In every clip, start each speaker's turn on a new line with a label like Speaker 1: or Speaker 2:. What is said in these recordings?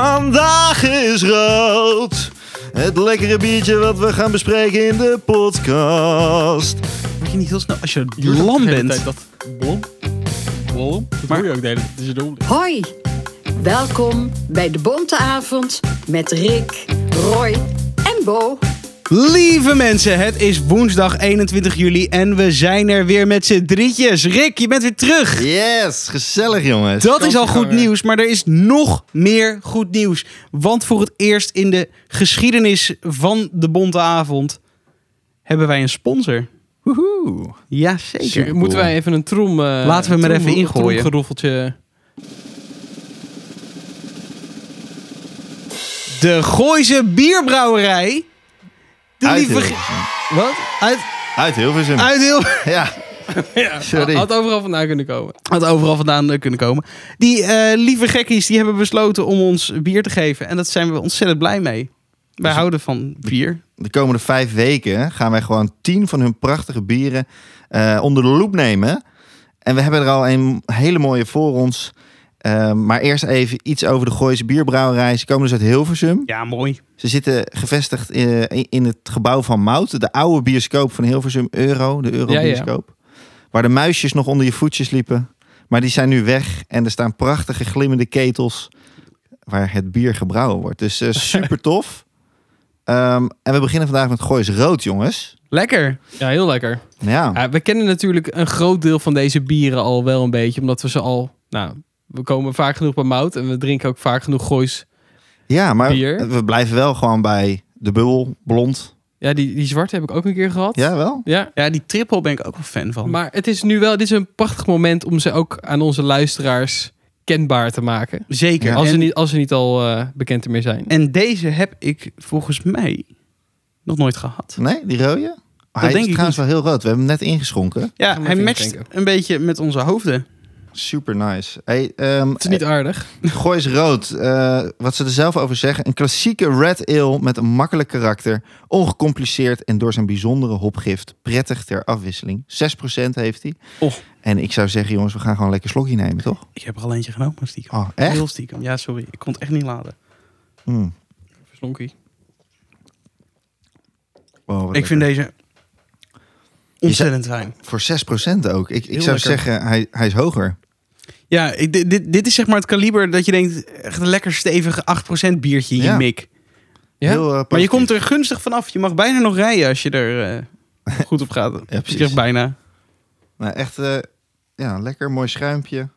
Speaker 1: Vandaag is rood. Het lekkere biertje wat we gaan bespreken in de podcast.
Speaker 2: Moet je niet heel snel, als je
Speaker 3: Je hoort ook
Speaker 2: lam
Speaker 3: de hele
Speaker 2: bent.
Speaker 3: tijd Dat blom. Blom. Dat
Speaker 2: Maar-
Speaker 3: hoor je ook de hele tijd. Dat is je doel.
Speaker 4: Hoi, welkom bij de Bonte Avond met Rick, Roy en Bo.
Speaker 2: Lieve mensen, het is woensdag 21 juli en we zijn er weer met z'n drietjes. Rick, je bent weer terug.
Speaker 1: Yes, gezellig jongens.
Speaker 2: Dat is al goed
Speaker 3: Vakantieganger.
Speaker 2: nieuws, maar er is nog meer goed nieuws. Want voor het eerst in de geschiedenis van de Bonte Avond hebben wij een sponsor.
Speaker 1: Woehoe.
Speaker 2: Jazeker.
Speaker 1: Super.
Speaker 3: Moeten wij even een trom... eh,
Speaker 2: Laten we hem er
Speaker 3: trom-
Speaker 2: even ingooien.
Speaker 3: tromgeroffeltje.
Speaker 2: De Gooise Bierbrouwerij. De
Speaker 1: Uit
Speaker 2: lieve...
Speaker 1: Hilversum.
Speaker 2: Wat? Uit,
Speaker 1: Uit Hilversum.
Speaker 2: uit heel...
Speaker 1: Ja. Sorry.
Speaker 3: Had overal vandaan kunnen komen.
Speaker 2: Had overal vandaan eh, kunnen komen. Die eh, lieve gekkies die hebben besloten om ons bier te geven. En dat zijn we ontzettend blij mee. Wij
Speaker 1: Dus-
Speaker 2: houden van bier.
Speaker 1: De komende vijf weken gaan wij gewoon tien van hun prachtige bieren eh, onder de loep nemen. En we hebben er al een hele mooie voor ons. Eh, maar eerst even iets over de Gooise Bierbrouwerij. Ze komen dus uit Hilversum.
Speaker 2: Ja, mooi.
Speaker 1: Ze zitten gevestigd eh, in, in het gebouw van Mout, de oude bioscoop van Hilversum Euro, de Eurobioscoop. Waar de muisjes nog onder je voetjes liepen. Maar die zijn nu weg en er staan prachtige glimmende ketels waar het bier gebrouwen wordt. Dus eh, super tof. Ehm, en we beginnen vandaag met Goois Rood, jongens. Nou
Speaker 2: Lekker.
Speaker 3: Ja, heel lekker.
Speaker 1: Ja,
Speaker 3: Ja, we kennen natuurlijk een groot deel van deze bieren al wel een beetje. Omdat we ze al... Nou, we komen vaak genoeg bij mout. En we drinken ook vaak genoeg goois.
Speaker 1: ja maar
Speaker 3: bier.
Speaker 1: we blijven wel gewoon bij de bubbel, blond.
Speaker 3: Ja, die, die zwarte heb ik ook een keer gehad.
Speaker 1: Ja, wel?
Speaker 3: ja.
Speaker 2: Ja, die trippel ben ik ook wel fan van.
Speaker 3: Maar het is nu wel, dit is een prachtig moment om ze ook aan onze luisteraars kenbaar te maken.
Speaker 2: Zeker.
Speaker 1: Ja.
Speaker 3: Als, ze
Speaker 2: en,
Speaker 3: niet, als ze niet al eh, bekend meer zijn.
Speaker 2: en deze heb ik volgens mij nog nooit gehad.
Speaker 1: Nee, die rode? Hij
Speaker 2: denk
Speaker 1: is
Speaker 2: ik
Speaker 1: trouwens wel heel rood. We hebben hem net ingeschonken.
Speaker 2: Ja,
Speaker 3: Gaan we
Speaker 2: hij
Speaker 3: even
Speaker 2: matcht
Speaker 3: denken.
Speaker 2: een beetje met onze hoofden.
Speaker 1: Super nice. Hey, ehm,
Speaker 3: Het is niet aardig.
Speaker 1: Goois Rood, eh, wat ze er zelf over zeggen. Een klassieke red ale met een makkelijk karakter. Ongecompliceerd en door zijn bijzondere hopgift prettig ter afwisseling. 6% heeft hij.
Speaker 2: Och.
Speaker 1: En ik zou zeggen, jongens, we gaan gewoon lekker slokje nemen, toch?
Speaker 2: Ik heb er al eentje genomen, stiekem.
Speaker 1: Oh, echt?
Speaker 2: Heel stiekem. Ja, sorry. Ik kon het echt niet laden.
Speaker 1: Mm.
Speaker 3: Slonkie.
Speaker 1: Wow, wat
Speaker 2: ik
Speaker 1: Oh, lekker.
Speaker 2: vind deze ontzettend fijn.
Speaker 1: Voor 6% ook. Ik, ik
Speaker 3: Heel
Speaker 1: zou
Speaker 3: lekker.
Speaker 1: zeggen, hij, hij is hoger.
Speaker 2: Ja, ik- dit, dit, dit is zeg maar het kaliber dat je denkt... echt een lekker stevige 8% biertje in
Speaker 1: Ja.
Speaker 2: je mik.
Speaker 3: Ja?
Speaker 1: Heel, eh,
Speaker 2: Maar je
Speaker 1: positief.
Speaker 2: komt er gunstig vanaf. Je mag bijna nog rijden als je er eh, goed op gaat.
Speaker 1: precies.
Speaker 2: Ik zeg bijna.
Speaker 1: Nou, echt eh, ja, lekker, mooi schuimpje.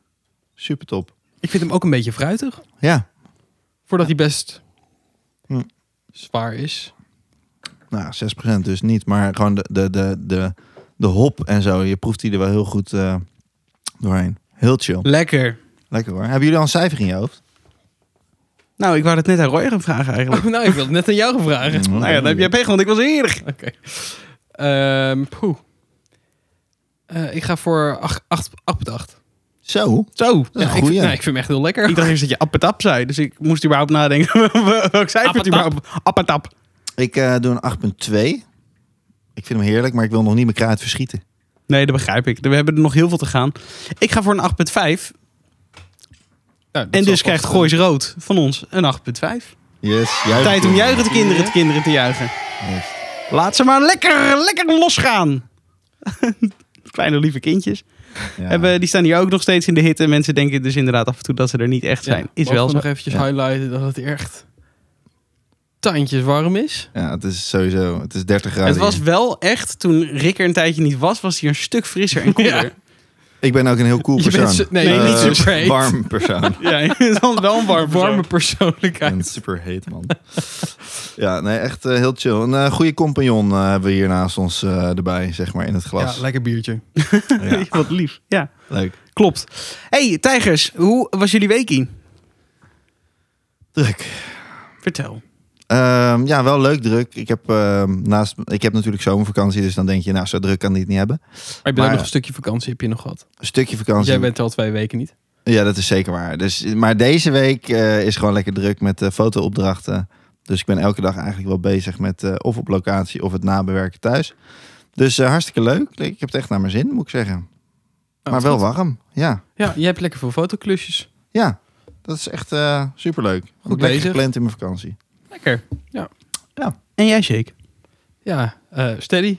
Speaker 1: Super top.
Speaker 3: Ik vind hem ook een beetje fruitig.
Speaker 1: Ja,
Speaker 3: Voordat hij best
Speaker 1: Hm.
Speaker 3: zwaar is.
Speaker 1: nou, 6% dus niet. Maar gewoon de, de, de, de, de hop en zo. Je proeft die er wel heel goed eh, doorheen. Heel chill.
Speaker 2: Lekker.
Speaker 1: Lekker hoor. Hebben jullie al een cijfer in je hoofd?
Speaker 2: Nou, ik wou het net aan Roy gaan vragen eigenlijk.
Speaker 3: Oh, nou, ik wilde het net aan jou vragen.
Speaker 1: Mm-hmm.
Speaker 2: nou ja, dan heb jij pech, want ik was eerder.
Speaker 3: Oké. Ehm, poeh. Eh, ik ga voor 8 8 8.
Speaker 1: Zo.
Speaker 2: Zo.
Speaker 1: Dat is een
Speaker 3: ik,
Speaker 1: goeie.
Speaker 3: vind- nou, ik vind hem echt heel lekker.
Speaker 2: Ik dacht eerst dat je appetap zei. Dus ik moest überhaupt nadenken. Welk cijfer het
Speaker 3: Appetap.
Speaker 2: überhaupt? Appetap.
Speaker 1: Ik eh, doe een 8.2. Ik vind hem heerlijk, maar ik wil nog niet mijn kruid verschieten.
Speaker 2: Nee, dat begrijp ik. We hebben er nog heel veel te gaan. Ik ga voor een 8,5.
Speaker 3: Nou, dat
Speaker 2: En
Speaker 3: zal
Speaker 2: dus
Speaker 3: vast-
Speaker 2: krijgt Goois Rood van ons een 8,5.
Speaker 1: Yes.
Speaker 2: Tijd om juichen te kinderen, te kinderen te juichen.
Speaker 1: Yes.
Speaker 2: Laat ze maar lekker, lekker losgaan. Kleine lieve kindjes.
Speaker 1: Ja.
Speaker 2: Hebben, die staan hier ook nog steeds in de hitte. Mensen denken dus inderdaad af en toe dat ze er niet echt zijn. is
Speaker 3: mogen
Speaker 2: wel
Speaker 3: we
Speaker 2: zo.
Speaker 3: nog eventjes
Speaker 1: Ja.
Speaker 3: highlighten dat het echt tandjes warm is.
Speaker 1: ja, het is sowieso. Het is 30 graden.
Speaker 2: Het was
Speaker 1: hier.
Speaker 2: wel echt, toen Rick er een tijdje niet was, was hij een stuk frisser en koeler.
Speaker 1: Ik ben ook een heel cool
Speaker 3: Je bent
Speaker 1: persoon.
Speaker 3: zo- nee,
Speaker 2: Nee, niet
Speaker 1: Eh,
Speaker 3: super heet.
Speaker 1: Warm persoon.
Speaker 2: Ja, hij is dan wel een warm
Speaker 3: Warme
Speaker 2: warme.
Speaker 3: persoonlijkheid.
Speaker 1: En super heet man. ja, nee, echt eh, heel chill. Een eh, goede compagnon eh, hebben we hier naast ons eh, erbij, zeg maar, in het glas.
Speaker 3: Ja, lekker biertje.
Speaker 1: Ja,
Speaker 2: Wat lief. Ja,
Speaker 1: leuk.
Speaker 2: klopt. hey, Tijgers, hoe was jullie weekie?
Speaker 1: Druk.
Speaker 2: Vertel.
Speaker 1: Ehm, ja, wel leuk druk. Ik heb, ehm, naast, ik heb natuurlijk zomervakantie, dus dan denk je, nou, zo druk kan die het niet hebben.
Speaker 3: Maar je bent
Speaker 1: Maar-
Speaker 3: ook nog een stukje vakantie heb je nog gehad.
Speaker 1: Een stukje vakantie.
Speaker 3: Jij bent er al twee weken niet.
Speaker 1: Ja, dat is zeker waar. Dus, maar deze week eh, is gewoon lekker druk met eh, fotoopdrachten. Dus ik ben elke dag eigenlijk wel bezig met eh, of op locatie of het nabewerken thuis. Dus eh, hartstikke leuk. Ik heb het echt naar mijn zin, moet ik zeggen.
Speaker 3: Nou,
Speaker 1: maar
Speaker 3: dat
Speaker 1: wel
Speaker 3: is goed.
Speaker 1: warm. Ja.
Speaker 3: Ja, je hebt lekker veel fotoklusjes.
Speaker 1: ja. Dat is echt eh, superleuk. Goed lekker
Speaker 3: bezig.
Speaker 1: gepland in mijn vakantie.
Speaker 3: Lekker.
Speaker 2: En jij, Shake?
Speaker 3: Ja, eh, steady.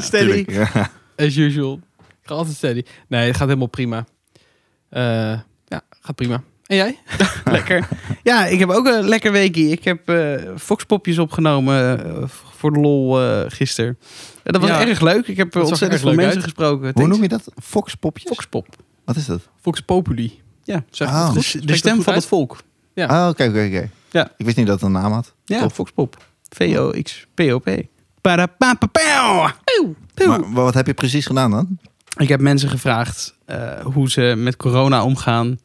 Speaker 2: Steady.
Speaker 1: Tuurlijk, ja.
Speaker 3: As usual. Ik ga altijd steady. Nee, het gaat helemaal prima. Eh, ja, gaat prima. En jij?
Speaker 2: lekker. Ja, ik heb ook een lekker weekie. Ik heb eh foxpopjes opgenomen eh, voor de lol eh gisteren. En dat was
Speaker 3: Ja.
Speaker 2: erg leuk. Ik heb eh,
Speaker 3: zag er
Speaker 2: ontzettend
Speaker 3: erg
Speaker 2: veel
Speaker 3: leuk
Speaker 2: mensen
Speaker 3: uit.
Speaker 2: gesproken.
Speaker 1: Hoe noem je dat? Foxpopjes?
Speaker 3: Foxpop.
Speaker 1: Wat is dat?
Speaker 3: Fox Populi.
Speaker 2: Ja.
Speaker 3: Zeg
Speaker 1: Ah.
Speaker 3: het goed?
Speaker 2: Dus
Speaker 3: Spreek
Speaker 2: de
Speaker 3: ik dat
Speaker 2: stem
Speaker 3: goed
Speaker 2: van
Speaker 3: uit?
Speaker 2: het volk.
Speaker 1: Ah, oké, oké, oké.
Speaker 2: Ja.
Speaker 1: Ik wist niet dat het een naam had.
Speaker 2: Ja,
Speaker 1: Top.
Speaker 2: foxpop. V-O-X-P-O-P. Parapapapauw.
Speaker 1: Maar wa- wat heb je precies gedaan dan?
Speaker 2: Ik heb mensen gevraagd eh, hoe ze met corona omgaan.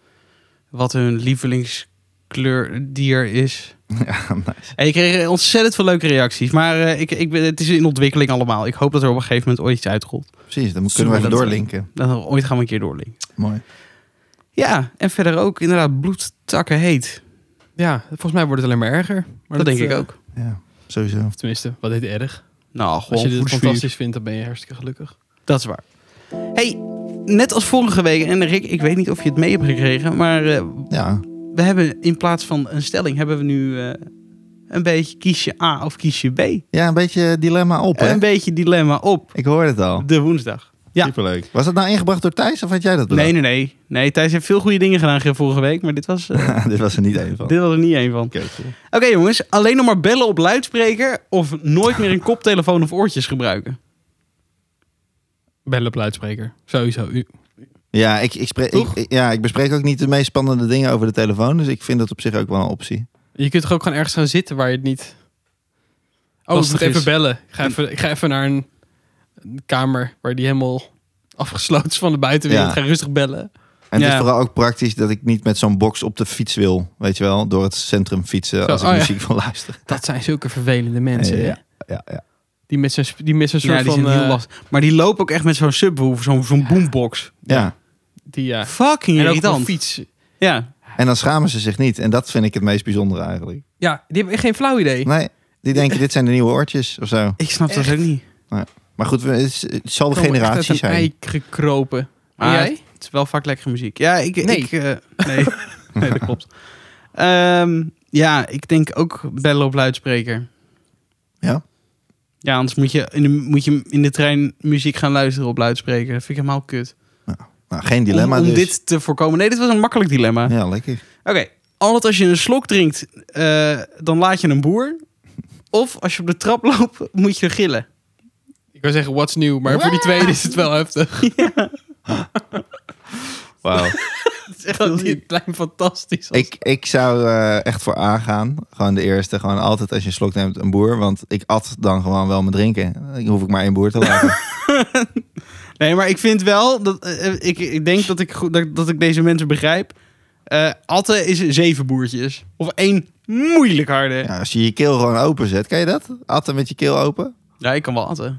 Speaker 2: Wat hun lievelingskleur dier is.
Speaker 1: Ja, nice.
Speaker 2: En ik kreeg ontzettend veel leuke reacties. Maar eh, ik, ik, ben- het is in ontwikkeling allemaal. Ik hoop dat er op een gegeven moment ooit iets uitrolt.
Speaker 1: Precies, dan mo- kunnen we even
Speaker 2: Zoelend.
Speaker 1: doorlinken.
Speaker 2: Dan ooit gaan we een keer doorlinken.
Speaker 1: Mooi.
Speaker 2: Ja, en verder ook inderdaad bloedtakken heet.
Speaker 3: Ja, volgens mij wordt het alleen maar erger. Maar
Speaker 2: dat, denk ik
Speaker 3: eh,
Speaker 2: ook.
Speaker 1: Ja, sowieso.
Speaker 3: Of tenminste, wat heet erg?
Speaker 2: Nou,
Speaker 3: Als
Speaker 2: gewoon
Speaker 3: je dit
Speaker 2: goed vuur.
Speaker 3: fantastisch vindt, dan ben je hartstikke gelukkig.
Speaker 2: Dat is waar. hey, net als vorige week. En Rick, ik weet niet of je het mee hebt gekregen. Maar eh,
Speaker 1: Ja,
Speaker 2: we hebben in plaats van een stelling... hebben we nu eh, een beetje kies je A of kies je B.
Speaker 1: ja een beetje dilemma op, hè?
Speaker 2: Een beetje dilemma op
Speaker 1: Ik hoorde het al.
Speaker 2: de woensdag. Ja.
Speaker 1: Superleuk. Was dat nou ingebracht door Thijs of had jij dat
Speaker 2: Nee,
Speaker 1: bedacht?
Speaker 2: nee, nee. Nee, Thijs heeft veel goede dingen gedaan vorige week. Maar dit was... eh,
Speaker 1: Dit was er niet één van.
Speaker 2: Dit was er niet één van. Oké
Speaker 1: Oké, cool.
Speaker 2: jongens, alleen nog maar bellen op luidspreker of nooit meer een koptelefoon of oortjes gebruiken.
Speaker 3: Bellen op luidspreker. Sowieso. U-
Speaker 1: Ja ik, ik spreek,
Speaker 3: Toch?
Speaker 1: ik- ja, ik bespreek ook niet de meest spannende dingen over de telefoon. Dus ik vind dat op zich ook wel een optie.
Speaker 3: Je kunt toch ook gewoon ergens gaan zitten waar je het niet... Oh, ik
Speaker 2: Lastig
Speaker 3: moet even
Speaker 2: is.
Speaker 3: bellen. Ik ga even, ik ga even naar een, een kamer waar die helemaal afgesloten is van de buitenwereld.
Speaker 1: Ja.
Speaker 3: Ga rustig bellen.
Speaker 1: En het
Speaker 2: Ja.
Speaker 1: is vooral ook praktisch dat ik niet met zo'n box op de fiets wil. Weet je wel, door het centrum fietsen als ik
Speaker 3: oh ja.
Speaker 1: muziek wil luisteren.
Speaker 3: Dat zijn zulke vervelende mensen. hè?
Speaker 1: Ja, ja, ja.
Speaker 3: Die met zo'n die met zo'n soort
Speaker 2: ja, die
Speaker 3: van...
Speaker 2: zijn heel
Speaker 3: eh,
Speaker 2: lastig. Maar die lopen ook echt met zo'n subwoofer, zo'n zo'n boombox.
Speaker 1: ja.
Speaker 3: die, ja.
Speaker 2: Fucking
Speaker 3: En ook op
Speaker 2: irritant.
Speaker 3: fiets.
Speaker 2: Ja.
Speaker 1: En dan schamen ze zich niet. En dat vind ik het meest bijzondere eigenlijk.
Speaker 3: Ja, die hebben echt geen flauw idee.
Speaker 1: Nee, die denken dit zijn de nieuwe oortjes of zo.
Speaker 2: Ik snap dat ook niet.
Speaker 1: Maar goed, we- het, is- het zal de
Speaker 3: Komen echt uit
Speaker 1: generatie
Speaker 3: een
Speaker 1: zijn.
Speaker 3: eik gekropen. En
Speaker 2: Maar
Speaker 3: jij?
Speaker 2: het is wel vaak lekkere muziek. Ja, ik...
Speaker 3: Nee.
Speaker 2: Ik, eh, nee. nee, dat klopt. Ehm, ja, ik denk ook bellen op luidspreker.
Speaker 1: Ja?
Speaker 2: Ja, anders moet je in de, moet je in de trein muziek gaan luisteren op luidspreker. Dat vind ik helemaal kut.
Speaker 1: Nou, geen
Speaker 2: Om-
Speaker 1: dilemma
Speaker 2: om,
Speaker 1: dus.
Speaker 2: dit te voorkomen. Nee, dit was een makkelijk dilemma.
Speaker 1: Ja, lekker.
Speaker 2: Oké, altijd als je een slok drinkt, eh, dan laat je een boer. Of als je op de trap loopt, moet je gillen.
Speaker 3: Ik wil zeggen, what's new? Maar voor die tweede is het wel heftig.
Speaker 1: Wauw.
Speaker 2: Dat is echt heel
Speaker 3: Dat
Speaker 2: lief.
Speaker 3: dit lijkt fantastisch. als-
Speaker 1: Ik, ik zou eh, echt voor A gaan. Gewoon de eerste. Gewoon altijd als je een slok neemt een boer. Want ik at dan gewoon wel mijn drinken. Dan hoef ik maar één boer te laten.
Speaker 2: Nee, maar ik vind wel, dat, eh, eh, ik, ik denk dat ik, goed, dat, dat ik deze mensen begrijp. Eh Atte is zeven boertjes. Of één moeilijk harde. Ja,
Speaker 1: ja, Nou, als je je keel gewoon open zet. Ken je dat? Atten met je keel open.
Speaker 2: ik kan wel Atte.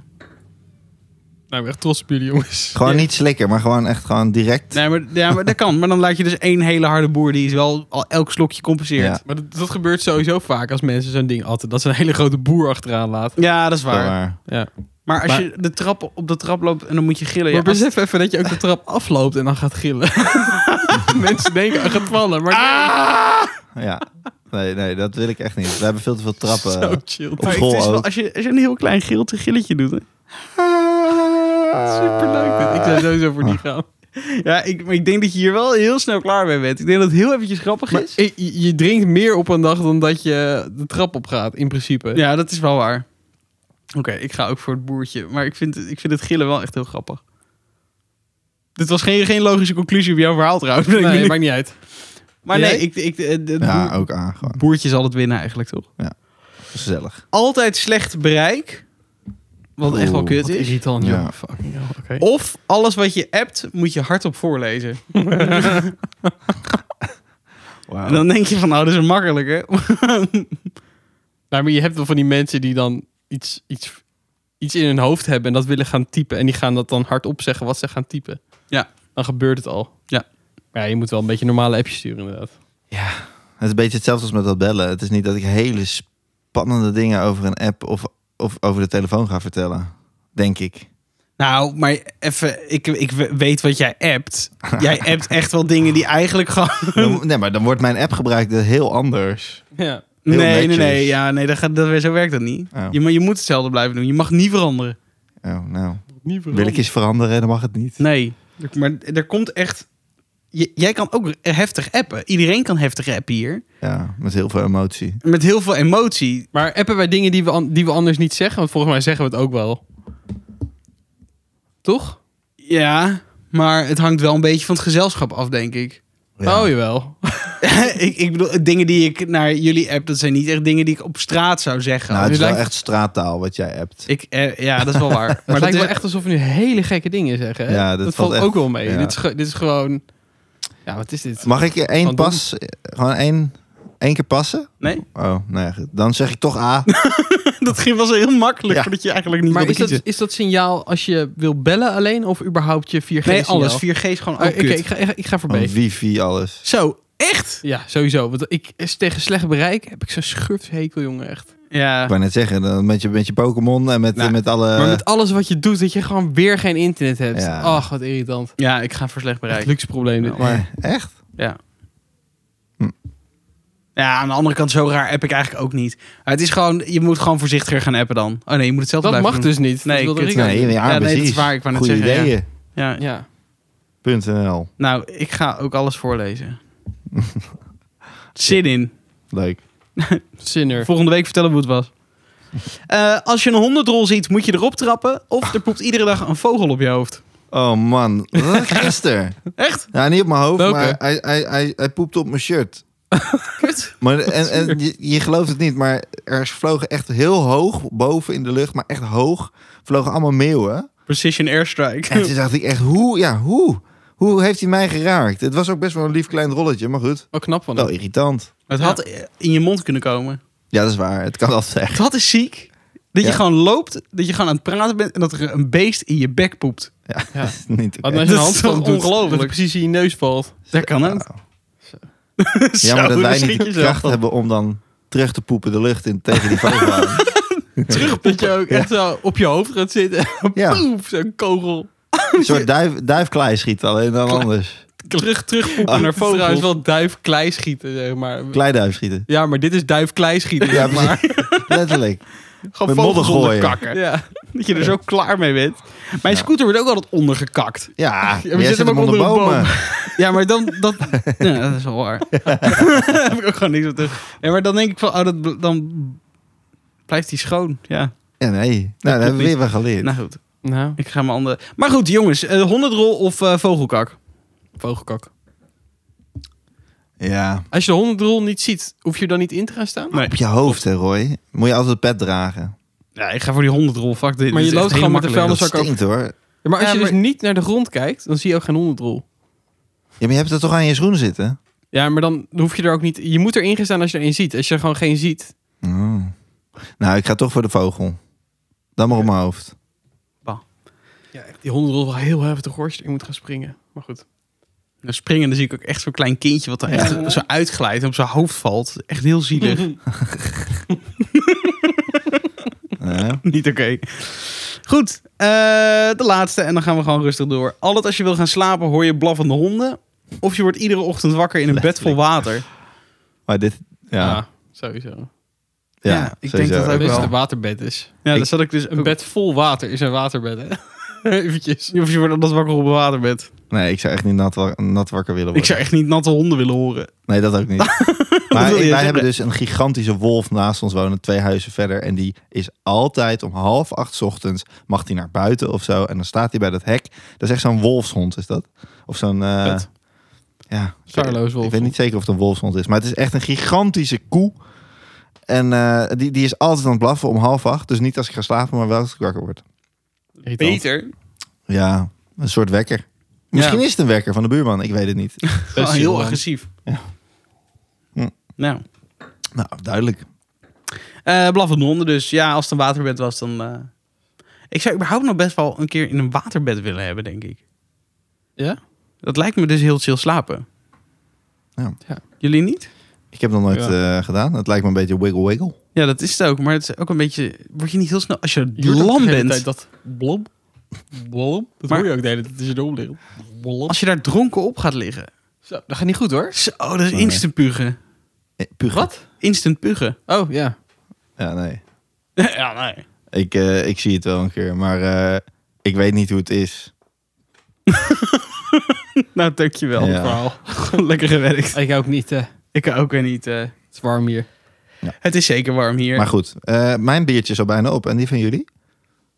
Speaker 3: Nou, ik ben echt trots op jullie, jongens.
Speaker 1: Gewoon
Speaker 3: Ja.
Speaker 1: niet slikken, maar gewoon echt gewoon direct.
Speaker 2: Nee, maar, ja, maar dat kan. Maar dan laat je dus één hele harde boer die is wel al elk slokje compenseert.
Speaker 1: Ja.
Speaker 3: Maar dat, dat gebeurt sowieso vaak als mensen zo'n ding atten. Dat ze een hele grote boer achteraan laten.
Speaker 2: Ja, dat is
Speaker 1: Wel
Speaker 2: waar.
Speaker 1: waar.
Speaker 3: Ja.
Speaker 2: Maar als
Speaker 1: Maar-
Speaker 2: je de trap op de trap loopt en dan moet je gillen. Ja,
Speaker 3: Maar besef even dat je ook de trap afloopt en dan gaat gillen. Ah! mensen denken, hij gaat vallen. Maar
Speaker 1: Ja. Nee, nee, dat wil ik echt niet. We hebben veel te veel trappen.
Speaker 3: nee, zo chill.
Speaker 1: Op
Speaker 2: Maar
Speaker 1: school
Speaker 2: het is wel-
Speaker 1: ook.
Speaker 2: als, je, als je een heel klein gilte gilletje doet. Hè?
Speaker 3: Superleuk. dit. Ik zou sowieso voor
Speaker 1: Ah.
Speaker 3: die gaan.
Speaker 2: Ja, ik, maar ik denk dat je hier wel heel snel klaar mee bent. Ik denk dat het heel eventjes grappig
Speaker 3: Maar
Speaker 2: is.
Speaker 3: je, je drinkt meer op een dag dan dat je de trap op gaat, in principe.
Speaker 2: Ja, dat is wel waar. Oké, ik ga ook voor het boertje. Maar ik vind, ik vind het gillen wel echt heel grappig. Dit was geen, geen logische conclusie op jouw verhaal trouwens. ben ik
Speaker 3: Nee,
Speaker 2: nu-
Speaker 3: maakt niet uit.
Speaker 2: maar nee,
Speaker 3: jij?
Speaker 2: ik, ik, eh, het
Speaker 1: Ja, oh.
Speaker 2: boer-
Speaker 1: ook A. Gewoon
Speaker 2: boertje zal het winnen eigenlijk toch?
Speaker 1: gezellig.
Speaker 2: Altijd slecht bereik. Wat echt wel
Speaker 1: Oeh,
Speaker 2: kut
Speaker 3: Wat
Speaker 2: is.
Speaker 3: irritant,
Speaker 1: Ja.
Speaker 3: joh. Fucking hell, oké.
Speaker 2: Of alles wat je appt, moet je hardop voorlezen. En dan denk je van, nou, dat is makkelijk, hè?
Speaker 3: Nou, maar je hebt wel van die mensen die dan iets, iets, iets in hun hoofd hebben en dat willen gaan typen. En die gaan dat dan hardop zeggen wat ze gaan typen.
Speaker 2: Ja.
Speaker 3: Dan gebeurt het al.
Speaker 2: Ja.
Speaker 3: Maar ja, je moet wel een beetje normale appjes sturen inderdaad.
Speaker 1: Het is een beetje hetzelfde als met dat bellen. Het is niet dat ik hele spannende dingen over een app of, of over de telefoon ga vertellen. Denk ik.
Speaker 2: Nou, maar even, ik, ik weet wat jij appt. Jij appt echt wel dingen die eigenlijk gewoon...
Speaker 1: Dan- nee, maar dan wordt mijn app gebruikt eh, heel anders.
Speaker 3: Ja.
Speaker 1: Heel
Speaker 2: nee, nee,
Speaker 1: netjes.
Speaker 2: nee, ja, nee dat gaat, dat, zo werkt dat niet.
Speaker 1: Oh.
Speaker 2: Je, mo- je moet hetzelfde blijven doen. Je mag niet veranderen.
Speaker 1: Oh, nou.
Speaker 3: Niet
Speaker 1: Wil ik eens veranderen, dan mag het niet.
Speaker 2: Nee, Er- maar er komt echt... J- jij kan ook heftig appen. Iedereen kan heftig appen hier.
Speaker 1: Ja, met heel veel emotie.
Speaker 2: Met heel veel emotie.
Speaker 3: Maar appen wij dingen die we, an- die we anders niet zeggen? Want volgens mij zeggen we het ook wel. Toch?
Speaker 2: Ja, maar het hangt wel een beetje van het gezelschap af, denk ik.
Speaker 1: Ja.
Speaker 3: Oh, jawel.
Speaker 2: ik, ik bedoel, dingen die ik naar jullie app, dat zijn niet echt dingen die ik op straat zou zeggen.
Speaker 1: nou, het
Speaker 2: Dus
Speaker 1: is wel
Speaker 2: lijkt-
Speaker 1: echt straattaal wat jij hebt.
Speaker 2: ik, eh, ja, dat is wel waar.
Speaker 3: Maar
Speaker 2: maar
Speaker 3: het lijkt
Speaker 2: dat
Speaker 3: wel
Speaker 2: is-
Speaker 3: echt alsof we nu hele gekke dingen zeggen. hè?
Speaker 1: Ja, dat valt
Speaker 3: dat valt
Speaker 1: echt-
Speaker 3: ook wel mee.
Speaker 1: ja.
Speaker 3: Dit, is, ge- dit is gewoon... Ja, wat is dit?
Speaker 1: Mag ik je één
Speaker 3: Van Don.
Speaker 1: pas, eh, gewoon één, één keer passen?
Speaker 2: Nee,
Speaker 1: Oh, nee. goed. Dan zeg ik toch A.
Speaker 2: dat ging was heel makkelijk,
Speaker 1: Ja.
Speaker 2: omdat je eigenlijk niet
Speaker 3: maar
Speaker 2: wilde
Speaker 3: is dat,
Speaker 2: kiezen.
Speaker 3: is dat signaal als je wil bellen alleen of überhaupt je 4G
Speaker 2: Nee,
Speaker 3: signaal?
Speaker 2: alles. 4G is gewoon
Speaker 3: Oh,
Speaker 2: ook
Speaker 3: Oké,
Speaker 2: kut. Oh,
Speaker 3: ik, ga, ik ga- ik ga voor B.
Speaker 1: Van wifi, Oh, alles.
Speaker 2: Zo, echt?
Speaker 3: Ja, sowieso. Want ik, is tegen slecht bereik heb ik zo'n schurfhekel, jongen, echt.
Speaker 2: Ja.
Speaker 1: Ik wou net zeggen, dan met je, met je Pokémon en met,
Speaker 2: Nou,
Speaker 1: met alle...
Speaker 3: maar met alles wat je doet, dat je gewoon weer geen internet hebt.
Speaker 1: Ja.
Speaker 3: Ach, wat irritant.
Speaker 2: ja, ik ga voor slecht
Speaker 3: Echt
Speaker 2: bereik.
Speaker 3: luxe probleem dit.
Speaker 1: Maar echt?
Speaker 2: Ja.
Speaker 1: Hm.
Speaker 2: Ja, aan de andere kant, zo raar app ik eigenlijk ook niet. Maar het is gewoon, je moet gewoon voorzichtiger gaan appen dan. Oh nee, je moet het zelf
Speaker 3: dat
Speaker 2: blijven
Speaker 3: mag
Speaker 2: doen.
Speaker 3: dus niet.
Speaker 2: Nee,
Speaker 3: dat wilde
Speaker 2: kut.
Speaker 3: Rico.
Speaker 1: Nee, ja,
Speaker 2: nee, dat is
Speaker 1: precies.
Speaker 2: waar, ik wou net
Speaker 1: Goeie
Speaker 2: zeggen, ja.
Speaker 1: ideeën.
Speaker 2: Ja.
Speaker 3: Ja.
Speaker 1: Punt NL.
Speaker 2: Nou, ik ga ook alles voorlezen. Zin in.
Speaker 1: Leuk.
Speaker 3: Sinner.
Speaker 2: Volgende week vertellen we hoe het was. Eh, als je een hondendrol ziet, moet je erop trappen. Of er poept iedere dag een vogel op je hoofd.
Speaker 1: Oh man, gisteren.
Speaker 2: Echt?
Speaker 1: Nou, niet op mijn hoofd,
Speaker 3: Welke?
Speaker 1: maar hij, hij, hij, hij poept op mijn shirt.
Speaker 2: Kut.
Speaker 1: Maar, en en je, je gelooft het niet, maar er vlogen echt heel hoog boven in de lucht, maar echt hoog, vlogen allemaal meeuwen.
Speaker 2: Precision
Speaker 1: En
Speaker 2: airstrike.
Speaker 1: toen dacht ik echt, hoe, ja, hoe? Hoe heeft hij mij geraakt? Het was ook best wel een lief klein rolletje, maar goed.
Speaker 3: Wel Oh, knap van
Speaker 1: Wel
Speaker 2: Oh,
Speaker 3: hem.
Speaker 1: irritant.
Speaker 2: Het had in je mond kunnen komen.
Speaker 1: Ja, dat is waar. Het kan altijd.
Speaker 2: Dat is ziek. Dat je
Speaker 1: Ja.
Speaker 2: gewoon loopt, dat je gewoon aan het praten bent en dat er een beest in je bek poept.
Speaker 1: Ja,
Speaker 3: Ja.
Speaker 1: dat is niet oké.
Speaker 2: Dat
Speaker 3: Wat als je een
Speaker 2: is toch
Speaker 3: handstand doet,
Speaker 2: ongelooflijk?
Speaker 3: dat het precies in je neus valt.
Speaker 2: Dat kan ook.
Speaker 1: Ja, maar dat wij niet de kracht
Speaker 2: hebben.
Speaker 1: hebben om dan terug te poepen de lucht in tegen die vogel aan.
Speaker 3: Dat je ook echt zo op je hoofd gaat zitten.
Speaker 1: Ja.
Speaker 3: Poef, zo'n kogel.
Speaker 1: Een soort duif, duifklei schieten, alleen dan
Speaker 3: Klei-
Speaker 1: anders.
Speaker 3: Terug, terug
Speaker 1: Ah,
Speaker 3: poepen naar
Speaker 1: het is
Speaker 3: vogels. Trouwens
Speaker 1: trouwens
Speaker 3: wel duif klei schieten, zeg maar.
Speaker 1: Kleiduif schieten.
Speaker 3: Ja, maar dit is duif klei schieten.
Speaker 1: Ja,
Speaker 3: zeg maar.
Speaker 1: Letterlijk.
Speaker 2: Gewoon
Speaker 1: Met modder
Speaker 2: vogels onder
Speaker 1: gooien.
Speaker 2: kakken.
Speaker 3: Ja.
Speaker 2: Dat je er zo klaar mee bent. Mijn scooter wordt ook altijd ondergekakt.
Speaker 1: Ja,
Speaker 3: zit
Speaker 1: jij zit hem onder
Speaker 3: een boom.
Speaker 1: bomen.
Speaker 2: Ja, maar dan... Dat, ja, dat is wel waar. Daar heb ik ook gewoon niks op terug. Ja, maar dan denk ik van... Oh, dat, bl- dan blijft hij schoon. Ja,
Speaker 1: Ja, nee. Nou, daar hebben we
Speaker 2: niet.
Speaker 1: weer wat geleerd.
Speaker 2: nou goed.
Speaker 3: Nou,
Speaker 2: Ik ga mijn andere... Maar goed, jongens. eh, hondendrol of eh, vogelkak?
Speaker 3: vogelkak.
Speaker 1: Ja.
Speaker 3: Als je de hondendrol niet ziet, hoef je er dan niet in te gaan staan?
Speaker 2: Nee.
Speaker 1: Op je hoofd, hè, Roy. Moet je altijd het pet dragen.
Speaker 2: Ja, ik ga voor die hondendrol. Fuck dit.
Speaker 3: Maar
Speaker 2: Dit
Speaker 3: je
Speaker 2: is
Speaker 3: loopt
Speaker 2: echt heel
Speaker 3: gewoon met de
Speaker 2: makkelijk.
Speaker 1: Dat
Speaker 3: zak ook.
Speaker 1: stinkt, hoor.
Speaker 3: Ja, maar als
Speaker 2: Ja,
Speaker 3: je
Speaker 2: maar-
Speaker 3: dus niet naar de grond kijkt, dan zie je ook geen hondendrol.
Speaker 1: Ja, maar je hebt het toch aan je schoen zitten?
Speaker 3: Ja, maar dan hoef je er ook niet... Je moet erin gaan staan als je er één ziet. Als je er gewoon geen ziet.
Speaker 1: Oh. Nou, ik ga toch voor de vogel. Dan maar op mijn hoofd.
Speaker 3: Ja, echt, die hondendrol is wel heel heftig hoor. als je erin moet gaan springen. Maar goed.
Speaker 2: Dan Nou, springen, dan zie ik ook echt zo'n klein kindje... wat er echt zo uitglijdt en op zijn hoofd valt. Echt heel zielig.
Speaker 1: Eh?
Speaker 2: Niet oké. Goed, eh, de laatste en dan gaan we gewoon rustig door. Altijd als je wil gaan slapen hoor je blaffende honden. Of je wordt iedere ochtend wakker in een bed vol water.
Speaker 1: Maar dit... Ja, ja,
Speaker 3: Ja, Ah, sowieso.
Speaker 2: ja, ik denk
Speaker 1: sowieso.
Speaker 2: dat ook
Speaker 3: Ook
Speaker 2: wel.
Speaker 3: dus de waterbed is.
Speaker 2: Ja,
Speaker 1: Ik-
Speaker 2: dat zat ik dus
Speaker 3: Een
Speaker 2: ook-
Speaker 3: bed vol water is een waterbed, hè? Eventjes.
Speaker 2: Of je wordt altijd wakker op een waterbed.
Speaker 1: Nee, ik zou echt niet nat, wa- nat wakker willen worden.
Speaker 2: Ik zou echt niet natte honden willen horen.
Speaker 1: Nee, dat ook niet.
Speaker 2: wil
Speaker 1: maar ik-
Speaker 2: je
Speaker 1: wij
Speaker 2: zeggen?
Speaker 1: hebben dus een gigantische wolf naast ons wonen, twee huizen verder. En die is altijd om half acht 's ochtends, mag hij naar buiten of zo. En dan staat hij bij dat hek. Dat is echt zo'n wolfshond, is dat? Of zo'n... eh,
Speaker 3: Vet.
Speaker 1: ja,
Speaker 3: Starloos
Speaker 1: Ik
Speaker 3: wolfshond.
Speaker 1: weet niet zeker of het een wolfshond is. Maar het is echt een gigantische koe. En eh, die, die is altijd aan het blaffen om half acht. Dus niet als ik ga slapen, maar wel als ik wakker word.
Speaker 3: Irritant.
Speaker 2: Beter.
Speaker 1: Ja, een soort wekker. Misschien is het een wekker van de buurman, ik weet het niet.
Speaker 2: Gewoon
Speaker 3: chill,
Speaker 2: Oh, heel
Speaker 3: man.
Speaker 2: agressief.
Speaker 1: Ja. Hm.
Speaker 2: Nou,
Speaker 1: nou, duidelijk.
Speaker 2: eh, blaffende honden dus. Ja, als het een waterbed was dan... eh, Ik zou überhaupt nog best wel een keer in een waterbed willen hebben, denk ik.
Speaker 3: Ja?
Speaker 2: Dat lijkt me dus heel chill slapen.
Speaker 1: Ja.
Speaker 3: Ja.
Speaker 2: Jullie niet?
Speaker 1: Ik heb dat nooit eh, gedaan. Het lijkt me een beetje wiggle wiggle.
Speaker 2: Ja, dat is het ook. Maar het is ook een beetje... Word je niet heel snel... Als je
Speaker 3: Je hoort ook
Speaker 2: lam
Speaker 3: de hele
Speaker 2: bent...
Speaker 3: tijd dat blob. Wolm. Dat
Speaker 2: Maar-
Speaker 3: hoor je ook de hele tijd. Het is je erop liggen. Wolm.
Speaker 2: Als je daar dronken op gaat liggen.
Speaker 3: Zo, dat gaat niet goed hoor.
Speaker 2: Zo, dat is instant pugen.
Speaker 1: Eh, Pugen.
Speaker 3: Wat?
Speaker 2: Instant pugen.
Speaker 3: Oh ja.
Speaker 1: Ja, nee.
Speaker 2: ja, nee.
Speaker 1: Ik, eh, ik zie het wel een keer, maar eh, ik weet niet hoe het is.
Speaker 2: Nou, dankjewel.
Speaker 1: Ja.
Speaker 3: Verhaal.
Speaker 2: Lekker gewerkt.
Speaker 3: Ik ook niet. eh,
Speaker 2: Ik ook weer niet. eh,
Speaker 3: het is warm hier.
Speaker 2: het is zeker warm hier.
Speaker 1: Maar goed, eh, mijn biertje is al bijna op. En die van jullie?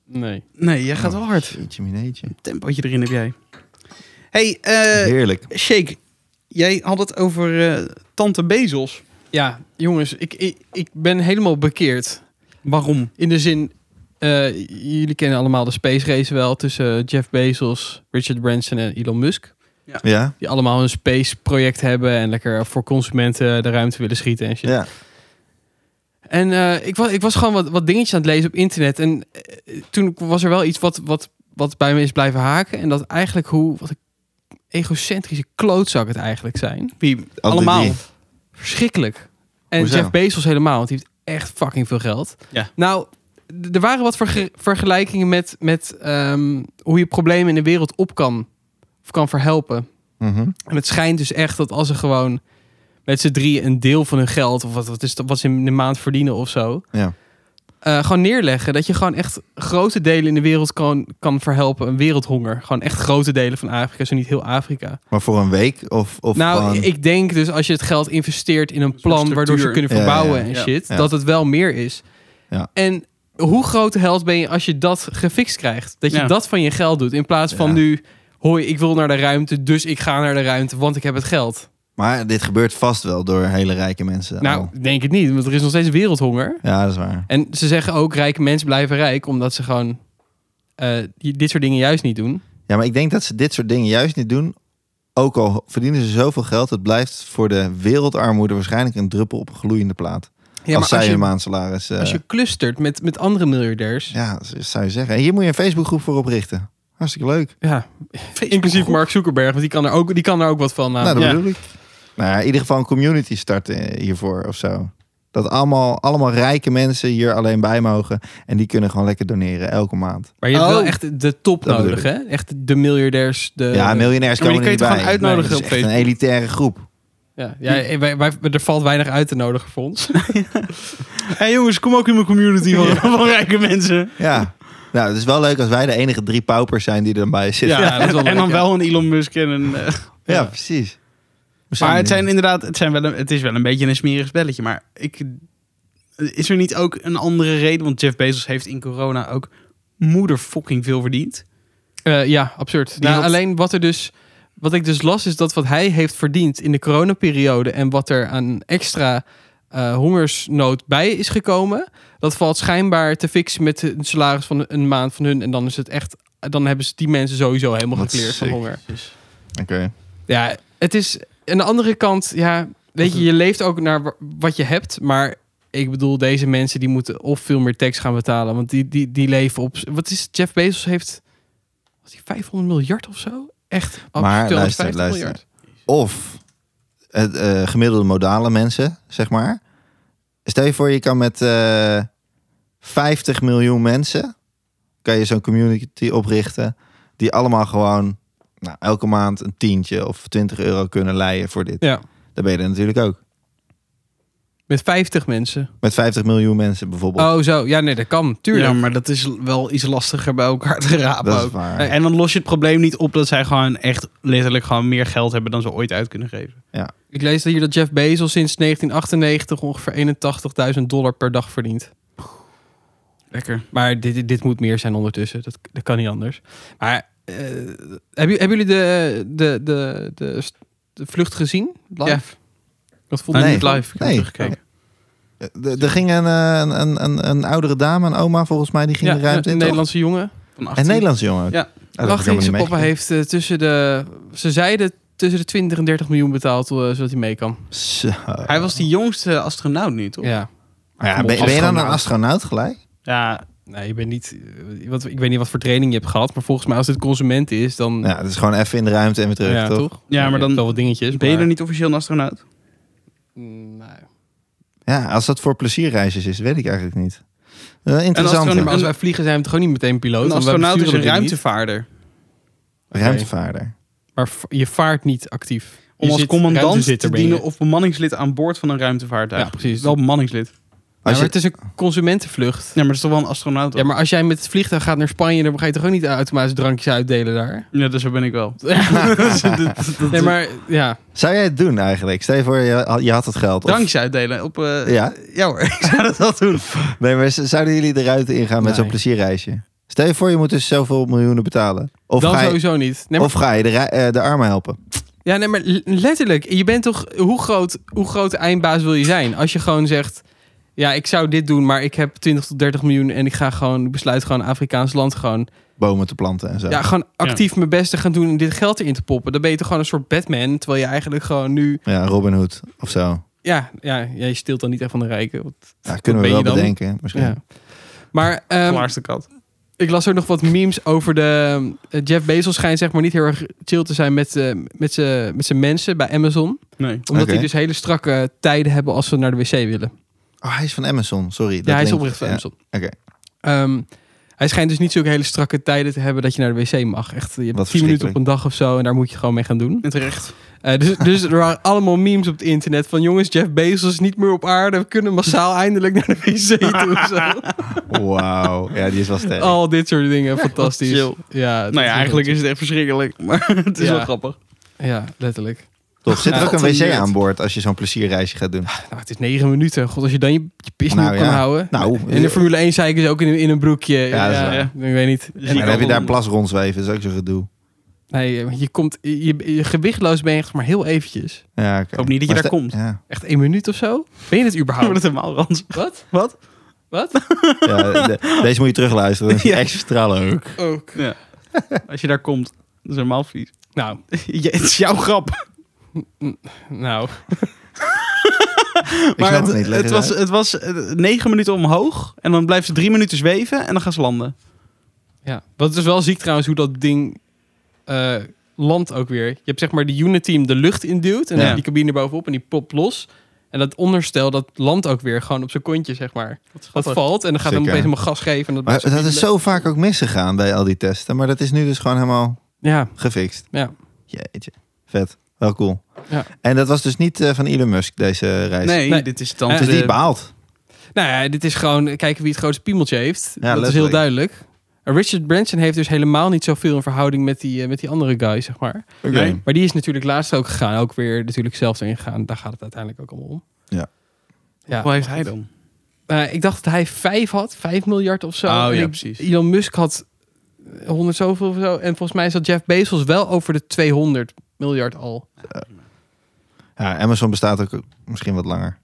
Speaker 3: Nee.
Speaker 2: nee, jij
Speaker 1: Oh.
Speaker 2: gaat wel hard.
Speaker 1: Jeetje, mineetje.
Speaker 2: Tempootje erin heb jij. hey, eh,
Speaker 1: Heerlijk.
Speaker 2: Shake. Jij had het over eh, tante Bezos.
Speaker 3: Ja, jongens, ik, ik, ik ben helemaal bekeerd.
Speaker 2: Waarom?
Speaker 3: In de zin, eh, jullie kennen allemaal de space race wel tussen Jeff Bezos, Richard Branson en Elon Musk.
Speaker 1: Ja?
Speaker 3: Die allemaal een space project hebben en lekker voor consumenten de ruimte willen schieten en shit.
Speaker 1: Ja.
Speaker 3: En eh, ik, was, ik was gewoon wat, wat dingetjes aan het lezen op internet. En eh, toen was er wel iets wat, wat, wat bij me is blijven haken. En dat eigenlijk hoe, wat een egocentrische klootzak het eigenlijk zijn.
Speaker 2: Wie?
Speaker 1: Al die
Speaker 2: Allemaal.
Speaker 1: drie.
Speaker 3: Verschrikkelijk. En
Speaker 1: Hoezo?
Speaker 3: Jeff Bezos helemaal, want die heeft echt fucking veel geld.
Speaker 2: Ja.
Speaker 3: Nou, d- er waren wat verge- vergelijkingen met, met ehm, hoe je problemen in de wereld op kan, of kan verhelpen.
Speaker 1: Mhm.
Speaker 3: En het schijnt dus echt dat als ze gewoon met z'n drie een deel van hun geld, of wat, wat, is, dat- wat ze in de maand verdienen of zo,
Speaker 1: Ja.
Speaker 3: eh, gewoon neerleggen. Dat je gewoon echt grote delen in de wereld kan, kan verhelpen. Een wereldhonger. Gewoon echt grote delen van Afrika, zo niet heel Afrika.
Speaker 1: Maar voor een week of, of
Speaker 3: nou,
Speaker 1: gewoon-
Speaker 3: ik denk dus als je het geld investeert in een
Speaker 2: soort
Speaker 3: plan waardoor ze
Speaker 2: structuur.
Speaker 3: kunnen
Speaker 1: Ja,
Speaker 3: verbouwen
Speaker 1: ja,
Speaker 3: en
Speaker 2: ja.
Speaker 3: shit,
Speaker 1: Ja.
Speaker 3: dat het wel meer is.
Speaker 1: Ja.
Speaker 3: En hoe grote held ben je als je dat gefixt krijgt? Dat je
Speaker 2: Ja.
Speaker 3: dat van je geld doet in plaats van
Speaker 1: Ja.
Speaker 3: nu, hoi, ik wil naar de ruimte, dus ik ga naar de ruimte, want ik heb het geld.
Speaker 1: Maar dit gebeurt vast wel door hele rijke mensen.
Speaker 3: Nou,
Speaker 1: al.
Speaker 3: denk het niet, want er is nog steeds wereldhonger.
Speaker 1: Ja, dat is waar.
Speaker 3: En ze zeggen ook, rijke mensen blijven rijk, omdat ze gewoon eh, die- dit soort dingen juist niet doen.
Speaker 1: Ja, maar ik denk dat ze dit soort dingen juist niet doen. Ook al verdienen ze zoveel geld, het blijft voor de wereldarmoede waarschijnlijk een druppel op een gloeiende plaat.
Speaker 3: Ja,
Speaker 1: als
Speaker 3: maar
Speaker 1: zij
Speaker 3: als
Speaker 1: hun
Speaker 3: je,
Speaker 1: maandsalaris. eh,
Speaker 3: als je clustert met, met andere miljardairs. Ja.
Speaker 1: Ja, dat zou je zeggen. En hier moet je een Facebookgroep voor oprichten. Hartstikke leuk.
Speaker 3: inclusief Mark Zuckerberg, want die kan er ook, die kan er ook wat van. eh,
Speaker 1: nou,
Speaker 3: namelijk.
Speaker 1: dat
Speaker 2: Ah, ja.
Speaker 1: bedoel ik. Nou ja, in ieder geval een community starten eh, hiervoor of zo. Dat allemaal, allemaal rijke mensen hier alleen bij mogen. En die kunnen gewoon lekker doneren elke maand.
Speaker 3: Maar je hebt
Speaker 2: Oh.
Speaker 3: wel echt de top
Speaker 1: Dat bedoel
Speaker 3: nodig, hè? Echt de miljardairs. De...
Speaker 1: ja, miljonairs
Speaker 2: Eh, maar
Speaker 1: komen
Speaker 2: die
Speaker 1: er
Speaker 2: kun je
Speaker 1: niet
Speaker 2: toch
Speaker 1: bij.
Speaker 2: gewoon
Speaker 1: Nee,
Speaker 2: uitnodigen
Speaker 1: dat
Speaker 2: op
Speaker 1: is echt een elitaire groep.
Speaker 3: Ja, ja, wij, wij, er valt weinig uit te nodigen voor ons.
Speaker 2: Hé hey jongens, kom ook in mijn community van, van rijke mensen.
Speaker 1: Ja. Nou, het is wel leuk als wij de enige drie paupers zijn die er dan bij zitten.
Speaker 3: Ja, dat is wel
Speaker 2: en
Speaker 3: leuk,
Speaker 2: dan
Speaker 3: ja.
Speaker 2: wel een Elon Musk en een... eh,
Speaker 1: Ja,
Speaker 3: Ja.
Speaker 1: precies.
Speaker 2: maar het zijn inderdaad, het, zijn wel een, het is wel een beetje een smerig spelletje. Maar ik, is er niet ook een andere reden? Want Jeff Bezos heeft in corona ook moederfucking veel verdiend.
Speaker 3: Eh, ja, absurd.
Speaker 2: Die
Speaker 3: Nou,
Speaker 2: had-
Speaker 3: Alleen wat er dus. Wat ik dus las is dat wat hij heeft verdiend in de coronaperiode en wat er aan extra eh, hongersnood bij is gekomen, dat valt schijnbaar te fixen met een salaris van een maand van hun. En dan is het echt, dan hebben ze die mensen sowieso helemaal
Speaker 1: Wat
Speaker 3: gekleerd van
Speaker 1: sick.
Speaker 3: honger.
Speaker 1: Oké.
Speaker 3: Ja, het is aan de andere kant, ja, weet je, je leeft ook naar wa- wat je hebt, maar ik bedoel, deze mensen die moeten of veel meer tax gaan betalen, want die, die, die leven op, wat is het? Jeff Bezos heeft, was die 500 miljard of zo? Echt, oh, ab-
Speaker 1: Maar
Speaker 3: 250
Speaker 1: luister, luister. Of het, eh, gemiddelde modale mensen, zeg maar. Stel je voor, je kan met eh 50 miljoen mensen... kan je zo'n community oprichten... die allemaal gewoon nou, elke maand een tientje of 20 euro kunnen leien voor dit.
Speaker 3: Ja,
Speaker 1: Daar ben je er natuurlijk ook.
Speaker 3: met 50 mensen.
Speaker 1: Met 50 miljoen mensen bijvoorbeeld.
Speaker 3: Oh, zo, ja, nee, dat kan, tuurlijk.
Speaker 2: Ja, maar dat is wel iets lastiger bij elkaar te rapen
Speaker 1: dat is
Speaker 2: Oh, ook.
Speaker 1: waar.
Speaker 2: En dan los je het probleem niet op dat zij gewoon echt letterlijk gewoon meer geld hebben dan ze ooit uit kunnen geven.
Speaker 3: Ik lees hier dat Jeff Bezos sinds 1998 ongeveer 81.000 dollar per dag verdient.
Speaker 2: Lekker.
Speaker 3: Maar dit, dit- dit moet meer zijn ondertussen. Dat, dat kan niet anders. Maar eh, hebben, jullie- hebben jullie de, de, de, de, st- de vlucht gezien? Live?
Speaker 2: Ja.
Speaker 3: Dat vond
Speaker 2: Nou,
Speaker 1: Nee.
Speaker 2: niet live. Ik heb
Speaker 1: Nee.
Speaker 2: teruggekeken.
Speaker 1: Er er ging een, eh, een, een, een, een oudere dame, een oma volgens mij, die ging de ruimte in.
Speaker 3: een, een
Speaker 1: toch?
Speaker 3: Nederlandse jongen.
Speaker 2: Van
Speaker 1: En
Speaker 2: 18.
Speaker 1: Nederlandse jongen. ook.
Speaker 2: Ja.
Speaker 1: Ah, dat heb ik
Speaker 3: Lacht
Speaker 1: helemaal
Speaker 3: zijn
Speaker 1: niet
Speaker 3: papa heeft eh, tussen de... Ze zeiden tussen de 20 en 30 miljoen betaald, eh, zodat hij mee kan.
Speaker 1: meegekregen. Zo.
Speaker 2: Hij was die jongste astronaut nu, toch?
Speaker 3: Ja.
Speaker 1: Ja, ben, ben je dan een astronaut gelijk?
Speaker 2: Ja,
Speaker 3: Nee, je bent niet... eh, Wat, ik weet niet wat voor training je hebt gehad, maar volgens mij als dit consument is, dan...
Speaker 1: Ja, dat is gewoon even in de ruimte en weer terug,
Speaker 3: Ja,
Speaker 1: toch?
Speaker 2: Ja, maar
Speaker 3: je hebt
Speaker 2: dan-
Speaker 3: wel wat dingetjes.
Speaker 2: ben je
Speaker 3: maar-
Speaker 2: dan niet officieel een astronaut?
Speaker 3: Mm, nee.
Speaker 1: Ja, als dat voor plezierreisjes is, weet ik eigenlijk niet. Eh, interessant.
Speaker 2: astronaut-
Speaker 1: hè?
Speaker 3: Maar als wij vliegen zijn we toch gewoon niet meteen piloot?
Speaker 2: Een
Speaker 3: want wij
Speaker 2: astronaut is een
Speaker 3: besturen dit niet.
Speaker 2: ruimtevaarder.
Speaker 1: Ruimtevaarder.
Speaker 3: Maar v- je vaart niet actief. Je
Speaker 2: Om als
Speaker 3: zit-
Speaker 2: commandant
Speaker 3: ruimtezitter
Speaker 2: te
Speaker 3: ben je.
Speaker 2: dienen of bemanningslid aan boord van een ruimtevaartuig.
Speaker 3: Ja, precies.
Speaker 2: Wel bemanningslid.
Speaker 3: Ja,
Speaker 1: Als
Speaker 3: maar
Speaker 1: je,
Speaker 3: het is een consumentenvlucht.
Speaker 2: Ja, maar dat is toch wel een astronaut?
Speaker 3: Ja, maar als jij met het vliegtuig gaat naar Spanje, dan ga je toch ook niet automatisch drankjes uitdelen daar?
Speaker 2: Ja, dus zo ben ik wel. Dus dat- dat- dat-
Speaker 3: Nee, maar ja.
Speaker 1: zou jij het doen eigenlijk? Stel je voor, je, had- je had het geld. Of-
Speaker 2: Drankjes uitdelen op... eh,
Speaker 1: Ja.
Speaker 2: ja hoor, ik zou dat wel doen.
Speaker 1: Nee, maar z- zouden jullie de ruimte ingaan met
Speaker 3: Nee.
Speaker 1: zo'n plezierreisje? Stel je voor, je moet dus zoveel miljoenen betalen. Of,
Speaker 3: dan
Speaker 1: ga je,
Speaker 3: sowieso niet. Nee, maar,
Speaker 1: of ga je de, rui- eh, de armen helpen?
Speaker 3: ja, nee, maar l- letterlijk. Je bent toch... Hoe groot, hoe groot de eindbaas wil je zijn? Als je gewoon zegt... Ja, ik zou dit doen, maar ik heb 20 tot 30 miljoen... en ik ga gewoon, ik besluit gewoon Afrikaans land gewoon...
Speaker 1: Bomen te planten en zo.
Speaker 3: Ja, gewoon actief mijn best te gaan doen... en dit geld erin te poppen. Dan ben je toch gewoon een soort Batman... terwijl je eigenlijk gewoon nu...
Speaker 1: Ja, Robin Hood of zo.
Speaker 3: Ja, ja, ja je stilt dan niet echt van de rijken. want-
Speaker 1: Ja, kunnen we
Speaker 3: ben
Speaker 1: wel
Speaker 3: je dan?
Speaker 1: bedenken. Misschien.
Speaker 3: ja. Maar... ehm,
Speaker 2: Klaarste kat.
Speaker 3: Ik las ook nog wat memes over de... eh, Jeff Bezos schijnt zeg maar niet heel erg chill te zijn met, eh, met zijn met zijn mensen bij Amazon.
Speaker 2: Nee.
Speaker 3: Omdat
Speaker 1: Oké.
Speaker 3: die dus hele strakke tijden hebben als ze naar de wc willen.
Speaker 1: Oh, hij is van Amazon, sorry.
Speaker 3: ja, hij is
Speaker 1: linkt-
Speaker 3: oprecht van
Speaker 1: ja.
Speaker 3: Amazon.
Speaker 1: Oké.
Speaker 3: Ehm, hij schijnt dus niet zulke hele strakke tijden te hebben dat je naar de wc mag. Echt, je
Speaker 1: Wat
Speaker 3: hebt 10 minuten
Speaker 1: verschrikkelijk.
Speaker 3: op een dag of zo en daar moet je gewoon mee gaan doen.
Speaker 2: En terecht.
Speaker 3: Eh, dus, dus er waren allemaal memes op het internet van jongens, Jeff Bezos is niet meer op aarde. We kunnen massaal eindelijk naar de wc toe. of zo.
Speaker 1: Wauw. Ja, die is wel sterk.
Speaker 2: Oh.
Speaker 3: Al dit soort dingen, fantastisch.
Speaker 2: chill.
Speaker 3: Ja, dat
Speaker 2: Nou ja,
Speaker 3: is
Speaker 2: eigenlijk is het echt verschrikkelijk. Maar het is
Speaker 3: Ja.
Speaker 2: wel grappig.
Speaker 3: Ja, letterlijk.
Speaker 1: Tof. Zit er ook een
Speaker 2: Wat een
Speaker 1: wc
Speaker 2: nerd.
Speaker 1: aan boord als je zo'n plezierreisje gaat doen?
Speaker 3: Nou, het is negen minuten. God, als je dan je, je pis niet
Speaker 1: Nou,
Speaker 3: op kan
Speaker 1: ja.
Speaker 3: houden.
Speaker 1: Nou,
Speaker 3: In de Formule 1 zei ik dus ook in, in een broekje.
Speaker 1: dat is
Speaker 2: waar.
Speaker 3: Ik weet niet.
Speaker 2: Zie
Speaker 1: en
Speaker 2: ik
Speaker 1: dan heb je
Speaker 2: wel.
Speaker 1: daar plas rondzweven, dat is ook zo'n gedoe.
Speaker 3: Nee, eh, je komt... Je, je gewichtloos ben je echt maar heel eventjes.
Speaker 1: Ja, oké.
Speaker 2: Ik hoop niet dat je
Speaker 1: Maar
Speaker 2: daar
Speaker 1: stel-
Speaker 2: komt.
Speaker 1: Ja.
Speaker 3: Echt één minuut of zo. Ben je het
Speaker 2: Hou
Speaker 3: überhaupt?
Speaker 2: het helemaal rans.
Speaker 3: Wat?
Speaker 2: Wat?
Speaker 3: Wat?
Speaker 1: Ja, de- deze moet je terugluisteren, dat is extra leuk.
Speaker 3: Ook.
Speaker 2: Als je daar komt, dat is helemaal vies.
Speaker 3: Nou,
Speaker 2: Ja, het is jouw grap.
Speaker 3: nou.
Speaker 1: snap
Speaker 2: Maar het,
Speaker 1: het niet, leg
Speaker 2: het
Speaker 1: eens
Speaker 2: was,
Speaker 1: uit.
Speaker 2: het was eh, negen minuten omhoog. En dan blijft ze drie minuten zweven. En dan gaan ze landen.
Speaker 3: Ja. Wat is wel ziek trouwens, hoe dat ding eh, landt ook weer. Je hebt zeg maar de unit team de lucht induwt. En
Speaker 1: Ja.
Speaker 3: dan die cabine bovenop en die popt los. En dat onderstel, dat landt ook weer gewoon op zijn kontje, zeg maar. Dat valt en dan gaat
Speaker 1: Zeker.
Speaker 3: hij opeens helemaal gas geven. En dat
Speaker 1: Maar
Speaker 3: blijft
Speaker 1: dat is
Speaker 3: wiebelen.
Speaker 1: zo vaak ook misgegaan bij al die testen. Maar dat is nu dus gewoon helemaal
Speaker 3: Ja,
Speaker 1: gefixt.
Speaker 3: Ja.
Speaker 1: Jeetje. Vet. Wel cool.
Speaker 3: Ja.
Speaker 1: En dat was dus niet eh, van Elon Musk, deze reis.
Speaker 2: Nee,
Speaker 3: Nee.
Speaker 2: dit is dan
Speaker 3: Eh,
Speaker 1: Dus
Speaker 2: de-
Speaker 1: die behaalt.
Speaker 3: nou ja, dit is gewoon kijken wie het grootste piemeltje heeft.
Speaker 1: Ja,
Speaker 3: dat is heel
Speaker 1: letterlijk.
Speaker 3: duidelijk. En Richard Branson heeft dus helemaal niet zoveel in verhouding met die, eh, met die andere guy, zeg maar.
Speaker 1: Oké.
Speaker 2: Nee.
Speaker 3: Maar die is natuurlijk laatst ook gegaan. Ook weer natuurlijk zelf erin gegaan. Daar gaat het uiteindelijk ook allemaal om.
Speaker 1: Ja.
Speaker 3: ja.
Speaker 2: Hoe heeft hij dan?
Speaker 3: Eh, ik dacht dat hij vijf had. Vijf miljard of zo.
Speaker 2: Oh, ja,
Speaker 3: En ik-
Speaker 2: precies.
Speaker 3: Elon Musk had eh, honderd zoveel of zo. En volgens mij zat Jeff Bezos wel over de 200 miljard al.
Speaker 1: Ja, Amazon bestaat ook misschien wat langer.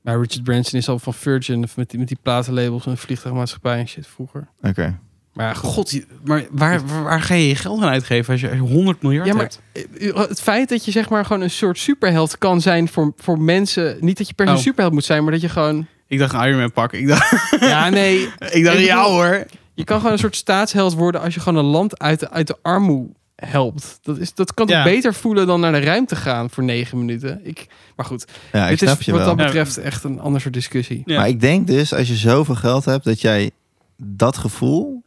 Speaker 3: Maar Richard Branson is al van Virgin. Met die, met die platenlabels en vliegtuigmaatschappij en shit vroeger.
Speaker 1: Oké.
Speaker 3: Maar ja, goed.
Speaker 2: God, je- maar waar, waar, waar ga je je geld aan uitgeven als je 100 miljard
Speaker 3: Ja, maar-
Speaker 2: hebt?
Speaker 3: Eh, Het feit dat je zeg maar gewoon een soort superheld kan zijn voor, voor mensen. Niet dat je per se
Speaker 2: Oh.
Speaker 3: een superheld moet zijn, maar dat je gewoon.
Speaker 2: Ik dacht een Iron Man pak. Ik dacht,
Speaker 3: ja, nee.
Speaker 2: ik dacht
Speaker 3: bedoel-
Speaker 2: ja hoor.
Speaker 3: Je kan gewoon een soort staatsheld worden als je gewoon een land uit de, uit de armoe helpt. Dat, is, dat kan toch
Speaker 2: Ja.
Speaker 3: beter voelen dan naar de ruimte gaan voor negen minuten. Ik, maar goed,
Speaker 1: Ja, ik
Speaker 3: dit
Speaker 1: snap
Speaker 3: is
Speaker 1: je
Speaker 3: wat
Speaker 1: wel.
Speaker 3: dat betreft echt een ander soort discussie.
Speaker 2: Ja.
Speaker 1: Maar ik denk dus, als je zoveel geld hebt, dat jij dat gevoel,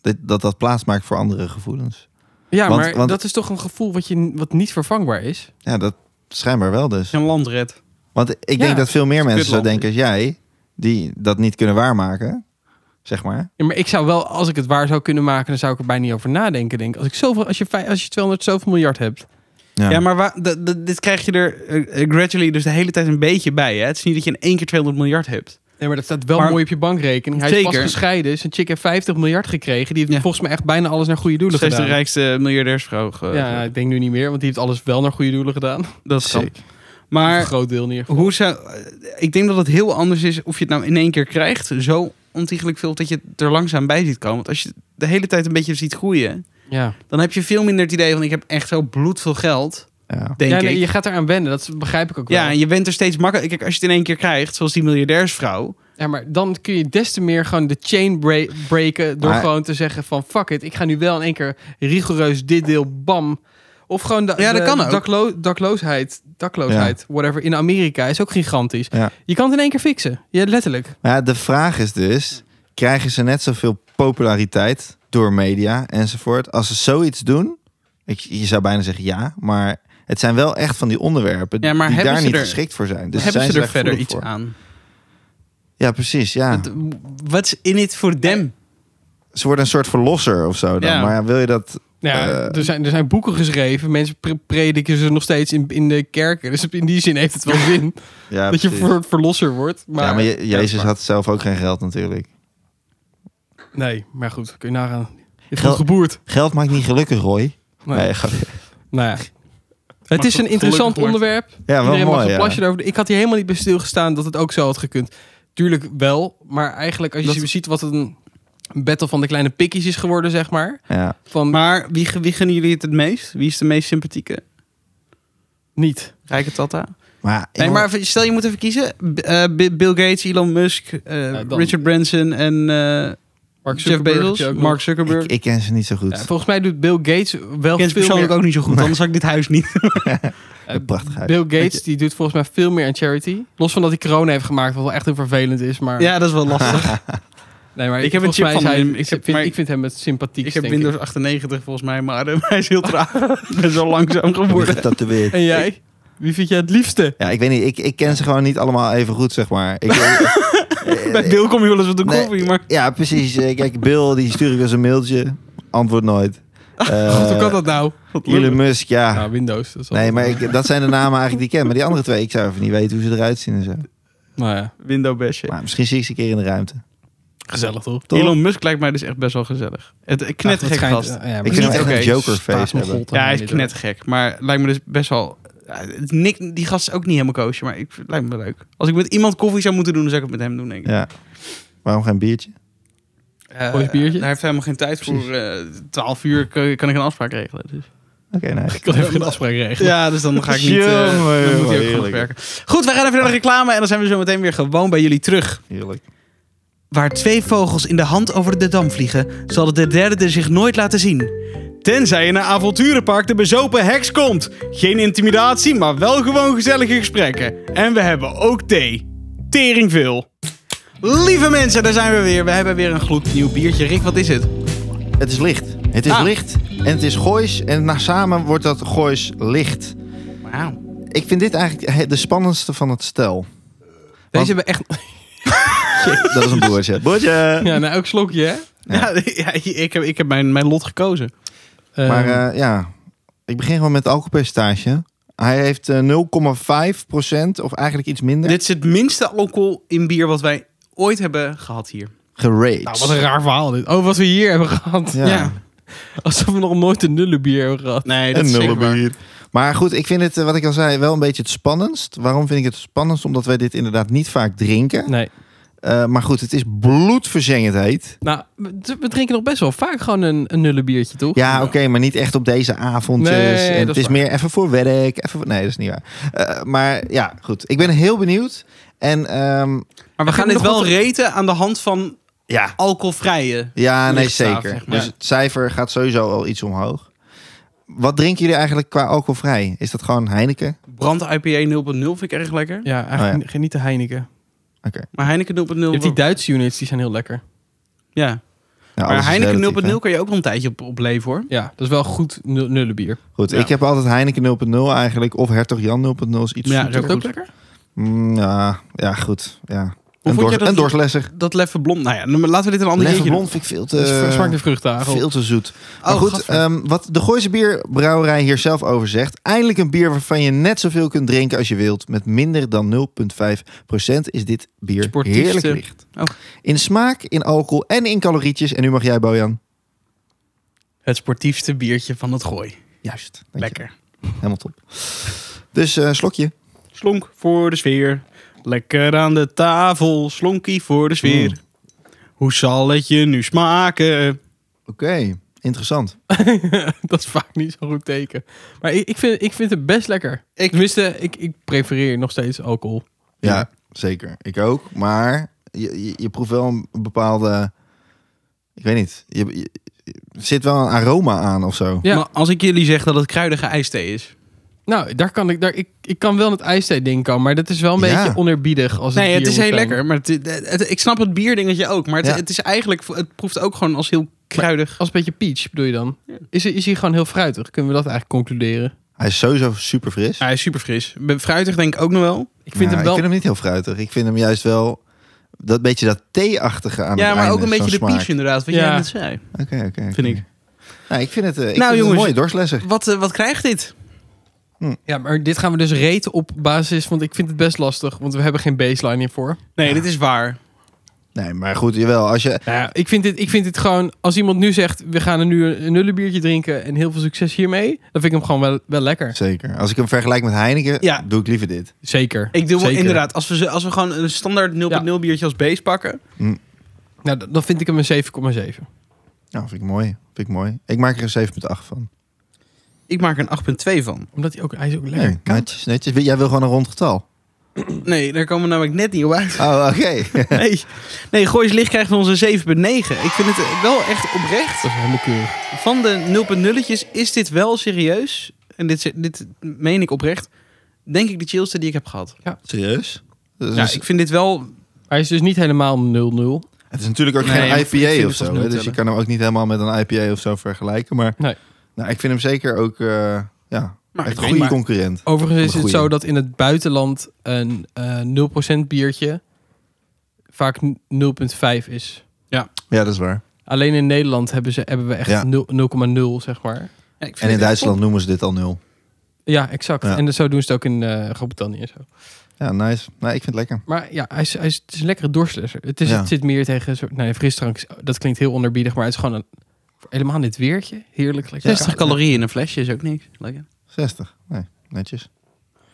Speaker 1: dat dat, dat plaatsmaakt voor andere gevoelens.
Speaker 3: Ja,
Speaker 1: Want-
Speaker 3: maar
Speaker 1: want-
Speaker 3: dat is toch een gevoel wat, je, wat niet vervangbaar is.
Speaker 1: Ja, dat schijnbaar wel dus.
Speaker 2: Als je een land redt.
Speaker 1: Want ik
Speaker 3: Ja,
Speaker 1: denk dat veel meer mensen zo
Speaker 2: kutland.
Speaker 1: denken als jij, die dat niet kunnen waarmaken, zeg maar.
Speaker 3: Ja, maar ik zou wel, als ik het waar zou kunnen maken, dan zou ik er bijna niet over nadenken. Denk. ik. Als, ik zoveel, als, je, vij- als je 200 zoveel miljard hebt.
Speaker 1: Ja,
Speaker 2: Ja, maar waar- d- d- dit krijg je er eh, eh, gradually dus de hele tijd een beetje bij. Hè? Het is niet dat je in één keer 200 miljard hebt.
Speaker 3: Nee, maar dat staat wel
Speaker 2: Maar-
Speaker 3: mooi op je bankrekening. Hij is
Speaker 2: Zeker.
Speaker 3: pas gescheiden. Zijn chick heeft 50 miljard gekregen. Die heeft
Speaker 2: Ja.
Speaker 3: volgens mij echt bijna alles naar goede doelen
Speaker 2: Ze is de
Speaker 3: gedaan.
Speaker 2: rijkste miljardairsvrouw. ge-
Speaker 3: Ja, ik denk nu niet meer, want die heeft alles wel naar goede doelen gedaan.
Speaker 2: dat kan.
Speaker 1: Sick.
Speaker 3: een
Speaker 2: Maar
Speaker 3: groot deel neer.
Speaker 2: hoe zou, eh, ik denk dat het heel anders is of je het nou in één keer krijgt. Zo ontiegelijk veel dat je het er langzaam bij ziet komen. Want als je het de hele tijd een beetje ziet groeien,
Speaker 3: Ja.
Speaker 2: dan heb je veel minder het idee van ik heb echt zo bloedveel geld.
Speaker 1: Ja.
Speaker 2: Denk
Speaker 3: ja,
Speaker 2: ik.
Speaker 3: nee, je gaat eraan wennen, dat begrijp ik ook wel.
Speaker 2: Ja, en je bent er steeds makkelijker. Kijk, als je het in één keer krijgt, zoals die
Speaker 1: Dus
Speaker 2: miljardairsvrouw.
Speaker 3: Ja, maar dan kun je des te meer gewoon de chain bre- breken door
Speaker 1: Maar-
Speaker 3: gewoon te zeggen van fuck it, ik ga nu wel in één keer rigoureus dit deel bam Of gewoon de,
Speaker 2: Ja, dat
Speaker 3: de
Speaker 2: kan ook.
Speaker 3: daklo- dakloosheid, dakloosheid whatever, in Amerika is ook gigantisch.
Speaker 1: Ja.
Speaker 3: Je kan het in één keer fixen. Ja, letterlijk.
Speaker 1: Maar ja, de vraag is dus, krijgen ze net zoveel populariteit door media enzovoort? Als ze zoiets doen, ik, je zou bijna zeggen ja, maar het zijn wel echt van die onderwerpen
Speaker 2: Ja, maar
Speaker 1: die
Speaker 2: hebben
Speaker 1: daar
Speaker 2: ze
Speaker 1: niet
Speaker 2: er-
Speaker 1: geschikt voor zijn. Dus
Speaker 2: Hebben
Speaker 1: zijn
Speaker 2: ze er
Speaker 1: echt
Speaker 2: verder
Speaker 1: gevoelig
Speaker 2: iets
Speaker 1: voor.
Speaker 2: aan?
Speaker 1: Ja, precies. Ja.
Speaker 2: What's in it for them?
Speaker 1: Ze worden een soort verlosser of zo dan.
Speaker 2: Ja.
Speaker 1: Maar ja, wil je dat...
Speaker 3: Nou Ja,
Speaker 1: Eh.
Speaker 3: er, zijn, er zijn boeken geschreven. Mensen pre- prediken ze nog steeds in, in de kerken. Dus in die zin heeft het wel zin
Speaker 1: Ja,
Speaker 3: dat je
Speaker 1: precies.
Speaker 3: ver, verlosser wordt. Maar,
Speaker 1: ja, maar je- Jezus
Speaker 3: maar-
Speaker 1: had zelf ook geen geld natuurlijk.
Speaker 3: Nee, maar goed. Kun je nagaan. Je hebt
Speaker 1: Gel-
Speaker 3: goed geboerd.
Speaker 1: Geld maakt niet gelukkig, Roy.
Speaker 3: Nee.
Speaker 1: Nee, grapje.
Speaker 3: Nou ja. Het is
Speaker 2: goed,
Speaker 3: een interessant
Speaker 2: gelukkig
Speaker 3: onderwerp.
Speaker 1: ja, wel
Speaker 3: Iedereen mag
Speaker 1: mooi.
Speaker 3: een
Speaker 1: ja.
Speaker 3: plasje erover. doen. Ik had hier helemaal niet bij stilgestaan dat het ook zo had gekund. Tuurlijk wel, maar eigenlijk als je
Speaker 2: Dat-
Speaker 3: ziet wat een battle van de kleine pikkies is geworden, zeg maar.
Speaker 1: Ja.
Speaker 3: Van
Speaker 2: Maar wie, ge- wie gunnen jullie het het meest? Wie is de meest sympathieke?
Speaker 3: niet.
Speaker 2: Rijke Tata?
Speaker 1: Maar,
Speaker 2: Nee, maar even- stel je moet even kiezen. B- eh, B- Bill Gates, Elon Musk, eh,
Speaker 3: Ja, dan-
Speaker 2: Richard Branson en eh,
Speaker 3: Mark
Speaker 2: Jeff
Speaker 3: Zuckerberg heb je
Speaker 2: Bezos,
Speaker 3: ook
Speaker 2: Mark
Speaker 3: nog.
Speaker 2: Zuckerberg.
Speaker 1: ik, ik ken ze niet zo goed.
Speaker 3: Ja, volgens mij doet Bill Gates wel
Speaker 2: Ik ken ze
Speaker 3: veel meer.
Speaker 2: persoonlijk ook niet zo goed, anders had ik dit huis niet.
Speaker 3: eh,
Speaker 1: Een prachtig huis.
Speaker 3: Bill Gates die doet volgens mij veel meer aan charity. Los van dat hij corona heeft gemaakt, wat wel echt heel vervelend is. Maar
Speaker 2: Ja, dat is wel lastig.
Speaker 3: nee, maar
Speaker 2: Ik heb een
Speaker 3: volgens
Speaker 2: chip
Speaker 3: mij is
Speaker 2: van
Speaker 3: hij-
Speaker 2: hem. Ik
Speaker 3: Ik,
Speaker 2: heb-
Speaker 3: vind,
Speaker 2: maar-
Speaker 3: ik vind hem het sympathiek.
Speaker 2: ik heb Windows 98 volgens mij, maar eh, hij is heel traag. Best wel langzaam geworden.
Speaker 1: Getatoeëerd.
Speaker 3: En jij? Wie vind jij het liefste?
Speaker 1: Ja, ik weet niet. Ik, ik ken ze gewoon niet allemaal even goed, zeg maar. Ik,
Speaker 2: Bij Bill kom je wel eens op de
Speaker 1: Nee.
Speaker 2: koffie, maar...
Speaker 1: Ja, precies. Eh, Kijk, Bill, die stuur ik als een mailtje. Antwoord nooit. Eh,
Speaker 3: Goed, hoe kan dat nou?
Speaker 1: Elon Musk, ja.
Speaker 3: Nou, Windows. Dat is
Speaker 1: Nee,
Speaker 3: altijd-
Speaker 1: maar ik, dat zijn de namen eigenlijk die ik ken. Maar die andere twee, ik zou even niet weten hoe ze eruit zien en zo.
Speaker 3: Nou ja,
Speaker 2: Window bashen.
Speaker 1: Maar misschien zie ik ze een keer in de ruimte.
Speaker 3: gezellig toch?
Speaker 1: Toch?
Speaker 2: Elon Musk lijkt mij dus echt best wel gezellig. Het knettergek gast.
Speaker 1: ik
Speaker 2: niet
Speaker 1: vind hem echt
Speaker 2: oké.
Speaker 1: een jokerface hebben.
Speaker 2: ja, hij is knettergek. Maar lijkt me dus best wel... ja, het is Nick, die gast is ook niet helemaal koosje, maar ik, het lijkt me wel leuk. Als ik met iemand koffie zou moeten doen, dan zou ik het met hem doen, denk ik.
Speaker 1: Ja. Waarom geen biertje?
Speaker 2: Eh,
Speaker 3: Mooi biertje.
Speaker 2: Daar heeft hij helemaal geen tijd
Speaker 1: Precies.
Speaker 2: voor. eh 12 uur kan, kan ik een afspraak regelen. Dus.
Speaker 1: Oké, nee.
Speaker 3: Ik kan even geen afspraak regelen.
Speaker 2: Ja, dus dan ga ik niet... eh,
Speaker 1: Jongen,
Speaker 2: dan moet
Speaker 1: jongen,
Speaker 2: hij ook genoeg
Speaker 1: heerlijk.
Speaker 2: werken. Goed, wij gaan even naar de reclame en dan zijn we zo meteen weer gewoon bij jullie terug.
Speaker 1: Heerlijk.
Speaker 2: Waar twee vogels in de hand over de dam vliegen, zal de derde zich nooit laten zien. Tenzij in een avonturenpark de bezopen heks komt. Geen intimidatie, maar wel gewoon gezellige gesprekken. En we hebben ook thee. Tering veel. Lieve mensen, daar zijn we weer. We hebben weer een gloednieuw biertje. Rick, wat is het?
Speaker 1: Het is licht. Het is
Speaker 2: Ah.
Speaker 1: licht. En het is goois. En na samen wordt dat goois licht.
Speaker 2: Wauw.
Speaker 1: Ik vind dit eigenlijk de spannendste van het stel.
Speaker 3: Deze hebben echt...
Speaker 1: Dat is een boertje. Boertje!
Speaker 3: Ja, nou, elk slokje, hè?
Speaker 2: Ja. ja, ik heb, ik heb mijn, mijn lot gekozen.
Speaker 1: Maar
Speaker 3: Ehm,
Speaker 1: eh, ja, ik begin gewoon met het alcoholpercentage. Hij heeft eh, 0,5 of eigenlijk iets minder
Speaker 2: Dit is het minste alcohol in bier wat wij ooit hebben gehad hier.
Speaker 1: geraged.
Speaker 3: nou, wat een raar verhaal dit. Oh, wat we hier hebben gehad.
Speaker 1: Ja.
Speaker 3: Alsof we nog nooit een nullenbier hebben gehad.
Speaker 2: Nee, dat
Speaker 1: Een
Speaker 2: is zeker waar.
Speaker 1: nullenbier. Maar goed, ik vind het, eh, wat ik al zei, wel een beetje het spannendst. Waarom vind ik het spannendst? Omdat wij dit inderdaad niet vaak drinken.
Speaker 3: Nee.
Speaker 1: Eh, maar goed, het is bloedverzengend heet.
Speaker 3: Nou, we we drinken nog best wel vaak gewoon een, een nullenbiertje, toch?
Speaker 1: Ja, oké, maar niet echt op deze avondjes.
Speaker 3: Nee, dat
Speaker 1: en
Speaker 3: is
Speaker 1: het is
Speaker 3: waar.
Speaker 1: meer even voor werk. Even voor... Nee, dat is niet waar. Eh, maar ja, goed. Ik ben heel benieuwd. En ehm,
Speaker 2: Maar we
Speaker 3: Heb
Speaker 2: gaan
Speaker 3: je
Speaker 2: dit
Speaker 3: nog
Speaker 2: wel
Speaker 3: wat-
Speaker 2: reten aan de hand van
Speaker 1: ja,
Speaker 2: alcoholvrije.
Speaker 1: Ja, nee,
Speaker 2: lichtstaaf,
Speaker 1: zeker.
Speaker 2: zeg maar.
Speaker 1: Dus het cijfer gaat sowieso al iets omhoog. Wat drinken jullie eigenlijk qua alcoholvrij? Is dat gewoon Heineken?
Speaker 2: Brand IPA 0.0 vind ik erg lekker.
Speaker 3: Ja, eigenlijk
Speaker 1: Oh,
Speaker 3: niet- geniet de Heineken.
Speaker 1: Oké.
Speaker 2: Maar Heineken 0.0...
Speaker 3: Je hebt die Duitse units, die zijn heel lekker.
Speaker 1: Ja,
Speaker 2: ja.
Speaker 1: Nou, alles
Speaker 2: Maar
Speaker 1: is
Speaker 2: Heineken
Speaker 1: relatief,
Speaker 2: 0.0
Speaker 1: hè?
Speaker 2: kan je ook wel een tijdje op, op leven hoor.
Speaker 3: Ja, dat is wel goed nul- nullenbier.
Speaker 1: Goed,
Speaker 2: Ja.
Speaker 1: ik heb altijd Heineken 0.0 eigenlijk. Of Hertog Jan 0.0 is iets
Speaker 2: Ja,
Speaker 1: zoeter.
Speaker 2: is
Speaker 3: Is dat ook
Speaker 2: goed.
Speaker 3: lekker?
Speaker 1: Mm, ja, ja, goed. Ja.
Speaker 2: vond
Speaker 1: Een,
Speaker 2: je
Speaker 1: dors,
Speaker 2: dat-
Speaker 1: een dorslesser.
Speaker 2: Dat Leffe Blond. Nou ja, dan laten we dit een ander
Speaker 1: Leffe
Speaker 2: keertje
Speaker 1: Blond vind ik veel
Speaker 3: Dat is
Speaker 1: te,
Speaker 3: smaakt de vruchtdagen.
Speaker 1: eh, veel te zoet. Maar
Speaker 2: Oh,
Speaker 1: goed,
Speaker 2: gadver.
Speaker 1: ehm, wat de Gooise Bierbrouwerij hier zelf over zegt. Eindelijk een bier waarvan je net zoveel kunt drinken als je wilt. Met minder dan 0,5% is dit bier
Speaker 2: Sportiefste.
Speaker 1: heerlijk licht.
Speaker 2: Oh.
Speaker 1: In smaak, in alcohol en in calorietjes. En nu mag jij, Bojan.
Speaker 2: Het sportiefste biertje van het gooi.
Speaker 1: Juist. Dank je.
Speaker 2: Lekker.
Speaker 1: Helemaal top. Dus eh, slokje.
Speaker 2: Slonk voor de sfeer. Lekker aan de tafel. Slonkie voor de sfeer.
Speaker 1: Mm.
Speaker 2: Hoe zal het je nu smaken?
Speaker 1: Oké, interessant.
Speaker 3: dat is vaak niet zo'n goed teken. Maar ik, ik, vind, ik vind het best lekker. Ik, Tenminste, ik, ik prefereer nog steeds alcohol.
Speaker 1: Ja, zeker. Ik ook. Maar je, je, je proeft wel een bepaalde Ik weet niet. Je, je- er zit wel een aroma aan of zo.
Speaker 3: Ja.
Speaker 2: Maar als ik jullie zeg dat het kruidige ijsthee is.
Speaker 3: Nou, daar kan ik, daar, ik, ik kan wel in het ijsthee ding komen, maar dat is wel een
Speaker 1: Ja.
Speaker 3: beetje onerbiedig. Als
Speaker 2: Nee,
Speaker 3: bier
Speaker 2: het is
Speaker 3: moet
Speaker 2: heel
Speaker 3: zijn.
Speaker 2: lekker. Maar het, het- ik snap het bierdingetje ook. Maar het,
Speaker 1: Ja.
Speaker 2: het is eigenlijk, het proeft ook gewoon als heel kruidig.
Speaker 3: Als een beetje peach bedoel je dan? Is, hij- is hij gewoon heel fruitig? Kunnen we dat eigenlijk concluderen?
Speaker 1: Hij is sowieso super fris.
Speaker 2: Hij is super fris. Fruitig denk ik ook nog wel.
Speaker 3: Ik vind
Speaker 1: Ja,
Speaker 3: hem wel.
Speaker 1: ik vind hem niet heel fruitig. Ik vind hem juist wel dat beetje dat thee-achtige aan
Speaker 2: Ja,
Speaker 1: het
Speaker 2: maar
Speaker 1: einde,
Speaker 2: ook een beetje de
Speaker 1: zo'n
Speaker 2: peach
Speaker 1: smaak.
Speaker 2: inderdaad. Wat
Speaker 3: Ja.
Speaker 2: jij net zei.
Speaker 1: Oké, oké. oké.
Speaker 2: Vind ik.
Speaker 1: Nou, ik vind het, eh, ik
Speaker 2: Nou,
Speaker 1: vind het
Speaker 2: jongens.
Speaker 1: een mooie dorslesser.
Speaker 2: Wat, eh, wat krijgt dit?
Speaker 3: Ja, maar dit gaan we dus reten op basis, want ik vind het best lastig, want we hebben geen baseline hiervoor.
Speaker 2: Nee, dit is waar.
Speaker 1: Nee, maar goed, jawel. Als je,
Speaker 3: Nou Ja, ik vind dit, ik vind dit gewoon, als iemand nu zegt, we gaan er nu een nullenbiertje drinken en heel veel succes hiermee, dan vind ik hem gewoon wel, wel lekker.
Speaker 1: zeker. Als ik hem vergelijk met Heineken,
Speaker 2: Ja.
Speaker 1: doe ik liever dit.
Speaker 3: Zeker.
Speaker 2: Ik doe wel
Speaker 3: Zeker.
Speaker 2: inderdaad, als we, ze- als we gewoon een standaard 0.0 biertje als base pakken.
Speaker 3: Nou, d- dan vind ik hem een 7,7.
Speaker 1: Nou, vind ik mooi. Vind ik mooi. Ik maak er een 7,8 van.
Speaker 2: Ik maak er een 8.2 van.
Speaker 3: Omdat hij ook, hij is ook lekker.
Speaker 1: Nee, netjes, netjes. Jij wil gewoon een rond getal.
Speaker 2: Nee, daar komen we namelijk net niet op uit.
Speaker 1: Oh, oké.
Speaker 2: Nee, nee Goois Licht krijgt van ons een 7.9. Ik vind het wel echt oprecht.
Speaker 3: Dat is helemaal keurig.
Speaker 2: Van de 0.0'tjes is dit wel serieus. En dit, dit meen ik oprecht. Denk ik de chillste die ik heb gehad.
Speaker 1: Serieus? Dat is dus-
Speaker 2: Ja,
Speaker 1: een-
Speaker 2: ik vind dit wel...
Speaker 3: Hij is dus niet helemaal 0-0.
Speaker 1: Het is natuurlijk ook
Speaker 2: Nee, maar ik
Speaker 1: geen
Speaker 2: vind
Speaker 1: IPA
Speaker 2: het
Speaker 1: of zo.
Speaker 2: alsnog
Speaker 1: hè, Dus
Speaker 2: tellen.
Speaker 1: je kan hem ook niet helemaal met een IPA of zo vergelijken. Maar
Speaker 3: Nee.
Speaker 1: nou, ik vind hem zeker ook eh, ja, echt een
Speaker 2: Maar ik weet
Speaker 1: goede
Speaker 2: maar-
Speaker 1: concurrent.
Speaker 3: Overigens is het
Speaker 1: Goeie.
Speaker 3: zo dat in het buitenland een eh 0% biertje vaak 0,5 is.
Speaker 1: Ja, dat is waar.
Speaker 3: Alleen in Nederland hebben, ze, hebben we echt
Speaker 1: Ja.
Speaker 3: 0,0, zeg maar.
Speaker 2: Ja, ik
Speaker 1: En
Speaker 2: vind dit
Speaker 1: in
Speaker 2: echt
Speaker 1: Duitsland noemen ze dit al nul.
Speaker 3: Ja, exact.
Speaker 1: Ja.
Speaker 3: En dus zo doen ze het ook in eh, Groot-Brittannië en zo.
Speaker 1: Ja, nice. Nee, ik vind het lekker.
Speaker 3: Maar ja, hij is, hij is, het is een lekkere dorslesser. Het, is,
Speaker 1: Ja.
Speaker 3: het zit meer tegen... een soort- Nee, frisdrank, is- dat klinkt heel onderbiedig, maar het is gewoon een... Helemaal dit weertje. Heerlijk.
Speaker 2: top.
Speaker 3: Lekker.
Speaker 2: 60 calorieën in een flesje is ook niks. Lekker.
Speaker 1: 60. Nee, netjes.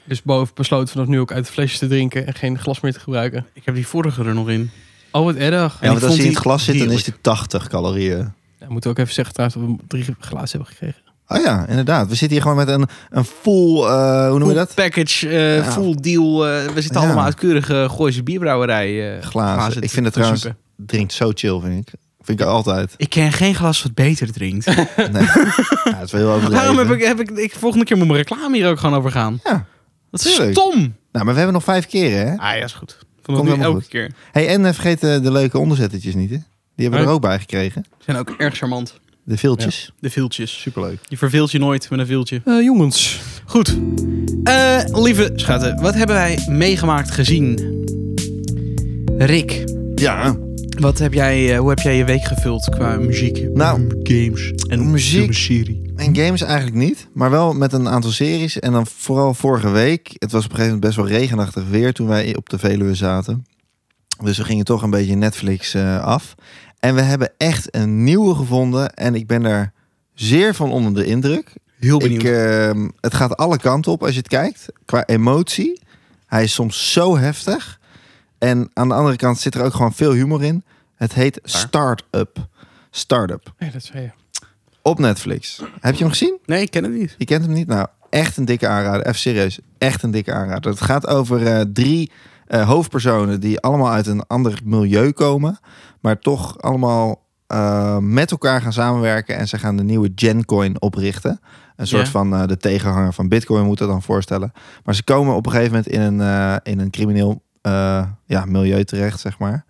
Speaker 3: Dus boven besloten vanaf nu ook uit flesjes te drinken en geen glas meer te gebruiken.
Speaker 2: Ik heb die vorige er nog in.
Speaker 3: Oh, wat erg.
Speaker 1: Ja,
Speaker 2: ik
Speaker 1: want
Speaker 2: vond
Speaker 1: als je in
Speaker 2: die
Speaker 1: het glas zit, dan is
Speaker 2: heerlijk.
Speaker 1: die 80 calorieën.
Speaker 3: Ja, moeten we ook even zeggen trouwens dat we drie glazen hebben gekregen.
Speaker 1: Oh ja, inderdaad. We zitten hier gewoon met een, een full, eh, hoe noem je
Speaker 2: Full
Speaker 1: dat?
Speaker 2: package, eh,
Speaker 1: Ja.
Speaker 2: full deal. eh, we zitten
Speaker 1: Ja.
Speaker 2: allemaal uit keurige Gooise bierbrouwerij eh,
Speaker 1: Glazen.
Speaker 2: glazen
Speaker 1: Ik vind
Speaker 2: te-
Speaker 1: het
Speaker 2: te
Speaker 1: trouwens-
Speaker 2: zoeken.
Speaker 1: Drinkt zo chill, vind ik. Vind ik altijd.
Speaker 2: Ik ken geen glas wat beter drinkt.
Speaker 1: Nee. ja, dat is wel heel overdreven.
Speaker 2: Waarom heb ik, heb ik, ik... Volgende keer moet mijn reclame hier ook gewoon over gaan.
Speaker 1: Ja,
Speaker 2: Dat is
Speaker 1: tuurlijk.
Speaker 2: stom.
Speaker 1: Nou, maar we hebben nog vijf keer, hè?
Speaker 2: Ah ja, is goed.
Speaker 1: Komt
Speaker 2: Vanaf nu
Speaker 1: helemaal
Speaker 2: elke
Speaker 1: goed.
Speaker 2: keer.
Speaker 1: Hey, en eh, vergeet eh, de leuke onderzettetjes niet, hè? Die hebben we er
Speaker 3: Nee.
Speaker 1: ook bij gekregen.
Speaker 2: Ze zijn ook erg charmant.
Speaker 1: De viltjes.
Speaker 2: De viltjes.
Speaker 1: Superleuk.
Speaker 2: Je verveelt je nooit met een viltje.
Speaker 3: jongens.
Speaker 2: Goed. Eh, lieve schatten, wat hebben wij meegemaakt gezien? Rick,
Speaker 1: Ja,
Speaker 2: wat heb jij, eh, hoe heb jij je week gevuld qua muziek?
Speaker 1: Nou,
Speaker 2: games en
Speaker 1: muziek.
Speaker 2: serie.
Speaker 1: en games eigenlijk niet, maar wel met een aantal series. En dan vooral vorige week. Het was op een gegeven moment best wel regenachtig weer toen wij op de Veluwe zaten. Dus we gingen toch een beetje Netflix eh, af. En we hebben echt een nieuwe gevonden. En ik ben daar zeer van onder de indruk. Ik,
Speaker 2: Heel benieuwd.
Speaker 1: ehm, het gaat alle kanten op als je het kijkt. Qua emotie. Hij is soms zo heftig. En aan de andere kant zit er ook gewoon veel humor in. Het heet Start-up. Start-up.
Speaker 3: Nee, dat zei je.
Speaker 1: Op Netflix. Heb je hem gezien?
Speaker 2: nee, ik ken het niet.
Speaker 1: Je kent hem niet? Nou, echt een dikke aanrader. Even serieus. Echt een dikke aanrader. Het gaat over eh, drie eh, hoofdpersonen die allemaal uit een ander milieu komen. Maar toch allemaal eh, met elkaar gaan samenwerken. En ze gaan de nieuwe Gencoin oprichten. Een soort
Speaker 2: Ja.
Speaker 1: van eh, de tegenhanger van Bitcoin moet dat dan voorstellen. Maar ze komen op een gegeven moment in een, eh, in een crimineel eh, ja, milieu terecht, zeg maar.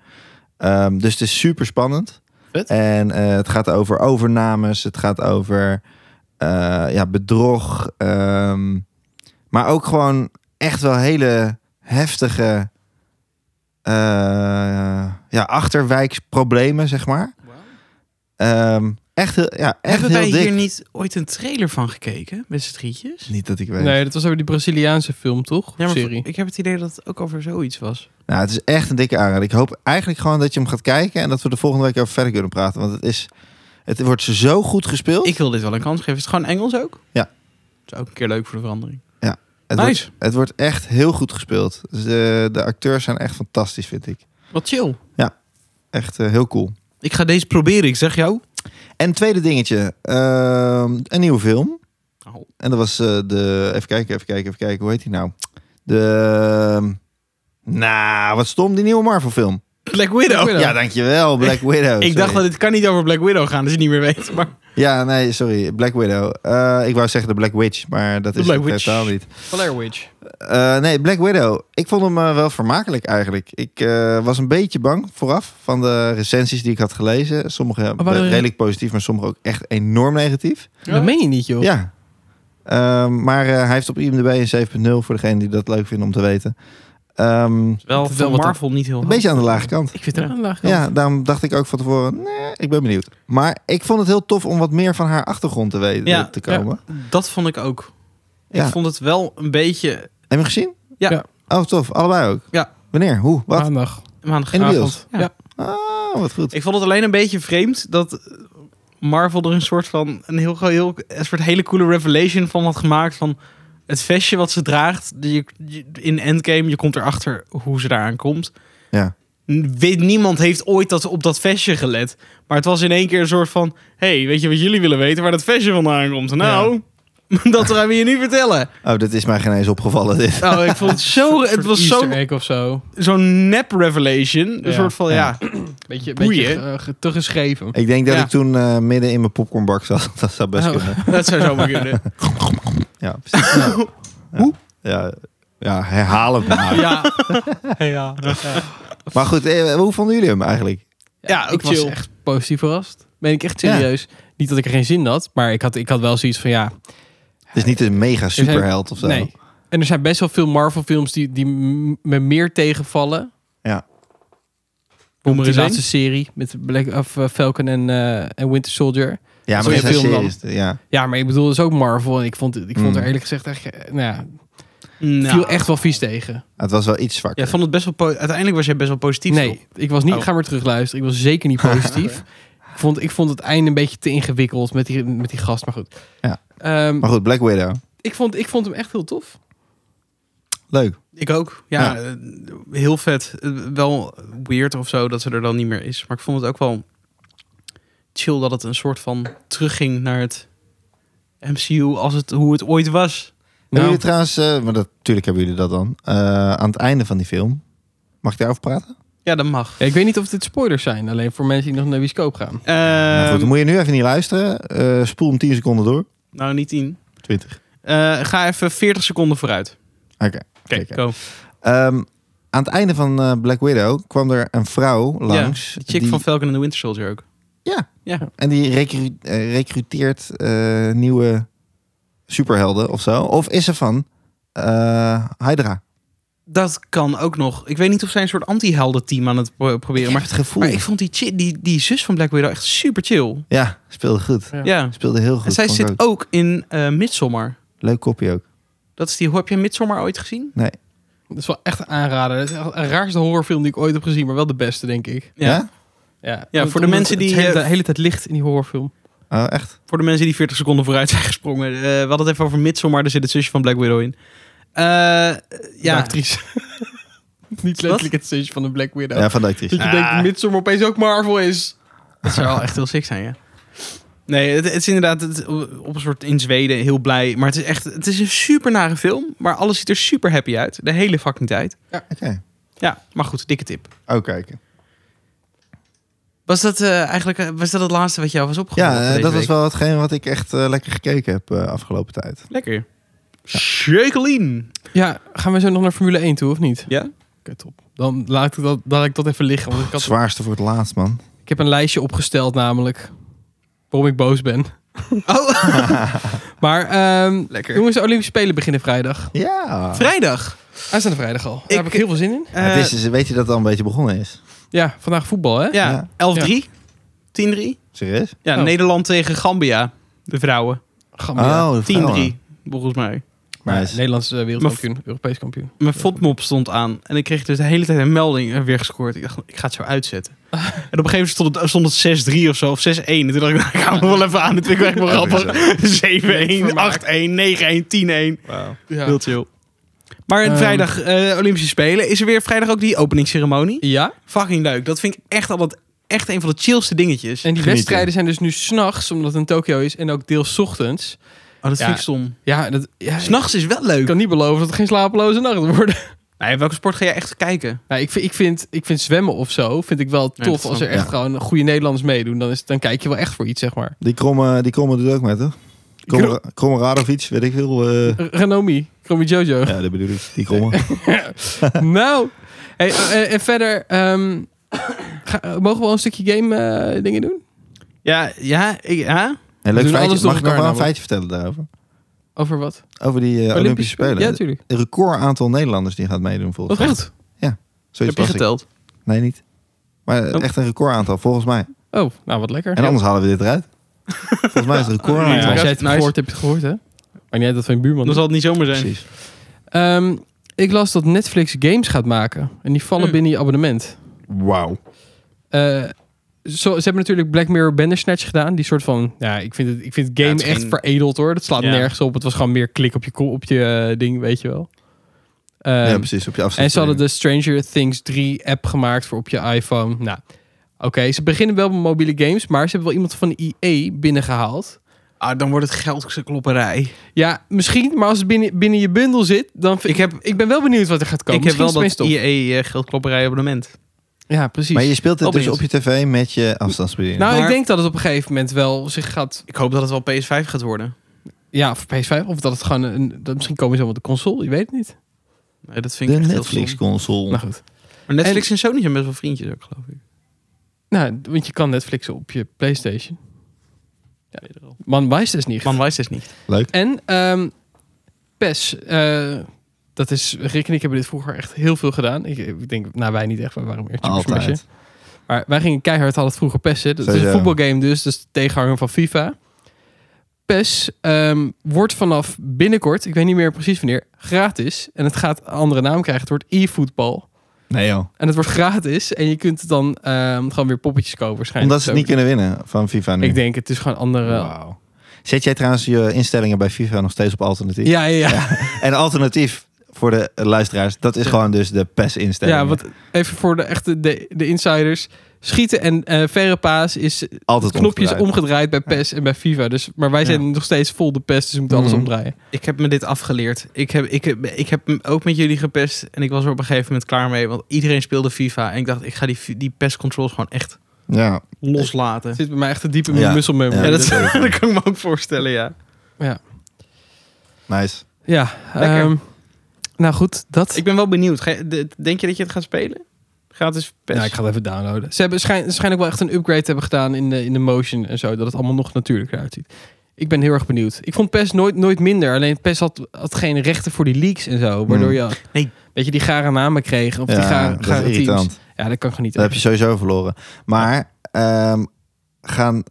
Speaker 1: Ehm, dus het is super spannend.
Speaker 3: Vet.
Speaker 1: En eh, het gaat over overnames. Het gaat over eh, ja, bedrog. ehm, maar ook gewoon echt wel hele heftige eh, ja, achterwijksproblemen, zeg maar. Ehm, echt heel, ja, echt
Speaker 2: Hebben
Speaker 1: heel
Speaker 2: wij
Speaker 1: dik.
Speaker 2: hier niet ooit een trailer van gekeken? Met z'n drietjes?
Speaker 1: Niet dat ik weet.
Speaker 3: Nee, dat was over die Braziliaanse film, toch?
Speaker 2: Ja, maar
Speaker 3: Serie.
Speaker 2: ik heb het idee dat het ook over zoiets was.
Speaker 1: Nou, het is echt een dikke aanrader. Ik hoop eigenlijk gewoon dat je hem gaat kijken en dat we de volgende week over verder kunnen praten. Want het is, het wordt zo goed gespeeld.
Speaker 2: Ik wil dit wel een kans geven. Is het gewoon Engels ook?
Speaker 1: Ja.
Speaker 2: Dat is ook een keer leuk voor de verandering.
Speaker 1: het,
Speaker 2: nice.
Speaker 1: wordt, het wordt echt heel goed gespeeld. Dus, eh, de acteurs zijn echt fantastisch, vind ik.
Speaker 2: Wat chill.
Speaker 1: Echt eh, heel cool.
Speaker 2: Ik ga deze proberen, ik zeg jou.
Speaker 1: En tweede dingetje, ehm, een nieuwe film.
Speaker 2: Oh.
Speaker 1: En dat was eh, de, even kijken, even kijken, even ehm, kijken, hoe heet die nou? De, nou, wat stom, die nieuwe Marvel film.
Speaker 2: Black Widow.
Speaker 3: Widow.
Speaker 1: Ja, dankjewel, Black Widow.
Speaker 2: Ik dacht dat het kan niet over Black Widow gaan, dus ik niet meer weet. Maar
Speaker 1: Ja, nee, sorry, Black Widow. Eh, ik wou zeggen de Black Witch, maar dat
Speaker 2: De
Speaker 1: is
Speaker 2: Black
Speaker 1: het
Speaker 2: Witch.
Speaker 1: totaal niet.
Speaker 3: Blair Witch.
Speaker 1: Eh, nee, Black Widow. Ik vond hem eh, wel vermakelijk eigenlijk. Ik eh, was een beetje bang vooraf van de recensies die ik had gelezen. Sommige
Speaker 3: waren er-
Speaker 1: redelijk positief, maar sommige ook echt enorm negatief.
Speaker 3: Dat meen je niet, joh.
Speaker 1: Ja. Ehm, maar eh, hij heeft op IMDb een 7.0 voor degene die dat leuk vinden om te weten. Ehm,
Speaker 2: wel
Speaker 3: voor
Speaker 2: van Marvel niet heel
Speaker 1: een beetje aan de lage kant.
Speaker 2: Ik vind het
Speaker 3: Aan de lage kant.
Speaker 1: Ja, daarom dacht ik ook van tevoren, nee, ik ben benieuwd. Maar ik vond het heel tof om wat meer van haar achtergrond te weten
Speaker 2: Ja,
Speaker 1: te komen.
Speaker 2: Dat vond ik ook.
Speaker 1: Ja.
Speaker 2: Ik vond het wel een beetje...
Speaker 1: Heb je gezien?
Speaker 2: Ja.
Speaker 3: Ja.
Speaker 1: Oh, tof. Allebei ook?
Speaker 2: Ja.
Speaker 1: Wanneer? Hoe? Wat?
Speaker 3: Maandag.
Speaker 2: maandag-
Speaker 1: In de
Speaker 2: avond.
Speaker 1: bios?
Speaker 2: Ja.
Speaker 3: Ja.
Speaker 1: Ah, wat goed.
Speaker 2: Ik vond het alleen een beetje vreemd dat Marvel er een soort van een heel, heel een soort hele coole revelation van had gemaakt van het vestje wat ze draagt. die je- je- in Endgame, je komt erachter hoe ze daaraan komt.
Speaker 1: Ja.
Speaker 2: N- Weet, niemand heeft ooit dat, op dat vestje gelet. Maar het was in één keer een soort van... hey, weet je wat jullie willen weten? Waar dat vestje vandaan komt? Nou, dat gaan we je nu vertellen.
Speaker 1: Oh, dit is mij geen eens opgevallen. Dit.
Speaker 2: Nou, ik vond het zo... het was
Speaker 3: Easter
Speaker 2: zo'n
Speaker 3: egg of zo.
Speaker 2: zo nep revelation. Een
Speaker 3: Ja.
Speaker 2: soort van, ja.
Speaker 3: Beetje,
Speaker 2: Boeien.
Speaker 3: beetje eh, ge- te geschreven.
Speaker 1: Ik denk dat
Speaker 2: Ja.
Speaker 1: ik toen eh, midden in mijn popcornbak zat. Dat zou best
Speaker 3: Oh.
Speaker 1: kunnen.
Speaker 2: dat zou zomaar kunnen.
Speaker 1: Ja, precies.
Speaker 2: Hoe?
Speaker 1: Ja, ja herhaal het maar.
Speaker 3: Ja,
Speaker 2: ja.
Speaker 1: Maar goed, eh, hoe vonden jullie hem eigenlijk?
Speaker 2: Ja, ook
Speaker 3: ik was
Speaker 2: chill.
Speaker 3: echt positief verrast. Ben ik echt serieus. Niet dat ik er geen zin in had, maar ik had, ik had wel zoiets van ja.
Speaker 1: Het is niet een mega
Speaker 3: zijn-
Speaker 1: superheld of zo.
Speaker 3: Nee. En er zijn best wel veel Marvel-films die, die m- me meer tegenvallen.
Speaker 1: Ja.
Speaker 3: Noem er
Speaker 2: Die
Speaker 3: eens laatste serie met Black of eh, Falcon en, eh, en Winter Soldier.
Speaker 1: Ja, maar
Speaker 3: Zo'n
Speaker 1: dit zijn
Speaker 3: film dan.
Speaker 1: series. eh, Ja.
Speaker 3: Ja, maar ik bedoel, dat is ook Marvel. En ik vond, het- ik vond
Speaker 1: Mm.
Speaker 3: er eerlijk gezegd echt, eh, nou ja,
Speaker 2: Nou.
Speaker 3: viel echt wel vies tegen.
Speaker 1: Het was wel iets zwak.
Speaker 2: Jij vond het best wel po- Uiteindelijk was jij best wel positief.
Speaker 3: Nee, ik was niet,
Speaker 2: Oh.
Speaker 3: ga maar terugluisteren. Ik was zeker niet positief. ik, vond, ik vond het einde een beetje te ingewikkeld met die, met die gast, maar goed.
Speaker 1: Ja.
Speaker 3: Ehm,
Speaker 1: Maar goed, Black Widow.
Speaker 3: ik, vond, ik vond hem echt heel tof.
Speaker 1: Leuk.
Speaker 2: Ik ook. Ja, eh, heel vet. Eh, Wel weird of zo dat ze er dan niet meer is. Maar ik vond het ook wel chill dat het een soort van terugging naar het MCU als het hoe het ooit was.
Speaker 1: Hebben
Speaker 3: Nou,
Speaker 1: jullie trouwens, eh, maar dat, natuurlijk hebben jullie dat dan, eh, aan het einde van die film. Mag ik daarover praten?
Speaker 2: Ja, dat mag.
Speaker 3: ja, ik weet niet of dit spoilers zijn, alleen voor mensen die nog naar Wiescoop gaan.
Speaker 1: Nou goed,
Speaker 2: Ehm,
Speaker 1: dan moet je nu even niet luisteren. Eh, spoel hem 10 seconden door.
Speaker 2: nou, niet tien.
Speaker 1: 20.
Speaker 2: Eh, ga even 40 seconden vooruit.
Speaker 1: Oké.
Speaker 2: Oké,
Speaker 1: Zeker.
Speaker 2: go.
Speaker 1: Ehm, aan het einde van eh, Black Widow kwam er een vrouw langs.
Speaker 2: De chick
Speaker 1: die-
Speaker 2: van Falcon en the Winter Soldier ook.
Speaker 1: Ja.
Speaker 2: Ja.
Speaker 1: En die recru- eh, recruteert eh, nieuwe superhelden of zo. Of is ze van eh, Hydra?
Speaker 2: Dat kan ook nog. Ik weet niet of zij een soort anti-helden-team aan het pro- proberen. Maar
Speaker 1: het gevoel.
Speaker 2: Maar ik vond die, chi- die, die zus van Black Widow echt super chill.
Speaker 1: Ja, speelde goed.
Speaker 3: Ja.
Speaker 2: Ja.
Speaker 1: Speelde heel goed.
Speaker 2: En zij
Speaker 1: vond ik
Speaker 2: zit
Speaker 1: ook.
Speaker 2: ook in eh Midsommar.
Speaker 1: Leuk kopje ook.
Speaker 2: Dat is die, heb jij Midsommar ooit gezien?
Speaker 3: Dat is wel echt een aanrader. Dat is echt een raarste horrorfilm die ik ooit heb gezien, maar wel de beste, denk ik.
Speaker 1: Ja?
Speaker 3: Ja,
Speaker 2: Ja,
Speaker 3: Want
Speaker 2: voor de
Speaker 3: omdat
Speaker 2: mensen
Speaker 3: het
Speaker 2: die,
Speaker 3: De hele,
Speaker 2: eh,
Speaker 3: tijd- hele tijd licht in die horrorfilm.
Speaker 1: Oh, echt?
Speaker 2: Voor de mensen die 40 seconden vooruit zijn gesprongen. Eh, we hadden het even over Midsommar, daar zit het zusje van Black Widow in. Eh,
Speaker 3: Ja.
Speaker 2: ja,
Speaker 3: actrice. Niet letterlijk het zusje van de Black Widow.
Speaker 1: Ja, van de
Speaker 3: Dat je
Speaker 1: actrice.
Speaker 3: denkt, Midsommar opeens ook Marvel is.
Speaker 2: dat zou wel echt heel sick zijn, ja. Nee, het, het is inderdaad het- op een soort in Zweden heel blij. Maar het is echt, het is een super nare film. Maar alles ziet er super happy uit. De hele fucking tijd.
Speaker 1: Oké.
Speaker 2: Ja, maar goed, dikke tip.
Speaker 1: Ook kijken.
Speaker 2: Was dat eh, eigenlijk eh, was dat het laatste wat jou was opgevallen?
Speaker 1: Ja,
Speaker 2: voor
Speaker 1: eh,
Speaker 2: deze
Speaker 1: dat was
Speaker 2: week?
Speaker 1: wel hetgeen wat ik echt eh, lekker gekeken heb eh, afgelopen tijd.
Speaker 2: Lekker. Shakeleen.
Speaker 3: Ja, gaan we zo nog naar Formule 1 toe, of niet? Oké,
Speaker 2: Ja?
Speaker 3: top. Dan laat ik dat, laat ik dat even liggen. Want ik,
Speaker 1: Het
Speaker 3: had,
Speaker 1: zwaarste voor het laatst, man.
Speaker 3: ik heb een lijstje opgesteld namelijk. Waarom ik boos ben.
Speaker 2: Oh,
Speaker 3: Maar ehm,
Speaker 2: lekker.
Speaker 3: jongens, de Olympische Spelen beginnen vrijdag.
Speaker 1: Ja.
Speaker 2: Ah. Vrijdag.
Speaker 3: Aanstaande vrijdag al. Daar
Speaker 2: Ik-
Speaker 3: heb ik heel veel zin in.
Speaker 1: Ja, het is, dus- weet je dat het al een beetje begonnen is?
Speaker 3: Ja, vandaag voetbal, hè?
Speaker 2: Eh, ja,
Speaker 1: Ja.
Speaker 2: 11-3. 10-3.
Speaker 1: Serieus?
Speaker 2: Ja,
Speaker 3: Oh.
Speaker 2: Nederland tegen Gambia. De vrouwen.
Speaker 3: Gambia.
Speaker 1: de
Speaker 2: 10-3,
Speaker 1: vrouwen.
Speaker 2: volgens mij.
Speaker 3: Maar
Speaker 1: Oh, Nice.
Speaker 3: Nederlands eh, wereldkampioen, Europees kampioen.
Speaker 2: Mijn fotmop stond aan. En ik kreeg dus de hele tijd een melding eh, weer gescoord. Ik dacht, ik ga het zo uitzetten. En op een gegeven moment stond het, stond het 6-3 of zo. Of 6-1. En toen dacht ik, nou, ik hou me wel even aan. Dat vind ik wel echt wel grappig. 7-1, 8-1, 9-1, 10-1.
Speaker 3: Ja.
Speaker 2: Heel chill. Maar
Speaker 3: Ehm.
Speaker 2: vrijdag eh, Olympische Spelen. Is er weer vrijdag ook die openingsceremonie?
Speaker 3: ja,
Speaker 2: Fucking leuk. Dat vind ik echt altijd echt een van de chillste dingetjes.
Speaker 3: en die
Speaker 1: Genieten.
Speaker 3: wedstrijden zijn dus nu s'nachts, omdat het in Tokio is, en ook deels 's ochtends.
Speaker 2: oh, dat
Speaker 3: Ja.
Speaker 2: vind ik stom.
Speaker 3: Ja, dat, ja,
Speaker 2: S'nachts is wel leuk.
Speaker 3: ik kan niet beloven dat het geen slapeloze nacht worden.
Speaker 2: Nee, welke sport ga jij echt kijken?
Speaker 3: Nou, ik, vind, ik, vind, ik vind zwemmen of zo, vind ik wel
Speaker 2: Ja,
Speaker 3: tof.
Speaker 2: dat snap
Speaker 3: als er
Speaker 1: ik.
Speaker 3: echt
Speaker 1: Ja.
Speaker 3: gewoon goede Nederlanders meedoen, dan, is, dan kijk je wel echt voor iets, zeg maar.
Speaker 1: Die kromme, die kromme doet ook met, toch? Kromme, kromme Radovic, weet ik veel. eh,
Speaker 3: R- Ranomi, Kromi Jojo.
Speaker 1: ja, dat bedoel ik. Die kromme.
Speaker 3: nou, hey, eh, eh, en verder, ehm, ga- eh, mogen we wel een stukje game eh, dingen doen?
Speaker 2: Ja, ja, ik, ja.
Speaker 1: En
Speaker 3: doen
Speaker 1: leuk
Speaker 3: alles
Speaker 1: feitje.
Speaker 3: door
Speaker 1: Mag ik nog
Speaker 3: elkaar
Speaker 1: wel een
Speaker 3: namelijk.
Speaker 1: feitje vertellen daarover?
Speaker 3: Over wat?
Speaker 1: Over die eh, Olympische, Spelen.
Speaker 3: Ja, tuurlijk.
Speaker 1: Een record aantal Nederlanders die gaat meedoen volgens
Speaker 3: Wat
Speaker 1: mij.
Speaker 3: echt?
Speaker 1: Zoiets
Speaker 2: heb je
Speaker 1: las ik.
Speaker 2: geteld?
Speaker 1: Nee, niet. Maar eh,
Speaker 3: Oh.
Speaker 1: echt een record aantal, volgens mij.
Speaker 3: Oh, nou wat lekker.
Speaker 1: En anders halen we dit eruit. Volgens mij is het record
Speaker 2: Ja,
Speaker 3: Nou ja,
Speaker 1: aantal.
Speaker 3: als jij het
Speaker 2: Nice.
Speaker 3: gehoord hebt, heb je het gehoord, hè? Maar niet uit dat van je buurman.
Speaker 2: Dan zal het niet zomaar zijn.
Speaker 1: Precies.
Speaker 3: Ehm, ik las dat Netflix games gaat maken. En die vallen
Speaker 2: Hmm.
Speaker 3: binnen je abonnement.
Speaker 1: Wauw.
Speaker 3: Eh, zo, ze hebben natuurlijk Black Mirror Bandersnatch gedaan. Die soort van, ja, ik vind het, ik vind het
Speaker 2: Ja,
Speaker 3: game
Speaker 2: het is
Speaker 3: echt
Speaker 2: geen-
Speaker 3: veredeld hoor. Dat slaat
Speaker 2: Ja.
Speaker 3: nergens op. Het was gewoon meer klik op je, ko- op je eh, ding, weet je wel. Ehm,
Speaker 1: ja, precies. Op je afstand.
Speaker 3: en ze hadden de Stranger Things 3 app gemaakt voor op je iPhone. Nou, oké. ze beginnen wel met mobiele games, maar ze hebben wel iemand van de EA binnengehaald.
Speaker 2: Ah, dan wordt het geldklopperij.
Speaker 3: Ja, misschien, maar als het binnen, binnen je bundel zit, dan vind
Speaker 2: Ik heb,
Speaker 3: ik ben wel benieuwd wat er gaat komen.
Speaker 2: ik heb wel
Speaker 3: Misschien is
Speaker 2: dat E
Speaker 3: het opeens
Speaker 2: IE geldklopperij abonnement.
Speaker 3: top. Ja, precies.
Speaker 1: Maar je speelt het
Speaker 3: Oh,
Speaker 1: dus op je
Speaker 3: benieuwd.
Speaker 1: tv met je afstandsbediening.
Speaker 3: nou, ik
Speaker 2: Maar-
Speaker 3: denk dat het op een gegeven moment wel zich gaat
Speaker 2: Ik hoop dat het wel PS5 gaat worden.
Speaker 3: Ja, voor PS5. Of dat het gewoon een. Dat misschien komen ze wel met de console. Je weet het niet.
Speaker 2: Nee, dat vind
Speaker 1: de
Speaker 2: ik echt heel stom.
Speaker 1: Netflix-console.
Speaker 3: Nou goed.
Speaker 2: Maar Netflix en... Sony zijn best wel vriendjes ook, geloof ik.
Speaker 3: Nou, want je kan Netflix op je PlayStation.
Speaker 2: Ja.
Speaker 3: Man, wijst dus niet.
Speaker 2: Man wijst dus niet.
Speaker 1: Leuk.
Speaker 3: En ehm, PES. eh, dat is. Rick en ik hebben dit vroeger echt heel veel gedaan. Ik, ik denk, nou, wij niet echt. We waren meer Super Smash, hè.
Speaker 1: Altijd.
Speaker 3: Maar wij gingen keihard al het vroeger pessen. Dat is een
Speaker 1: Sowieso.
Speaker 3: voetbalgame dus, dus de tegenhanger van FIFA. PES ehm, wordt vanaf binnenkort, ik weet niet meer precies wanneer, gratis. En het gaat een andere naam krijgen. Het wordt e-voetbal.
Speaker 1: Nee joh.
Speaker 3: En het wordt gratis. En je kunt het dan ehm, gewoon weer poppetjes kopen waarschijnlijk. Dus
Speaker 1: Omdat ze het niet kunnen winnen van FIFA nu.
Speaker 3: Ik denk, het is gewoon andere...
Speaker 1: Wauw. Zet jij trouwens je instellingen bij FIFA nog steeds op alternatief?
Speaker 3: Ja, ja, ja.
Speaker 1: En alternatief voor de eh, luisteraars, dat is
Speaker 3: Ja.
Speaker 1: gewoon dus de PES-instellingen.
Speaker 3: ja wat, even voor de echte de, de insiders. Schieten en eh verre paas is
Speaker 1: Altijd
Speaker 3: knopjes
Speaker 1: omgedraaid.
Speaker 3: omgedraaid bij PES en bij FIFA. Dus, maar wij zijn nog steeds vol de PES, dus we moeten alles
Speaker 1: Mhm.
Speaker 3: omdraaien.
Speaker 2: Ik heb me dit afgeleerd. Ik heb, ik, heb, ik heb hem ook met jullie gepest. En ik was er op een gegeven moment klaar mee. Want iedereen speelde FIFA. En ik dacht, ik ga die, fi- die pestcontrols gewoon echt
Speaker 1: Ja.
Speaker 2: loslaten.
Speaker 3: Het zit bij mij echt te diep in mijn
Speaker 1: Ja.
Speaker 3: muscle memory.
Speaker 1: Ja, dus-
Speaker 2: Ja,
Speaker 3: Ja,
Speaker 2: dat,
Speaker 1: dat weet ik.
Speaker 2: dat kan ik me ook voorstellen, ja.
Speaker 1: Nice.
Speaker 2: Lekker.
Speaker 3: ehm, nou goed, dat...
Speaker 2: Ik ben wel benieuwd. Ga je- de- denk je dat je het gaat spelen? Gratis PES?
Speaker 3: Ja, ik ga het even downloaden. Ze hebben schijn, waarschijnlijk wel echt een upgrade hebben gedaan in de, in de motion en zo. Dat het allemaal nog natuurlijker uitziet. Ik ben heel erg benieuwd. Ik vond PES nooit, nooit minder. Alleen PES had, had geen rechten voor die leaks en zo. Waardoor je,
Speaker 2: Nee.
Speaker 3: weet je, die gare namen kreeg. Of die
Speaker 1: Hmm. Ja,
Speaker 3: gare,
Speaker 1: dat
Speaker 3: gare
Speaker 1: is
Speaker 3: teams.
Speaker 1: irritant.
Speaker 3: Ja, dat kan ik niet.
Speaker 1: Dat heb je sowieso verloren. Maar ehm, gaan,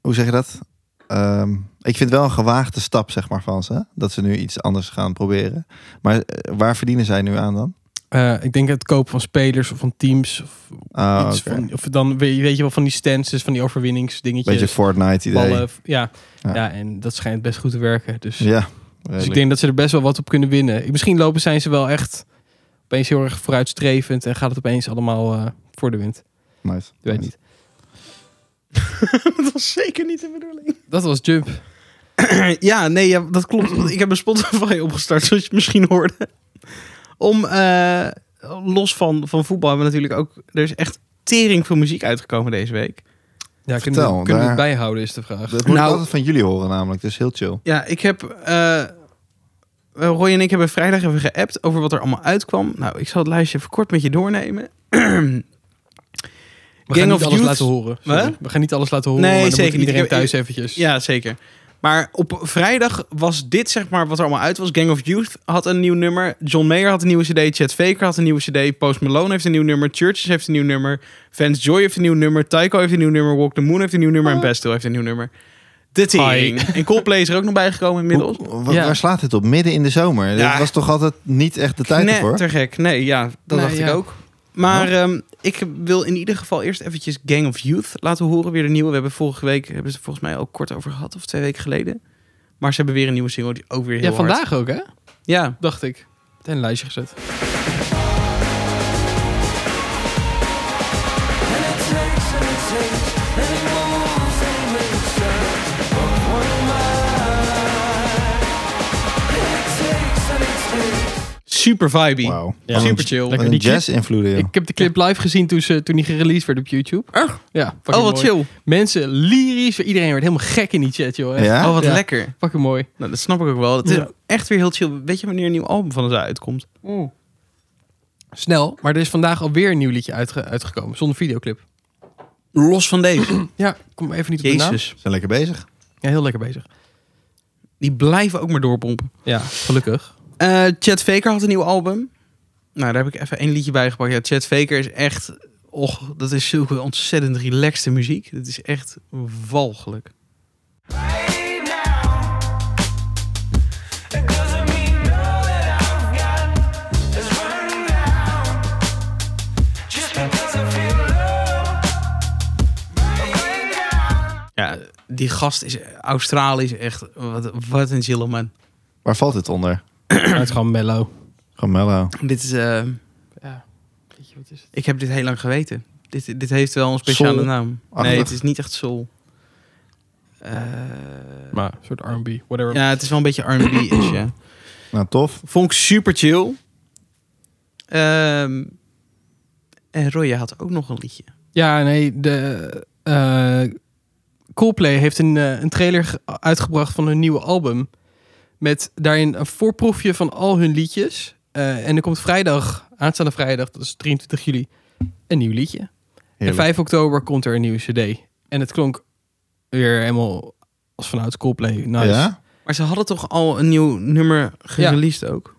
Speaker 1: hoe zeg je dat? Ehm, ik vind wel een gewaagde stap, zeg maar, van ze. Dat ze nu iets anders gaan proberen. Maar eh, waar verdienen zij nu aan dan?
Speaker 3: Eh, ik denk het kopen van spelers of van teams. Of,
Speaker 1: Ah,
Speaker 3: iets
Speaker 1: oké.
Speaker 3: van, of dan weet je, weet je wel van die stances, van die overwinningsdingetjes.
Speaker 1: Beetje Fortnite-idee.
Speaker 3: ballen. Ja. Ja.
Speaker 1: Ja.
Speaker 3: en dat schijnt best goed te werken. Dus
Speaker 1: Ja,
Speaker 3: Dus ik
Speaker 1: redelijk.
Speaker 3: denk dat ze er best wel wat op kunnen winnen. Misschien lopen zijn ze wel echt opeens heel erg vooruitstrevend en gaat het opeens allemaal eh, voor de wind.
Speaker 1: Nice.
Speaker 3: Ik weet
Speaker 1: Nice.
Speaker 3: niet.
Speaker 2: dat was zeker niet de bedoeling.
Speaker 3: Dat was Jump.
Speaker 2: ja, nee, ja, dat klopt. Want ik heb een Spotify opgestart, zoals je misschien hoorde. Om, eh, los van, van voetbal hebben we natuurlijk ook... Er is echt tering veel muziek uitgekomen deze week.
Speaker 3: Ja, kunnen,
Speaker 1: Vertel,
Speaker 3: we, kunnen we het
Speaker 1: daar-
Speaker 3: bijhouden is de vraag.
Speaker 1: Dat moet
Speaker 2: Nou-
Speaker 1: ik altijd van jullie horen namelijk. Dus heel chill.
Speaker 2: Ja, ik heb... eh, Roy en ik hebben vrijdag even geappt over wat er allemaal uitkwam. Nou, ik zal het lijstje even kort met je doornemen.
Speaker 3: We gaan
Speaker 2: Gang
Speaker 3: niet
Speaker 2: of
Speaker 3: alles
Speaker 2: Youth.
Speaker 3: laten horen. Sorry.
Speaker 2: Wat?
Speaker 3: We gaan niet alles laten horen,
Speaker 2: Nee,
Speaker 3: maar dan
Speaker 2: zeker
Speaker 3: moet
Speaker 2: niet.
Speaker 3: iedereen
Speaker 2: Ik heb-
Speaker 3: thuis eventjes.
Speaker 2: Ja, zeker. Maar op vrijdag was dit zeg maar wat er allemaal uit was. Gang of Youth had een nieuw nummer. John Mayer had een nieuwe CD. Chet Faker had een nieuwe CD. Post Malone heeft een nieuw nummer. Churches heeft een nieuw nummer. Vance Joy heeft een nieuw nummer. Tycho heeft een nieuw nummer. Walk the Moon heeft een nieuw nummer. En Bastille heeft een nieuw nummer. De tering. En Coldplay is er ook nog bijgekomen inmiddels.
Speaker 1: Hoe- wa-
Speaker 3: Ja.
Speaker 1: Waar slaat dit op? Midden in de zomer.
Speaker 2: Ja.
Speaker 1: Dat was toch altijd niet echt de tijd
Speaker 2: Nee,
Speaker 1: ervoor?
Speaker 2: te gek. Nee, ja, dat
Speaker 3: Nee,
Speaker 2: dacht
Speaker 3: ja.
Speaker 2: ik ook. Maar ehm, ik wil in ieder geval eerst eventjes Gang of Youth laten horen. Weer de nieuwe. We hebben vorige week, hebben ze het volgens mij ook kort over gehad. Of twee weken geleden. Maar ze hebben weer een nieuwe single die ook weer heel
Speaker 3: Ja,
Speaker 2: hard-
Speaker 3: vandaag ook hè,
Speaker 2: Ja,
Speaker 3: dacht ik. Meteen een lijstje gezet.
Speaker 2: super vibey.
Speaker 1: Wauw.
Speaker 5: Ja.
Speaker 1: Wat een-
Speaker 3: Super chill.
Speaker 1: Wat
Speaker 3: Lekker
Speaker 1: een
Speaker 3: die clip.
Speaker 1: jazz invloeden, joh.
Speaker 3: Ik heb de clip live gezien toen, ze, toen die gereleased werd op YouTube.
Speaker 2: Echt?
Speaker 3: Ja.
Speaker 2: Oh,
Speaker 3: fucking
Speaker 2: wat
Speaker 3: mooi.
Speaker 2: chill.
Speaker 3: Mensen lyrisch. Iedereen werd helemaal gek in die chat, joh. Echt.
Speaker 1: Ja?
Speaker 2: Oh, wat
Speaker 3: Ja.
Speaker 2: lekker.
Speaker 3: Fucking mooi.
Speaker 2: Nou, dat snap ik ook wel. Het is
Speaker 3: Ja.
Speaker 2: echt weer heel chill. Weet je wanneer een nieuw album van ze uitkomt?
Speaker 3: Snel, maar er is vandaag alweer een nieuw liedje uitge- uitgekomen. Zonder videoclip.
Speaker 2: Los van deze.
Speaker 3: Ja, kom even niet op de naam.
Speaker 2: Jezus.
Speaker 1: Ze zijn lekker bezig.
Speaker 3: Ja, heel lekker bezig.
Speaker 2: Die blijven ook maar doorpompen.
Speaker 3: Ja, gelukkig.
Speaker 2: Eh Chad Faker had een nieuw album. Nou, daar heb ik even één liedje bij gepakt. Ja, Chad Faker is echt... Och, dat is zulke ontzettend relaxte muziek. Dat is echt walgelijk. Ja, die gast is Australisch echt... Wat, wat een chill man.
Speaker 1: Waar valt dit onder?
Speaker 3: het is gewoon mellow.
Speaker 1: Gewoon mellow.
Speaker 2: Dit is... eh,
Speaker 3: Ja. Weet je, wat is het?
Speaker 2: Ik heb dit heel lang geweten. Dit, dit heeft wel een speciale
Speaker 1: Soul.
Speaker 2: naam.
Speaker 1: Achtig.
Speaker 2: Nee, het is niet echt soul. Eh,
Speaker 3: Maar een soort R&B, whatever.
Speaker 2: ja, het is wel een beetje R&B-ish, ja.
Speaker 1: Nou, tof.
Speaker 2: Vond ik super chill. Ehm, en Roya had ook nog een liedje.
Speaker 3: Ja, nee, de eh, Coldplay heeft een, eh, een trailer ge- uitgebracht van hun nieuwe album. Met daarin een voorproefje van al hun liedjes. Eh, en er komt vrijdag, aanstaande vrijdag, dat is 23 juli, een nieuw liedje. En
Speaker 1: Heerlijk.
Speaker 3: 5 oktober komt er een nieuwe cd. En het klonk weer helemaal als vanuit Coldplay. Nice.
Speaker 1: Ja?
Speaker 2: Maar ze hadden toch al een nieuw nummer gereleased ook?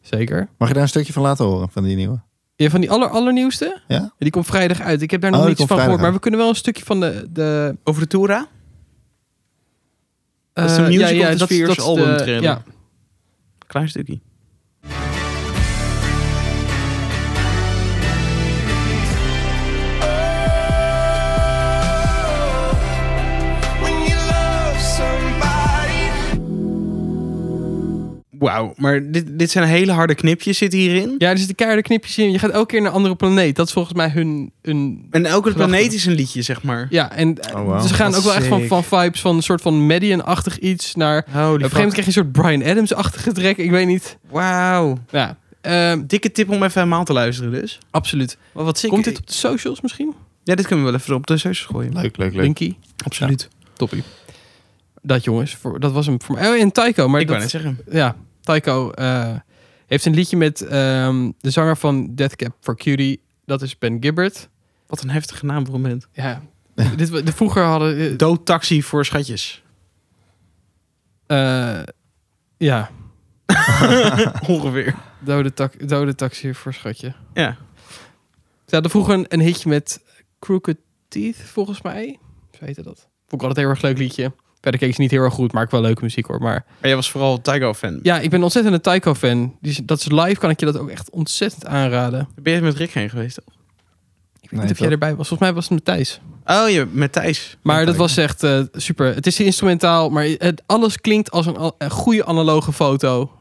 Speaker 3: Zeker.
Speaker 1: Mag je daar een stukje van laten horen, van die nieuwe?
Speaker 3: Ja, van die aller, allernieuwste?
Speaker 1: Ja?
Speaker 3: Die komt vrijdag uit. Ik heb daar
Speaker 1: Oh,
Speaker 3: nog
Speaker 1: die
Speaker 3: niets van
Speaker 1: komt vrijdag
Speaker 3: gehoord. Maar
Speaker 1: uit.
Speaker 3: we kunnen wel een stukje van de... de
Speaker 2: Over de Tora? Dat is de
Speaker 3: eh,
Speaker 2: musical of the Spheres
Speaker 3: is de-
Speaker 2: album trailer.
Speaker 3: Ja,
Speaker 2: Klein stukje. Wauw, maar dit, dit zijn hele harde knipjes zitten hierin.
Speaker 3: Ja, er zitten keiharde knipjes in. Je gaat elke keer naar een andere planeet. Dat is volgens mij hun... hun...
Speaker 2: En elke
Speaker 3: Prachtig.
Speaker 2: planeet is een liedje, zeg maar.
Speaker 3: Ja, en eh,
Speaker 1: Oh, wauw.
Speaker 3: ze gaan
Speaker 2: Wat
Speaker 3: ook wel echt van,
Speaker 2: sick.
Speaker 3: van vibes van een soort van Median-achtig iets naar... Op een
Speaker 2: Holy
Speaker 3: gegeven moment
Speaker 2: fuck.
Speaker 3: krijg je een soort Brian Adams-achtige track. Ik weet niet.
Speaker 2: Wauw.
Speaker 3: Ja, ehm,
Speaker 2: Dikke tip om even helemaal te luisteren dus.
Speaker 3: absoluut.
Speaker 2: Wat, wat sick.
Speaker 3: Komt dit op de socials misschien?
Speaker 2: Ja, dit kunnen we wel even op de socials gooien.
Speaker 1: Leuk, leuk, leuk.
Speaker 3: Linky.
Speaker 2: Absoluut.
Speaker 3: Toppie. Dat jongens, voor, dat was hem voor mij. Oh, en Tycho. Maar
Speaker 2: ik
Speaker 3: dat,
Speaker 2: wou net zeggen.
Speaker 3: ja, Tycho eh, heeft een liedje met ehm, de zanger van Deathcap for Cutie. Dat is Ben Gibbert.
Speaker 2: Wat een heftige naam voor een band.
Speaker 3: Ja, dit, wa- de, vroeger hadden... eh,
Speaker 2: Doodtaxi voor schatjes.
Speaker 3: Eh, ja,
Speaker 2: Ongeveer.
Speaker 3: dode, tak, dode taxi voor schatje.
Speaker 2: Ja.
Speaker 3: Ze hadden vroeger een, een hitje met Crooked Teeth, volgens mij. Zo heette dat. Vond ik altijd een heel erg leuk liedje. Verder keek ze niet heel erg goed, maar ik wel leuke muziek hoor. Maar
Speaker 2: Maar jij was vooral Tygo-fan.
Speaker 3: ja, ik ben ontzettend een Tycho-fan. Dus dat is live, kan ik je dat ook echt ontzettend aanraden. Ik
Speaker 2: Ben je met Rick heen geweest? toch?
Speaker 3: weet
Speaker 1: Nee,
Speaker 3: niet of jij
Speaker 1: toch?
Speaker 3: erbij was. Volgens mij was het met Thijs.
Speaker 2: Oh, je met Thijs.
Speaker 3: Maar
Speaker 1: Met
Speaker 3: dat
Speaker 1: Tycho.
Speaker 3: was echt eh, super. Het is instrumentaal, maar het, alles klinkt als een, al- een goede analoge foto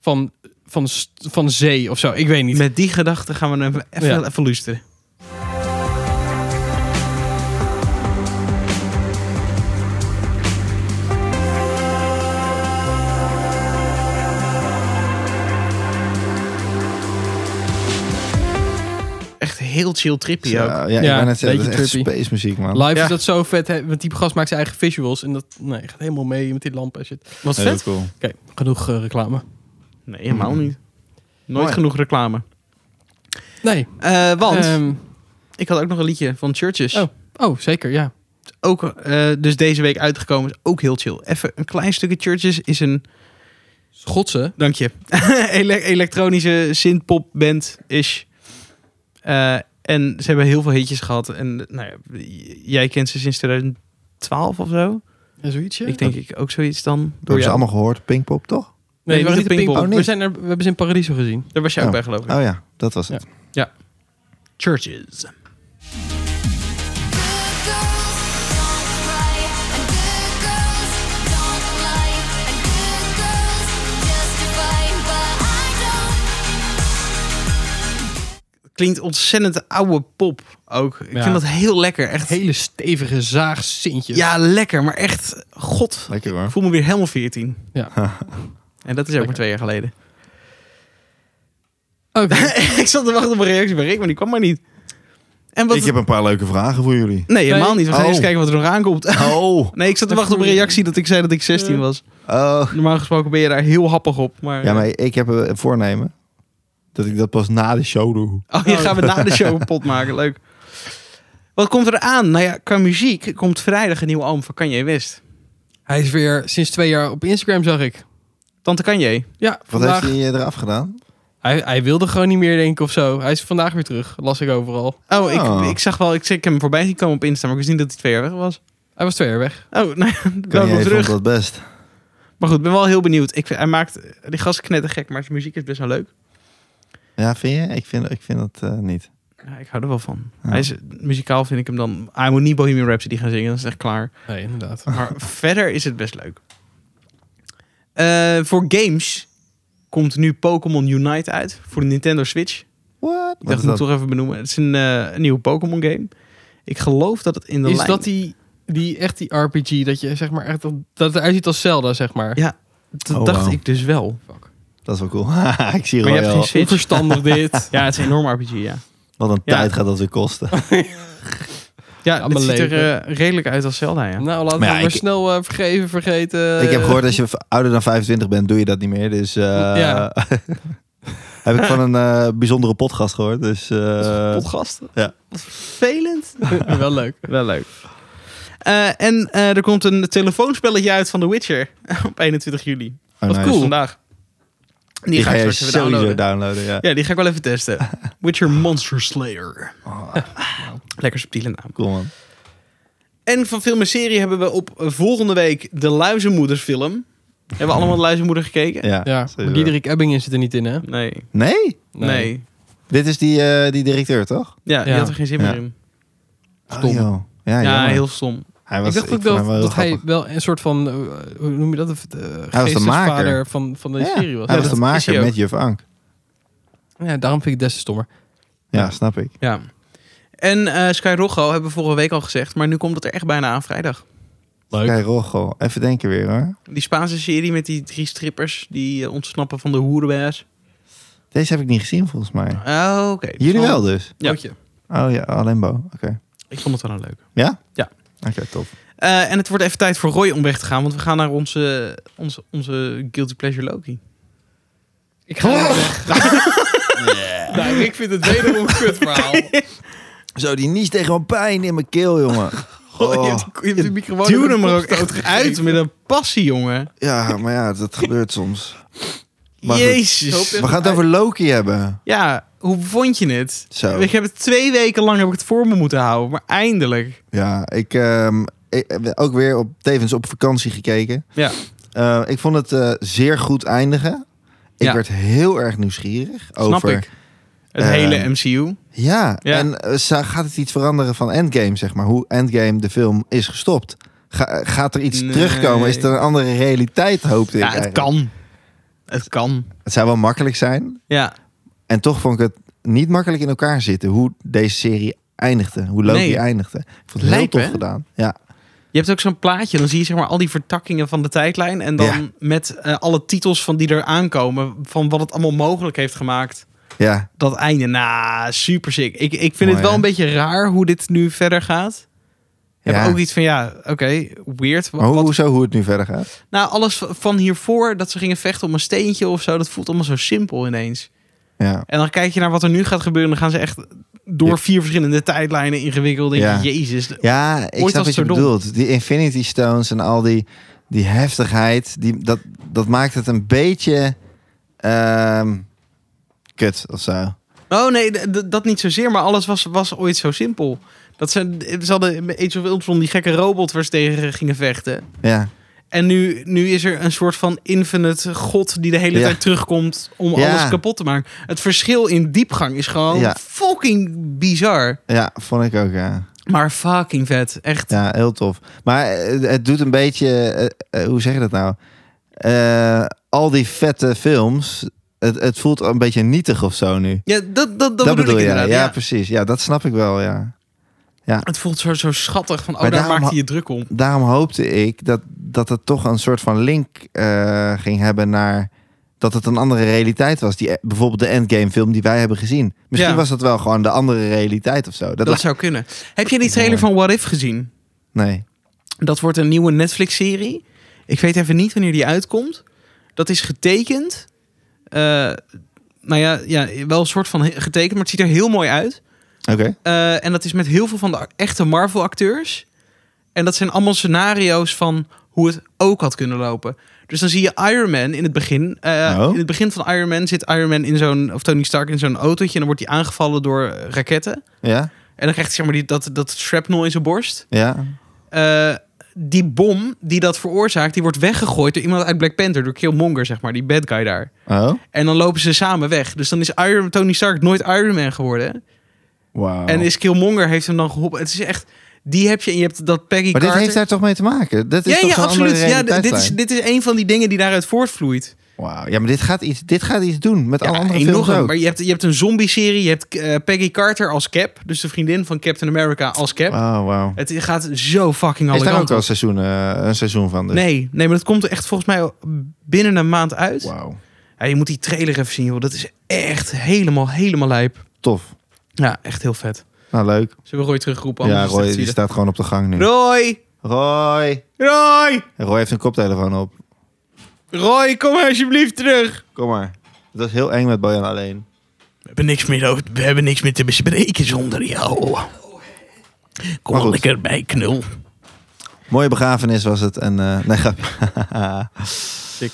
Speaker 3: van, van, st- van zee of zo. Ik weet niet.
Speaker 2: Met die gedachte gaan we hem even,
Speaker 3: Ja.
Speaker 2: even luisteren. Echt heel chill trippy ook.
Speaker 1: Ja, ja, ik
Speaker 3: Ja,
Speaker 1: wou net zeggen, dat is echt
Speaker 3: beetje
Speaker 1: space muziek, man.
Speaker 3: Live
Speaker 2: Ja.
Speaker 3: is dat zo vet, hè, want die gast maakt zijn eigen visuals. En dat nee, gaat helemaal mee met die lampen en shit. Oké,
Speaker 2: Wat
Speaker 1: Heel
Speaker 2: vet.
Speaker 1: cool.
Speaker 3: Oh genoeg eh, reclame.
Speaker 2: Nee, helemaal niet. Nooit
Speaker 1: Mooi.
Speaker 2: genoeg reclame.
Speaker 3: Nee,
Speaker 2: Eh, want
Speaker 3: ehm,
Speaker 2: ik had ook nog een liedje van Churches.
Speaker 3: oh, zeker, ja.
Speaker 2: ook eh, dus deze week uitgekomen is ook heel chill. Even een klein stukje Churches is een
Speaker 3: Schotse.
Speaker 2: dank je Ele- elektronische synthpop band is. eh, en ze hebben heel veel hitjes gehad en nou ja, j- jij kent ze sinds 2012 of zo.
Speaker 3: Ja, zoiets,
Speaker 2: Ik denk ik ook zoiets dan
Speaker 1: Dat
Speaker 2: door
Speaker 1: hebben ze
Speaker 2: jou.
Speaker 1: allemaal gehoord. Pinkpop, toch?
Speaker 3: Nee, we waren niet
Speaker 2: de
Speaker 3: de
Speaker 2: Pinkpop.
Speaker 3: Pinkpop.
Speaker 1: Oh, nee.
Speaker 3: we, zijn er, we hebben ze in Paradiso gezien.
Speaker 2: Daar was jij ook
Speaker 1: Ja.
Speaker 2: bij geloof ik.
Speaker 1: Oh ja, dat was het.
Speaker 2: Churches. Klinkt ontzettend oude pop ook. Ik
Speaker 3: Ja.
Speaker 2: vind dat heel lekker. Echt
Speaker 3: Hele stevige zaagzintjes.
Speaker 2: Ja, lekker, maar echt, god.
Speaker 1: Lekker
Speaker 2: Ik
Speaker 1: hoor.
Speaker 2: voel me weer helemaal 14.
Speaker 3: Ja.
Speaker 2: En dat is ook maar
Speaker 3: Lekker.
Speaker 2: twee jaar geleden.
Speaker 3: Oké.
Speaker 2: ik zat te wachten op een reactie bij Rick, maar die kwam maar niet. En wat...
Speaker 1: Ik heb een paar leuke vragen voor jullie.
Speaker 2: Nee, helemaal niet. We gaan
Speaker 1: Oh.
Speaker 2: eerst kijken wat er nog aankomt.
Speaker 1: Oh.
Speaker 2: Nee, ik zat te wachten
Speaker 3: Dat
Speaker 2: op een
Speaker 3: voel je-
Speaker 2: reactie dat ik zei dat ik 16 was.
Speaker 1: oh.
Speaker 2: Normaal gesproken ben je daar heel happig op. Maar...
Speaker 1: Ja, maar ik heb een voornemen. Dat ik dat pas na de show doe.
Speaker 2: Oh, hier gaan we na de show een pot maken. Leuk. Wat komt er aan? Nou ja, qua muziek komt vrijdag een nieuwe album van Kanye West.
Speaker 3: Hij is weer sinds twee jaar op Instagram, zag ik.
Speaker 2: Tante Kanye.
Speaker 3: Ja,
Speaker 1: Wat
Speaker 3: vandaag.
Speaker 1: heeft hij eh, eraf gedaan?
Speaker 3: Hij, hij wilde gewoon niet meer, denk ik, of zo. Hij is vandaag weer terug, las ik overal.
Speaker 2: Oh,
Speaker 1: Oh.
Speaker 2: Ik, ik zag wel, ik, ik heb hem voorbij zien komen op Insta, maar ik wist niet dat hij twee jaar weg was.
Speaker 3: Hij was twee jaar weg.
Speaker 2: Oh, nou ja,
Speaker 1: Kan
Speaker 2: welkom
Speaker 1: jij
Speaker 2: terug.
Speaker 1: vond dat best.
Speaker 2: Maar goed, ik ben wel heel benieuwd. Ik vind, hij maakt, die gast is knettergek, maar zijn muziek is best wel leuk.
Speaker 1: Ja, vind je? Ik vind, ik vind dat eh, niet.
Speaker 2: Ja, ik hou er wel van.
Speaker 1: Ja.
Speaker 2: Hij is, muzikaal vind ik hem dan... Hij moet niet Bohemian Rhapsody gaan zingen, dat is echt klaar.
Speaker 3: Nee, inderdaad.
Speaker 2: Maar verder is het best leuk. Eh, voor games komt nu Pokémon Unite uit voor de Nintendo Switch.
Speaker 1: What? Wat is
Speaker 2: Ik dacht, ik moet
Speaker 1: dat?
Speaker 2: het toch even benoemen. Het is een, eh, een nieuwe Pokémon game. Ik geloof dat het in de
Speaker 3: Is
Speaker 2: lijn...
Speaker 3: dat die, die echt die RPG dat je zeg maar echt dat het eruit ziet als Zelda zeg maar?
Speaker 2: Ja, Dat
Speaker 1: Oh,
Speaker 2: dacht
Speaker 1: wauw.
Speaker 2: ik dus wel.
Speaker 1: Dat is wel cool. Haha, ik zie
Speaker 2: Maar je
Speaker 1: er
Speaker 2: hebt
Speaker 1: al.
Speaker 2: geen Switch.
Speaker 3: Onverstandig dit.
Speaker 2: Ja, het is een enorm RPG, ja.
Speaker 1: Wat een
Speaker 2: Ja.
Speaker 1: tijd gaat dat weer kosten.
Speaker 2: Ja,
Speaker 3: Ja,
Speaker 2: dit
Speaker 3: mijn
Speaker 2: ziet er
Speaker 3: leven.
Speaker 2: eh, redelijk uit als Zelda,
Speaker 1: Eh,
Speaker 2: ja.
Speaker 3: Nou, laten we
Speaker 1: Maar ja,
Speaker 3: maar
Speaker 1: ik-
Speaker 3: snel eh, vergeven, vergeten.
Speaker 1: ik heb gehoord dat je v- ouder dan 25 bent, doe je dat niet meer. Dus eh,
Speaker 3: Ja.
Speaker 1: heb ik van een eh, bijzondere podcast gehoord. Dus eh,
Speaker 2: Podcast?
Speaker 1: ja.
Speaker 2: Wat vervelend.
Speaker 3: Wel leuk.
Speaker 2: Wel leuk. Eh, en eh, er komt een telefoonspelletje uit van The Witcher op 21 juli.
Speaker 1: oh,
Speaker 3: Wat
Speaker 1: nice.
Speaker 2: Dus
Speaker 3: cool.
Speaker 2: vandaag. Die,
Speaker 1: Die
Speaker 2: ga
Speaker 1: ga
Speaker 2: ik
Speaker 1: je
Speaker 2: straks even
Speaker 1: sowieso
Speaker 2: downloaden.
Speaker 1: downloaden. ja.
Speaker 2: Ja, die ga ik wel even testen. Witcher Monster Slayer.
Speaker 1: Oh,
Speaker 2: Lekker subtiele naam.
Speaker 1: cool man.
Speaker 2: En van film en serie hebben we op eh, volgende week de Luizenmoedersfilm. Hebben we allemaal de Luizenmoeder gekeken?
Speaker 1: Ja.
Speaker 3: Ja, maar
Speaker 1: sowieso.
Speaker 3: Diederik Ebbingen zit er niet in hè?
Speaker 2: Nee.
Speaker 1: Nee?
Speaker 2: Nee.
Speaker 1: Dit is die, eh, die directeur, toch?
Speaker 2: Ja, die
Speaker 3: Ja.
Speaker 2: had er geen zin
Speaker 1: Ja.
Speaker 2: meer in.
Speaker 3: Stom.
Speaker 1: Oh, joh. ja,
Speaker 2: Ja,
Speaker 1: jammer.
Speaker 2: heel stom.
Speaker 1: Hij was,
Speaker 3: ik dacht ook
Speaker 1: vond
Speaker 3: dat,
Speaker 1: hem wel heel
Speaker 3: dat hij
Speaker 1: grappig.
Speaker 3: wel een soort van, eh, hoe noem je dat? Of, eh,
Speaker 1: was de maker.
Speaker 3: geestesvader van, van deze
Speaker 1: Ja,
Speaker 3: serie was.
Speaker 1: Hij
Speaker 3: Ja,
Speaker 1: was de
Speaker 3: dat is hij
Speaker 1: maker
Speaker 3: ook.
Speaker 1: met Juf Ank.
Speaker 3: Ja, daarom vind ik het des te stommer.
Speaker 1: Ja, snap ik.
Speaker 2: Ja. En eh Sky Rojo hebben we vorige week al gezegd, maar nu komt het er echt bijna aan vrijdag.
Speaker 3: Leuk.
Speaker 1: Kijk, Rogo. Even denken weer hoor.
Speaker 2: Die Spaanse serie met die drie strippers die eh, ontsnappen van de hoerenbaas.
Speaker 1: Deze heb ik niet gezien volgens mij.
Speaker 2: Oh, oké.
Speaker 1: Jullie
Speaker 2: Dus
Speaker 1: wel dus?
Speaker 2: Ja.
Speaker 3: Ootje.
Speaker 1: Oh ja, alleen Bo. Oké.
Speaker 2: Ik vond het wel een leuk.
Speaker 1: Ja?
Speaker 2: Ja.
Speaker 1: Oké, top.
Speaker 2: Eh, en het wordt even tijd voor Roy om weg te gaan, want we gaan naar onze, onze, onze Guilty Pleasure Loki.
Speaker 3: Ik ga weer weg. Nou, ik vind het wederom een kut verhaal.
Speaker 1: Zo, die niest tegen mijn pijn in mijn keel, jongen.
Speaker 2: Roy, je
Speaker 1: Oh,
Speaker 2: hebt- je hebt de microfoon
Speaker 3: Duw
Speaker 2: in de
Speaker 3: hem er ook
Speaker 2: kopstoot
Speaker 3: echt
Speaker 2: gegeven. uit met een passie, jongen.
Speaker 1: ja, maar ja, dat gebeurt soms. Maar goed.
Speaker 2: Jezus.
Speaker 1: We gaan het over Loki hebben.
Speaker 2: Ja, hoe vond je het?
Speaker 1: Zo.
Speaker 2: Ik heb het twee weken lang heb ik het voor me moeten houden, maar eindelijk.
Speaker 1: Ja, ik, ehm, ik heb ook weer op, tevens op vakantie gekeken.
Speaker 2: Ja.
Speaker 1: Eh, ik vond het eh, zeer goed eindigen. Ik
Speaker 2: Ja.
Speaker 1: werd heel erg nieuwsgierig over...
Speaker 2: Snap ik. Het
Speaker 1: eh,
Speaker 2: hele MCU.
Speaker 1: Ja,
Speaker 2: Ja.
Speaker 1: en eh, za- gaat het iets veranderen van Endgame, zeg maar? Hoe Endgame de film is gestopt. Ga- eh, gaat er iets
Speaker 2: Nee.
Speaker 1: terugkomen? Is er een andere realiteit, hoopte ik
Speaker 2: Ja, het
Speaker 1: eigenlijk.
Speaker 2: kan. Het kan.
Speaker 1: Het zou wel makkelijk zijn.
Speaker 2: Ja.
Speaker 1: En toch vond ik het niet makkelijk in elkaar zitten... hoe deze serie eindigde. Hoe Loki
Speaker 2: Nee.
Speaker 1: eindigde. Ik vond het heel
Speaker 2: Lijp,
Speaker 1: tof
Speaker 2: hè?
Speaker 1: gedaan. Ja,
Speaker 2: Je hebt ook zo'n plaatje, dan zie je zeg maar al die vertakkingen van de tijdlijn. En dan met eh, alle titels van die er aankomen, van wat het allemaal mogelijk heeft gemaakt.
Speaker 1: ja.
Speaker 2: Dat einde, nou, super sick. Ik, ik vind
Speaker 1: Mooi,
Speaker 2: het wel
Speaker 1: hè?
Speaker 2: een beetje raar hoe dit nu verder gaat. Ik
Speaker 1: Ja.
Speaker 2: heb ook iets van, ja, oké, weird. Wat,
Speaker 1: Maar hoe,
Speaker 2: wat-
Speaker 1: hoezo hoe het nu verder gaat?
Speaker 2: nou, alles v- van hiervoor, dat ze gingen vechten om een steentje of zo, dat voelt allemaal zo simpel ineens.
Speaker 1: Ja.
Speaker 2: En dan kijk je naar wat er nu gaat gebeuren, dan gaan ze echt door
Speaker 1: Ja.
Speaker 2: vier verschillende tijdlijnen ingewikkeld. Denk
Speaker 1: Ja.
Speaker 2: je, jezus.
Speaker 1: Ja, ik
Speaker 2: Ooit
Speaker 1: snap
Speaker 2: was
Speaker 1: wat je
Speaker 2: het zo dom.
Speaker 1: bedoelt. Die Infinity Stones en al die, die heftigheid, die, dat, dat maakt het een beetje ehm, kut of zo.
Speaker 2: Oh nee, d- d- dat niet zozeer, maar alles was, was ooit zo simpel. Dat ze, ze hadden in Age of Ultron die gekke robot waar ze tegen gingen vechten.
Speaker 1: Ja,
Speaker 2: En nu, nu is er een soort van infinite god die de hele
Speaker 1: Ja.
Speaker 2: tijd terugkomt om
Speaker 1: Ja.
Speaker 2: alles kapot te maken. Het verschil in diepgang is gewoon
Speaker 1: Ja.
Speaker 2: fucking bizar.
Speaker 1: ja vond ik ook, ja.
Speaker 2: Maar fucking vet, echt.
Speaker 1: Ja, heel tof. Maar eh, het doet een beetje, eh, eh, hoe zeg je dat nou? Eh, al die vette films, het, het voelt een beetje nietig of zo nu.
Speaker 2: Ja, dat, dat, dat, bedoel, ik
Speaker 1: je, ja,
Speaker 2: inderdaad. Ja,
Speaker 1: precies. Ja, dat snap ik wel, ja.
Speaker 2: Het voelt zo, zo schattig van, oh,
Speaker 1: Maar
Speaker 2: daar
Speaker 1: daarom
Speaker 2: maakt
Speaker 1: ha-
Speaker 2: hij je druk om.
Speaker 1: daarom hoopte ik dat, dat het toch een soort van link eh, ging hebben naar dat het een andere realiteit was. Die, bijvoorbeeld de Endgame film die wij hebben gezien. Misschien
Speaker 2: Ja.
Speaker 1: was dat wel gewoon de andere realiteit of zo. Dat
Speaker 2: Dat
Speaker 1: lijkt-
Speaker 2: zou kunnen. Heb je die trailer van What If gezien?
Speaker 1: Nee.
Speaker 2: Dat wordt een nieuwe Netflix-serie. Ik weet even niet wanneer die uitkomt. Dat is getekend. Eh, nou ja, ja, wel een soort van he- getekend, maar het ziet er heel mooi uit.
Speaker 1: Oké.
Speaker 2: Eh, en dat is met heel veel van de a- echte Marvel-acteurs. En dat zijn allemaal scenario's van hoe het ook had kunnen lopen. Dus dan zie je Iron Man in het begin. Eh,
Speaker 1: Oh.
Speaker 2: In het begin van Iron Man zit Iron Man in zo'n, of Tony Stark in zo'n autootje. En dan wordt hij aangevallen door eh, raketten.
Speaker 1: Ja.
Speaker 2: En dan krijgt hij zeg maar die, dat, dat shrapnel in zijn borst.
Speaker 1: Ja.
Speaker 2: Eh, die bom die dat veroorzaakt, die wordt weggegooid door iemand uit Black Panther, door Killmonger, zeg maar, die bad guy daar.
Speaker 1: Oh.
Speaker 2: En dan lopen ze samen weg. Dus dan is Iron, Tony Stark nooit Iron Man geworden.
Speaker 1: Oh. Wauw.
Speaker 2: En is Killmonger heeft hem dan geholpen. Het is echt, die heb je en je hebt dat Peggy
Speaker 1: Maar dit
Speaker 2: Carter.
Speaker 1: heeft daar toch mee te maken? Dat is
Speaker 2: ja,
Speaker 1: toch
Speaker 2: ja,
Speaker 1: zo'n andere
Speaker 2: absoluut. Ja, d- dit is,
Speaker 1: realiteitslijn?
Speaker 2: dit is een van die dingen die daaruit voortvloeit.
Speaker 1: Wauw. Ja, maar dit gaat iets, dit gaat iets doen met alle
Speaker 2: Ja,
Speaker 1: andere
Speaker 2: enorm.
Speaker 1: films ook.
Speaker 2: Maar je hebt, je hebt een zombie-serie. Je hebt eh, Peggy Carter als Cap. Dus de vriendin van Captain America als Cap.
Speaker 1: Oh, wauw.
Speaker 2: Het gaat zo fucking alle
Speaker 1: Is daar ook
Speaker 2: kanten
Speaker 1: wel
Speaker 2: op.
Speaker 1: een seizoen, eh, een seizoen van? Dus?
Speaker 2: Nee, nee, maar dat komt echt volgens mij binnen een maand uit.
Speaker 1: Wauw.
Speaker 2: Ja, je moet die trailer even zien, joh. Dat is echt helemaal, helemaal lijp.
Speaker 1: Tof.
Speaker 2: Ja, echt heel vet.
Speaker 1: Nou, leuk.
Speaker 2: Zullen we Roy terugroepen?
Speaker 1: ja,
Speaker 2: Anders is het
Speaker 1: Roy
Speaker 2: echt
Speaker 1: die
Speaker 2: zielig.
Speaker 1: staat gewoon op de gang nu.
Speaker 2: Roy!
Speaker 1: Roy.
Speaker 2: Roy!
Speaker 1: Roy heeft een koptelefoon op.
Speaker 2: Roy, kom alsjeblieft terug!
Speaker 1: Kom maar. Dat was heel eng met Bojan alleen.
Speaker 2: We hebben niks meer, over- we hebben niks meer te bespreken zonder jou.
Speaker 1: Maar
Speaker 2: Kom
Speaker 1: goed.
Speaker 2: lekker bij, knul.
Speaker 1: Mooie begrafenis was het. En, eh, nee, grapje.
Speaker 3: Sick.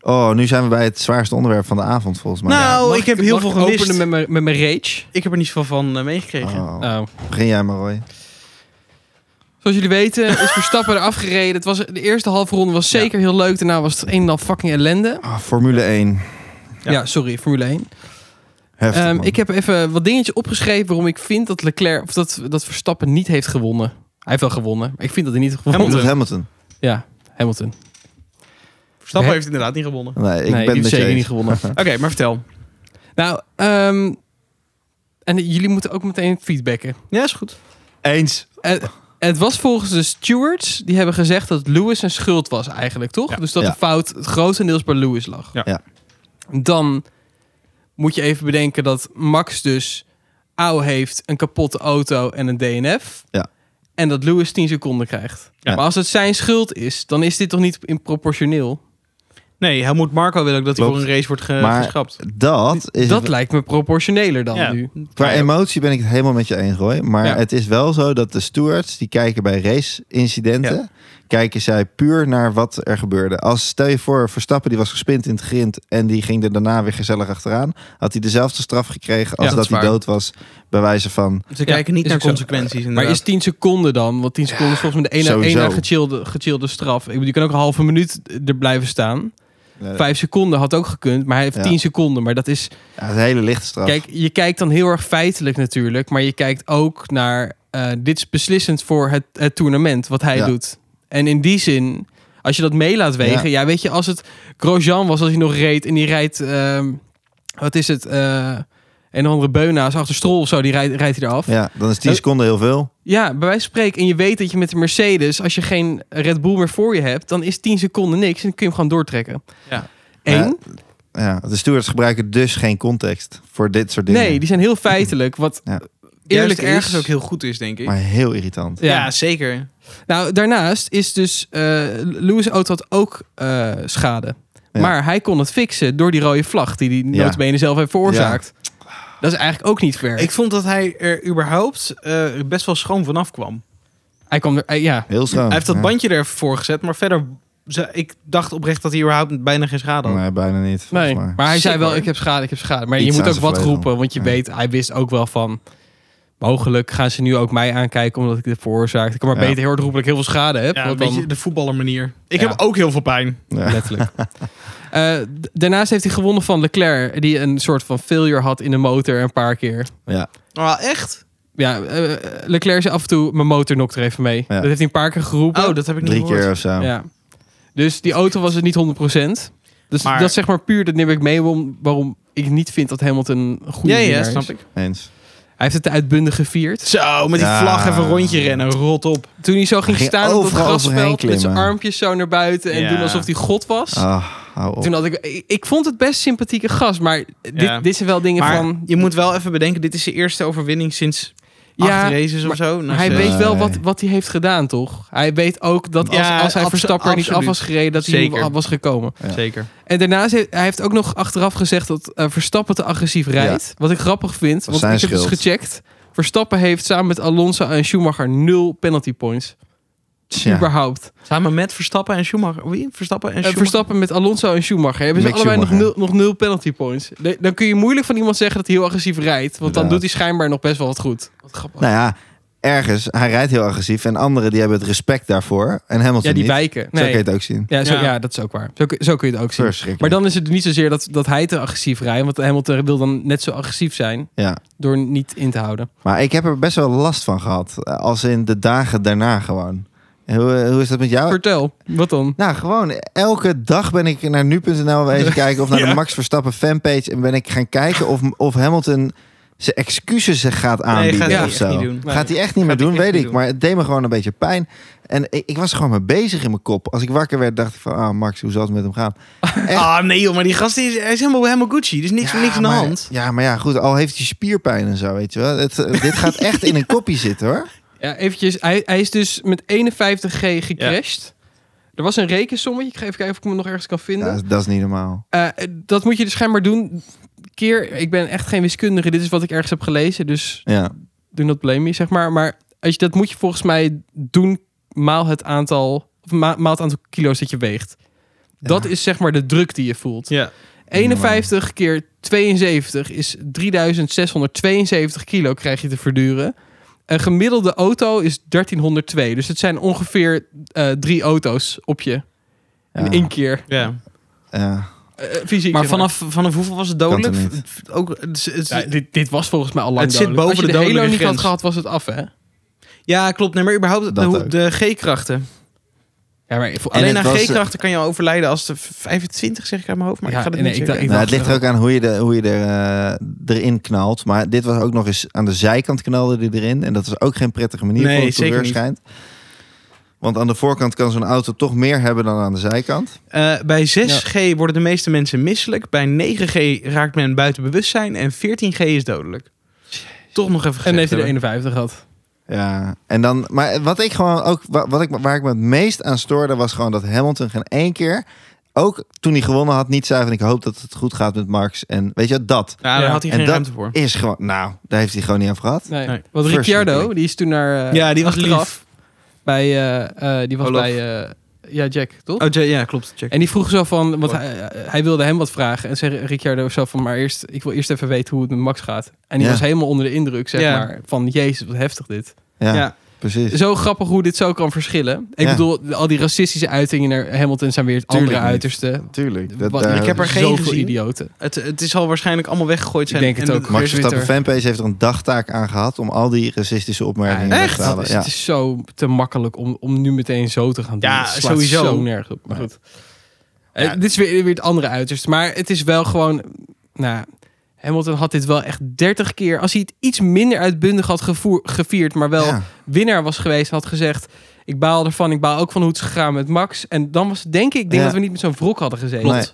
Speaker 1: oh, nu zijn we bij het zwaarste onderwerp van de avond volgens mij.
Speaker 2: nou,
Speaker 3: Mag
Speaker 2: ik heb heel
Speaker 3: mag
Speaker 2: veel
Speaker 3: ik
Speaker 2: gemist.
Speaker 3: openen met mijn- met mijn rage.
Speaker 2: Ik heb er niet veel van eh, meegekregen.
Speaker 1: Oh,
Speaker 3: Oh.
Speaker 1: Begin jij maar, Roy.
Speaker 3: Zoals jullie weten is Verstappen eraf gereden. Het was, de eerste halve ronde was zeker heel leuk. Daarna was het een en al fucking ellende.
Speaker 1: Ah, Formule 1.
Speaker 2: Ja.
Speaker 3: Ja, sorry, Formule 1.
Speaker 1: Heftig,
Speaker 3: Ehm,
Speaker 1: man.
Speaker 3: ik heb even wat dingetjes opgeschreven waarom ik vind dat Leclerc of dat, dat Verstappen niet heeft gewonnen. Hij heeft wel gewonnen, maar ik vind dat hij niet heeft gewonnen.
Speaker 1: Hamilton. Hamilton.
Speaker 3: Ja, Hamilton.
Speaker 2: Verstappen
Speaker 3: Hè?
Speaker 2: heeft inderdaad niet gewonnen.
Speaker 1: Nee, ik ben
Speaker 3: nee, die
Speaker 1: met
Speaker 3: heeft
Speaker 1: je
Speaker 3: zeker
Speaker 1: eens.
Speaker 3: niet gewonnen.
Speaker 2: Oké, maar vertel.
Speaker 3: nou, ehm, en jullie moeten ook meteen feedbacken.
Speaker 2: Ja, is goed.
Speaker 1: Eens.
Speaker 3: Het, het was volgens de stewards, die hebben gezegd dat Lewis een schuld was eigenlijk, toch?
Speaker 2: Ja.
Speaker 3: Dus dat
Speaker 1: Ja.
Speaker 3: de fout grotendeels bij Lewis lag.
Speaker 2: Ja.
Speaker 1: Ja.
Speaker 3: Dan moet je even bedenken dat Max dus auw heeft, een kapotte auto en een DNF.
Speaker 1: Ja.
Speaker 3: En dat Lewis 10 seconden krijgt.
Speaker 2: Ja.
Speaker 3: Maar als het zijn schuld is, dan is dit toch niet in proportioneel?
Speaker 2: Nee, Helmoet Marco wil ook dat hij
Speaker 1: Klopt.
Speaker 2: voor een race wordt ge-
Speaker 1: Maar-
Speaker 2: geschrapt.
Speaker 1: Dat is
Speaker 3: Eh, dat lijkt me proportioneler dan
Speaker 2: Ja.
Speaker 3: nu.
Speaker 1: Qua emotie ben ik het helemaal met je eens, Roy. Maar
Speaker 3: Ja.
Speaker 1: het is wel zo dat de stewards, die kijken bij race-incidenten... kijken zij puur naar wat er gebeurde. Als, stel je voor, Verstappen die was gespind in het grind... en die ging er daarna weer gezellig achteraan... had hij dezelfde straf gekregen als
Speaker 3: Ja, dat
Speaker 1: dat
Speaker 3: is
Speaker 1: hij
Speaker 3: waar.
Speaker 1: dood was... bij wijze van...
Speaker 2: Ze
Speaker 3: Ja,
Speaker 2: kijken niet
Speaker 3: is
Speaker 2: naar
Speaker 3: ook zo.
Speaker 2: consequenties.
Speaker 3: Maar
Speaker 2: inderdaad.
Speaker 3: is 10 seconden dan? Want 10 seconden is volgens mij de ene,
Speaker 1: sowieso.
Speaker 3: ene gechillde, gechillde straf. Ik bedoel, je kan ook een halve minuut er blijven staan.
Speaker 1: eh,
Speaker 3: Vijf seconden had ook gekund, maar hij heeft
Speaker 1: Ja.
Speaker 3: 10 seconden. Maar dat is.
Speaker 1: ja, een hele lichte straf.
Speaker 3: Kijk, je kijkt dan heel erg feitelijk natuurlijk. Maar je kijkt ook naar. eh, dit is beslissend voor het, het tournament, wat hij
Speaker 1: Ja.
Speaker 3: doet. En in die zin, als je dat mee laat wegen. Ja, weet je, als het Grosjean was, als hij nog reed en die rijdt. ehm, wat is het? eh, een of andere beuna's achter strol of zo, die rijdt, rijdt hij eraf.
Speaker 1: ja, dan is 10
Speaker 3: Eh,
Speaker 1: seconden heel veel.
Speaker 3: Ja, bij wijze van spreken. En je weet dat je met de Mercedes, als je geen Red Bull meer voor je hebt, dan is 10 seconden niks en dan kun je hem gewoon doortrekken.
Speaker 2: Ja.
Speaker 3: Eén?
Speaker 1: Ja, de stewards gebruiken dus geen context voor dit soort dingen.
Speaker 3: nee, die zijn heel feitelijk. Wat
Speaker 1: Ja.
Speaker 3: eerlijk
Speaker 2: Juist ergens
Speaker 3: is.
Speaker 2: ook heel goed is, denk ik.
Speaker 1: Maar heel irritant.
Speaker 3: Ja.
Speaker 2: zeker.
Speaker 3: Nou, daarnaast is dus eh Lewis' auto had ook eh, schade.
Speaker 1: Ja.
Speaker 3: Maar hij kon het fixen door die rode vlag die die
Speaker 1: Ja.
Speaker 3: noodbenen zelf heeft veroorzaakt. Dat is eigenlijk ook niet fair.
Speaker 2: Ik vond dat hij er überhaupt eh, best wel schoon vanaf kwam.
Speaker 3: Hij kwam er, eh, ja.
Speaker 1: Heel schoon.
Speaker 2: hij heeft dat
Speaker 1: Oh, ja.
Speaker 2: bandje er voor gezet, maar verder... ze- ik dacht oprecht dat hij überhaupt bijna geen schade had.
Speaker 1: Nee, bijna niet. volgens
Speaker 3: Nee,
Speaker 1: mij.
Speaker 3: maar hij zei
Speaker 2: Sick,
Speaker 3: wel,
Speaker 2: hoor.
Speaker 3: ik heb schade, ik heb schade. Maar
Speaker 1: Iets
Speaker 3: je
Speaker 1: aan
Speaker 3: moet ook
Speaker 1: zijn
Speaker 3: wat
Speaker 1: vleugel.
Speaker 3: roepen, want je
Speaker 1: Ja.
Speaker 3: weet, hij wist ook wel van... Mogelijk gaan ze nu ook mij aankijken omdat ik dit veroorzaakte. Ik kan maar
Speaker 1: Ja.
Speaker 3: beter heel hard roepen dat ik heel veel schade heb.
Speaker 2: Ja,
Speaker 3: want
Speaker 2: een beetje
Speaker 3: dan-
Speaker 2: de voetballermanier. Ik
Speaker 3: Ja.
Speaker 2: heb ook heel veel pijn.
Speaker 1: Ja.
Speaker 3: Letterlijk. Eh, d- daarnaast heeft hij gewonnen van Leclerc, die een soort van failure had in de motor een paar keer.
Speaker 1: Ja.
Speaker 2: Ah, echt?
Speaker 3: Ja, eh, Leclerc zei af en toe, mijn motor nokt er even mee. Dat heeft hij een paar keer geroepen.
Speaker 2: Oh, dat heb ik niet
Speaker 1: Drie
Speaker 2: gehoord.
Speaker 1: keer of zo.
Speaker 3: ja. Dus die auto was het niet 100%. Dus
Speaker 2: Maar-
Speaker 3: dat is zeg maar puur, dat neem ik mee waarom, waarom ik niet vind dat Hamilton een goede
Speaker 2: Ja, ja,
Speaker 3: winnaar is.
Speaker 2: snap ik.
Speaker 1: Eens.
Speaker 3: Hij heeft het uitbundig gevierd.
Speaker 2: Zo, met die
Speaker 1: Ja.
Speaker 2: vlag even een rondje rennen. Rot op.
Speaker 3: Toen hij zo ging,
Speaker 1: Ging
Speaker 3: staan op het
Speaker 1: overal overheen
Speaker 3: grasveld met zijn
Speaker 1: klimmen.
Speaker 3: armpjes zo naar buiten en
Speaker 2: Ja.
Speaker 3: doen alsof hij god was.
Speaker 1: Ah, hou op.
Speaker 3: Toen had ik, ik, ik vond het best sympathieke gast, maar dit,
Speaker 2: Ja.
Speaker 3: dit zijn wel dingen
Speaker 2: Maar
Speaker 3: van.
Speaker 2: je moet wel even bedenken, dit is de eerste overwinning sinds
Speaker 3: Ja,
Speaker 2: acht races of
Speaker 3: maar
Speaker 2: zo. Nou,
Speaker 3: hij
Speaker 2: ze-
Speaker 3: weet wel wat, wat hij heeft gedaan, toch? Hij weet ook dat als,
Speaker 2: Ja,
Speaker 3: als hij
Speaker 2: abso-
Speaker 3: Verstappen er niet af
Speaker 2: absoluut.
Speaker 3: was gereden, dat hij
Speaker 2: Zeker.
Speaker 3: nu was gekomen.
Speaker 1: Ja.
Speaker 2: Zeker.
Speaker 3: En daarnaast heeft hij heeft ook nog achteraf gezegd dat eh, Verstappen te agressief rijdt. Wat ik grappig vind, want ik
Speaker 1: zijn
Speaker 3: heb dus
Speaker 1: schuld.
Speaker 3: gecheckt. Verstappen heeft samen met Alonso en Schumacher nul penalty points.
Speaker 1: Tja.
Speaker 3: Überhaupt.
Speaker 2: Samen met Verstappen en Schumacher. Wie? Verstappen en
Speaker 3: Eh,
Speaker 2: Schumacher.
Speaker 3: Verstappen met Alonso en Schumacher hebben ze
Speaker 1: Mick
Speaker 3: allebei nog nul,
Speaker 1: Schumacher.
Speaker 3: nog nul penalty points. De- dan kun je moeilijk van iemand zeggen dat hij heel agressief rijdt. Want dan
Speaker 1: Inderdaad.
Speaker 3: doet hij schijnbaar nog best wel wat goed. Wat grappig.
Speaker 1: Nou ja, ergens, hij rijdt heel agressief. En anderen die hebben het respect daarvoor. En Hamilton
Speaker 3: ja, die
Speaker 1: niet.
Speaker 3: wijken.
Speaker 1: Zo kun
Speaker 3: Nee.
Speaker 1: je het ook zien.
Speaker 3: Ja, zo,
Speaker 2: Ja.
Speaker 3: ja. dat is ook waar. Zo, kun- zo kun je het ook zien.
Speaker 1: Verschrikkelijk.
Speaker 3: Maar dan is het niet zozeer dat, dat hij te agressief rijdt. Want Hamilton wil dan net zo agressief zijn
Speaker 1: Ja.
Speaker 3: door niet in te houden.
Speaker 1: Maar ik heb er best wel last van gehad. eh, Als in de dagen daarna gewoon. En Hoe, eh, hoe is dat met jou?
Speaker 3: Vertel, wat dan?
Speaker 1: Nou, gewoon elke dag ben ik naar nu.nl wezen kijken of naar
Speaker 2: Ja.
Speaker 1: de Max Verstappen fanpage. En ben ik gaan kijken of, of Hamilton zijn excuses gaat aanbieden
Speaker 2: gaat
Speaker 3: hij
Speaker 1: of
Speaker 2: echt
Speaker 1: zo.
Speaker 2: niet doen.
Speaker 3: Nee.
Speaker 1: Gaat hij echt niet meer
Speaker 2: Gaat hij
Speaker 1: doen,
Speaker 2: echt
Speaker 1: weet
Speaker 2: niet
Speaker 1: ik.
Speaker 2: doen.
Speaker 1: Maar het deed me gewoon een beetje pijn. En ik, ik was er gewoon mee bezig in mijn kop. Als ik wakker werd, dacht ik van, ah Max, hoe zal het met hem gaan? Echt?
Speaker 2: Ah, nee joh, maar die gast die is, hij is helemaal, helemaal Gucci. Er is niks,
Speaker 1: Ja,
Speaker 2: niks aan de
Speaker 1: maar-
Speaker 2: hand.
Speaker 1: Ja, maar ja, goed. Al heeft hij spierpijn en zo, weet je wel. Het, eh, dit gaat echt in een kopje zitten, hoor.
Speaker 3: Ja, eventjes. Hij, hij is dus met 51G gecrashed. Er was een rekensommetje. Ik ga even kijken of ik hem nog ergens kan
Speaker 1: Ja,
Speaker 3: vinden.
Speaker 1: dat is- dat is niet normaal.
Speaker 3: Eh, dat moet je dus schijnbaar doen. Keer, ik ben echt geen wiskundige. Dit is wat ik ergens heb gelezen. Dus
Speaker 1: Ja.
Speaker 3: doe dat blame me, zeg maar. Maar als je, dat moet je volgens mij doen maal het aantal, of ma- maal het aantal kilo's dat je weegt. Dat is zeg maar de druk die je voelt.
Speaker 2: Ja.
Speaker 3: 51 keer 72 is 3672 kilo krijg je te verduren. Een gemiddelde auto is 1302. Dus het zijn ongeveer eh, drie auto's op je.
Speaker 1: Ja.
Speaker 3: In één keer.
Speaker 2: ja.
Speaker 1: Ja.
Speaker 3: Eh, fysiek.
Speaker 2: Maar
Speaker 3: zeg maar.
Speaker 2: vanaf, vanaf hoeveel was het
Speaker 1: het
Speaker 2: dodelijk?
Speaker 1: niet.
Speaker 2: V- Ook, het, is- het is-
Speaker 3: Ja, dit, dit was volgens mij al lang
Speaker 2: Het zit
Speaker 3: dodelijk.
Speaker 2: boven
Speaker 3: Als
Speaker 2: de
Speaker 3: je de,
Speaker 2: dodelijke
Speaker 3: niet had
Speaker 2: grens.
Speaker 3: gehad, was het af, hè?
Speaker 2: ja, klopt. Nee, maar überhaupt de,
Speaker 1: Dat
Speaker 2: hoe-
Speaker 1: ook.
Speaker 2: de G-krachten.
Speaker 3: Ja, maar voor,
Speaker 2: Alleen
Speaker 1: het
Speaker 2: aan
Speaker 1: was- eh,
Speaker 2: G-krachten kan je al overlijden als de 25, zeg ik uit mijn hoofd. Maar
Speaker 3: Ja,
Speaker 2: ik ga dat
Speaker 3: nee,
Speaker 2: niet
Speaker 3: ik
Speaker 2: checken.
Speaker 3: dacht-
Speaker 1: Nou, het ligt er ook aan hoe je, de, hoe je er, eh, erin knalt. Maar dit was ook nog eens aan de zijkant knalde die erin. En dat is ook geen prettige manier
Speaker 2: Nee,
Speaker 1: voor een
Speaker 2: zeker
Speaker 1: coureur
Speaker 2: niet.
Speaker 1: schijnt. Want aan de voorkant kan zo'n auto toch meer hebben dan aan de zijkant.
Speaker 2: Eh, bij 6G worden de meeste mensen misselijk. Bij 9G raakt men buiten bewustzijn. En 14G is dodelijk. Toch nog even gezegd
Speaker 3: en heeft hij de
Speaker 2: hebben.
Speaker 3: 51 gehad.
Speaker 1: Ja, en dan, maar wat ik gewoon ook, wa- wat ik, waar ik me het meest aan stoorde, was gewoon dat Hamilton geen één keer, ook toen hij gewonnen had, niet zei van ik hoop dat het goed gaat met Max. En weet je, dat
Speaker 2: Ja, daar
Speaker 3: Ja.
Speaker 2: had hij
Speaker 1: En
Speaker 2: geen
Speaker 1: dat-
Speaker 2: ruimte voor.
Speaker 1: is gewoon, nou, daar heeft hij gewoon niet aan gehad.
Speaker 2: Nee.
Speaker 3: Nee. Want Ricciardo,
Speaker 1: Verschrikkelijk.
Speaker 3: die is toen naar... eh,
Speaker 2: Ja, die was
Speaker 3: achteraf
Speaker 2: lief.
Speaker 3: Bij, eh, eh, die was
Speaker 2: Olaf.
Speaker 3: bij... eh, ja, Jack, toch?
Speaker 2: Oh, ja, ja, klopt. Check.
Speaker 3: En die vroeg zo van, want hij, hij wilde hem wat vragen. En zei Ricciardo zo van, maar eerst, ik wil eerst even weten hoe het met Max gaat. En die
Speaker 1: Ja.
Speaker 3: was helemaal onder de indruk, zeg
Speaker 2: Ja.
Speaker 3: maar, van jezus, wat heftig dit.
Speaker 1: Ja,
Speaker 2: Ja.
Speaker 1: precies.
Speaker 3: Zo grappig hoe dit zo kan verschillen. Ik
Speaker 1: Ja.
Speaker 3: bedoel, al die racistische uitingen naar Hamilton zijn weer het andere
Speaker 1: Tuurlijk niet.
Speaker 3: uiterste.
Speaker 1: Tuurlijk.
Speaker 3: Wat-
Speaker 1: daar-
Speaker 2: ik heb er geen
Speaker 3: zoveel
Speaker 2: gezien.
Speaker 3: idioten.
Speaker 2: Het, het is al waarschijnlijk allemaal weggegooid zijn.
Speaker 3: denk het
Speaker 2: en
Speaker 3: ook.
Speaker 2: de-
Speaker 3: Maar-
Speaker 1: Max
Speaker 3: Twitter.
Speaker 1: Verstappen fanpage heeft er een dagtaak aan gehad om al die racistische opmerkingen
Speaker 2: Ja,
Speaker 1: weg
Speaker 2: echt?
Speaker 1: te halen.
Speaker 3: Dus
Speaker 1: Ja.
Speaker 3: Het is zo te makkelijk om, om nu meteen zo te gaan doen.
Speaker 2: Ja,
Speaker 3: Het slaat
Speaker 2: sowieso.
Speaker 3: zo nergens op. Maar goed. Eh,
Speaker 2: Ja.
Speaker 3: dit is weer, weer het andere uiterste. Maar het is wel gewoon... Nou, Hamilton had dit wel echt 30 keer... Als hij het iets minder uitbundig had gevoer- gevierd... maar wel
Speaker 1: Ja.
Speaker 3: winnaar was geweest... had gezegd... Ik baal ervan. Ik baal ook van hoe het is gegaan met Max. En dan was het denk ik... Ik denk
Speaker 1: Ja.
Speaker 3: dat we niet met zo'n wrok hadden gezeten.
Speaker 1: Nee.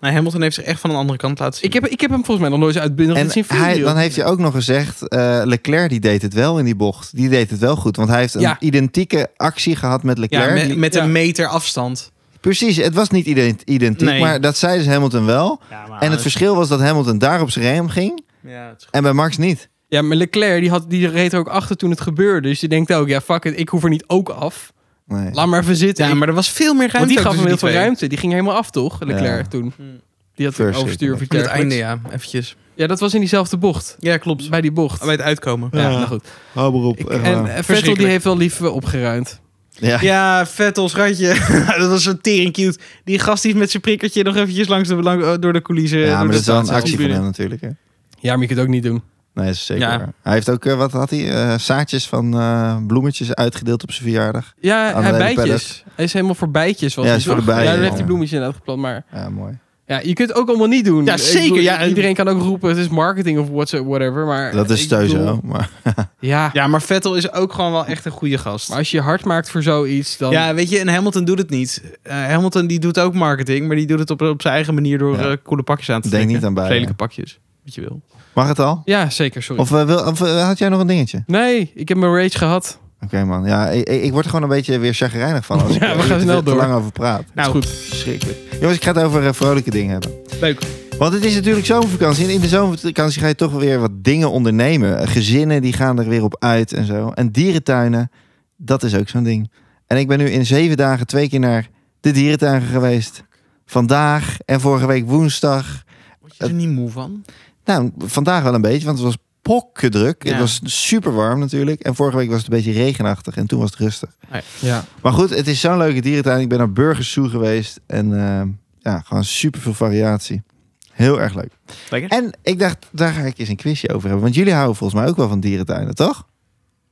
Speaker 2: Nee, Hamilton heeft zich echt van een andere kant laten zien.
Speaker 3: Ik, heb, ik heb hem volgens mij nog nooit zo uitbundig
Speaker 1: En
Speaker 3: gezien.
Speaker 1: hij, dan heeft hij ook nog gezegd, eh, Leclerc die deed het wel in die bocht. Die deed het wel goed, want hij heeft een
Speaker 3: Ja.
Speaker 1: identieke actie gehad met
Speaker 2: ja,
Speaker 1: Leclerc.
Speaker 2: me-
Speaker 1: Die-
Speaker 2: met
Speaker 3: ja.
Speaker 2: een meter afstand.
Speaker 1: Precies, het was niet ident- identiek,
Speaker 2: Nee. Ah, dus-
Speaker 1: maar dat zei dus Hamilton wel. en het verschil was dat Hamilton daar op zijn rem ging
Speaker 2: Ja, het is goed.
Speaker 1: en bij Max niet.
Speaker 3: Ja, maar Leclerc die, had, die reed er ook achter toen het gebeurde. Dus je denkt ook, ja fuck it, ik hoef er niet ook af.
Speaker 1: Nee.
Speaker 3: Laat maar even zitten.
Speaker 2: ja,
Speaker 3: Ik-
Speaker 2: maar er was veel meer ruimte.
Speaker 3: want die
Speaker 2: ook
Speaker 3: gaf hem heel
Speaker 2: tussen
Speaker 3: veel
Speaker 2: die
Speaker 3: ruimte. Die ging helemaal af, toch? Leclerc
Speaker 1: Ja.
Speaker 3: toen.
Speaker 2: Hmm.
Speaker 3: Die had een
Speaker 1: Verschrikkelijk.
Speaker 3: overstuur of iets
Speaker 2: Aan het einde,
Speaker 3: dergelijks.
Speaker 2: ja, eventjes.
Speaker 3: Ja, dat was in diezelfde bocht.
Speaker 2: Ja, klopt.
Speaker 3: Bij die bocht.
Speaker 2: Bij het uitkomen.
Speaker 3: Ja,
Speaker 1: Ja.
Speaker 3: nou goed.
Speaker 1: Hou maar op.
Speaker 2: Ik-
Speaker 1: echt waar.
Speaker 3: En eh, Vettel die
Speaker 2: Verschrikkelijk.
Speaker 3: heeft wel lief eh, opgeruimd.
Speaker 1: ja.
Speaker 2: Ja, Vettels ratje. dat was zo tering cute. Die gast die met zijn prikkertje nog eventjes langs de, lang- eh, door de coulissen.
Speaker 1: Ja,
Speaker 2: door
Speaker 1: maar
Speaker 2: de
Speaker 1: dat is wel een
Speaker 2: staatshal.
Speaker 1: actie van hem natuurlijk. Hè.
Speaker 3: Ja, maar je kunt het ook niet doen.
Speaker 1: Nee, dat is zeker.
Speaker 2: Ja.
Speaker 1: waar. Hij heeft ook, eh, wat had hij, Eh, zaadjes van eh, bloemetjes uitgedeeld op zijn verjaardag.
Speaker 3: Ja,
Speaker 1: Aan
Speaker 3: hij
Speaker 1: de
Speaker 3: bijtjes. Hij is helemaal voor bijtjes. Was
Speaker 1: Ja,
Speaker 3: hij
Speaker 1: is voor
Speaker 3: toch?
Speaker 1: de bijen,
Speaker 3: Ja, daar
Speaker 1: ja.
Speaker 3: heeft hij bloemetjes inderdaad geplant. Maar
Speaker 1: Ja, mooi.
Speaker 3: ja, Ja, je kunt het ook allemaal niet doen.
Speaker 2: Ja,
Speaker 3: Ik
Speaker 2: zeker,
Speaker 3: bedoel,
Speaker 2: ja.
Speaker 3: Iedereen kan ook roepen, het is marketing of whatsa- whatever. Maar
Speaker 1: Dat is
Speaker 3: ik
Speaker 1: sowieso.
Speaker 3: bedoel,
Speaker 1: Maar
Speaker 3: Ja,
Speaker 2: Ja, maar Vettel is ook gewoon wel echt een goede gast.
Speaker 3: maar als je je hard maakt voor zoiets, dan...
Speaker 2: Ja, weet je, en Hamilton doet het niet. Eh, Hamilton die doet ook marketing, maar die doet het op, op zijn eigen manier door
Speaker 1: Ja.
Speaker 2: eh, coole pakjes aan te
Speaker 1: Denk
Speaker 2: trekken.
Speaker 1: niet aan beide.
Speaker 2: Of Lelijke pakjes, wat je wil.
Speaker 1: mag het al?
Speaker 3: Ja, zeker, sorry.
Speaker 1: Of, eh, wil, of eh, had jij nog een dingetje?
Speaker 3: Nee, ik heb mijn rage gehad.
Speaker 1: Oké man, ja, ik, ik ik word er gewoon een beetje weer chagrijnig van als ik
Speaker 3: Ja,
Speaker 1: er
Speaker 3: we gaan
Speaker 1: te-
Speaker 3: snel
Speaker 1: te
Speaker 3: door.
Speaker 1: lang over praat.
Speaker 2: Nou,
Speaker 3: goed.
Speaker 1: Schrikkelijk. Jongens, ik ga het over eh, vrolijke dingen hebben.
Speaker 2: Leuk.
Speaker 1: Want het is natuurlijk zomervakantie. En in de zomervakantie ga je toch weer wat dingen ondernemen. Eh, Gezinnen die gaan er weer op uit en zo. En dierentuinen, dat is ook zo'n ding. En ik ben nu in zeven dagen twee keer naar de dierentuin geweest. Vandaag en vorige week woensdag.
Speaker 2: Word je er niet moe van?
Speaker 1: Nou, vandaag wel een beetje, want het was pokkendruk.
Speaker 2: Ja.
Speaker 1: Het was super warm natuurlijk. En vorige week was het een beetje regenachtig en toen was het rustig.
Speaker 3: Ja.
Speaker 1: Maar goed, het is zo'n leuke dierentuin. Ik ben naar Burgers Zoo geweest en eh, ja, gewoon super veel variatie. Heel erg leuk.
Speaker 2: Lekker.
Speaker 1: En ik dacht, daar ga ik eens een quizje over hebben. Want jullie houden volgens mij ook wel van dierentuinen, toch? Of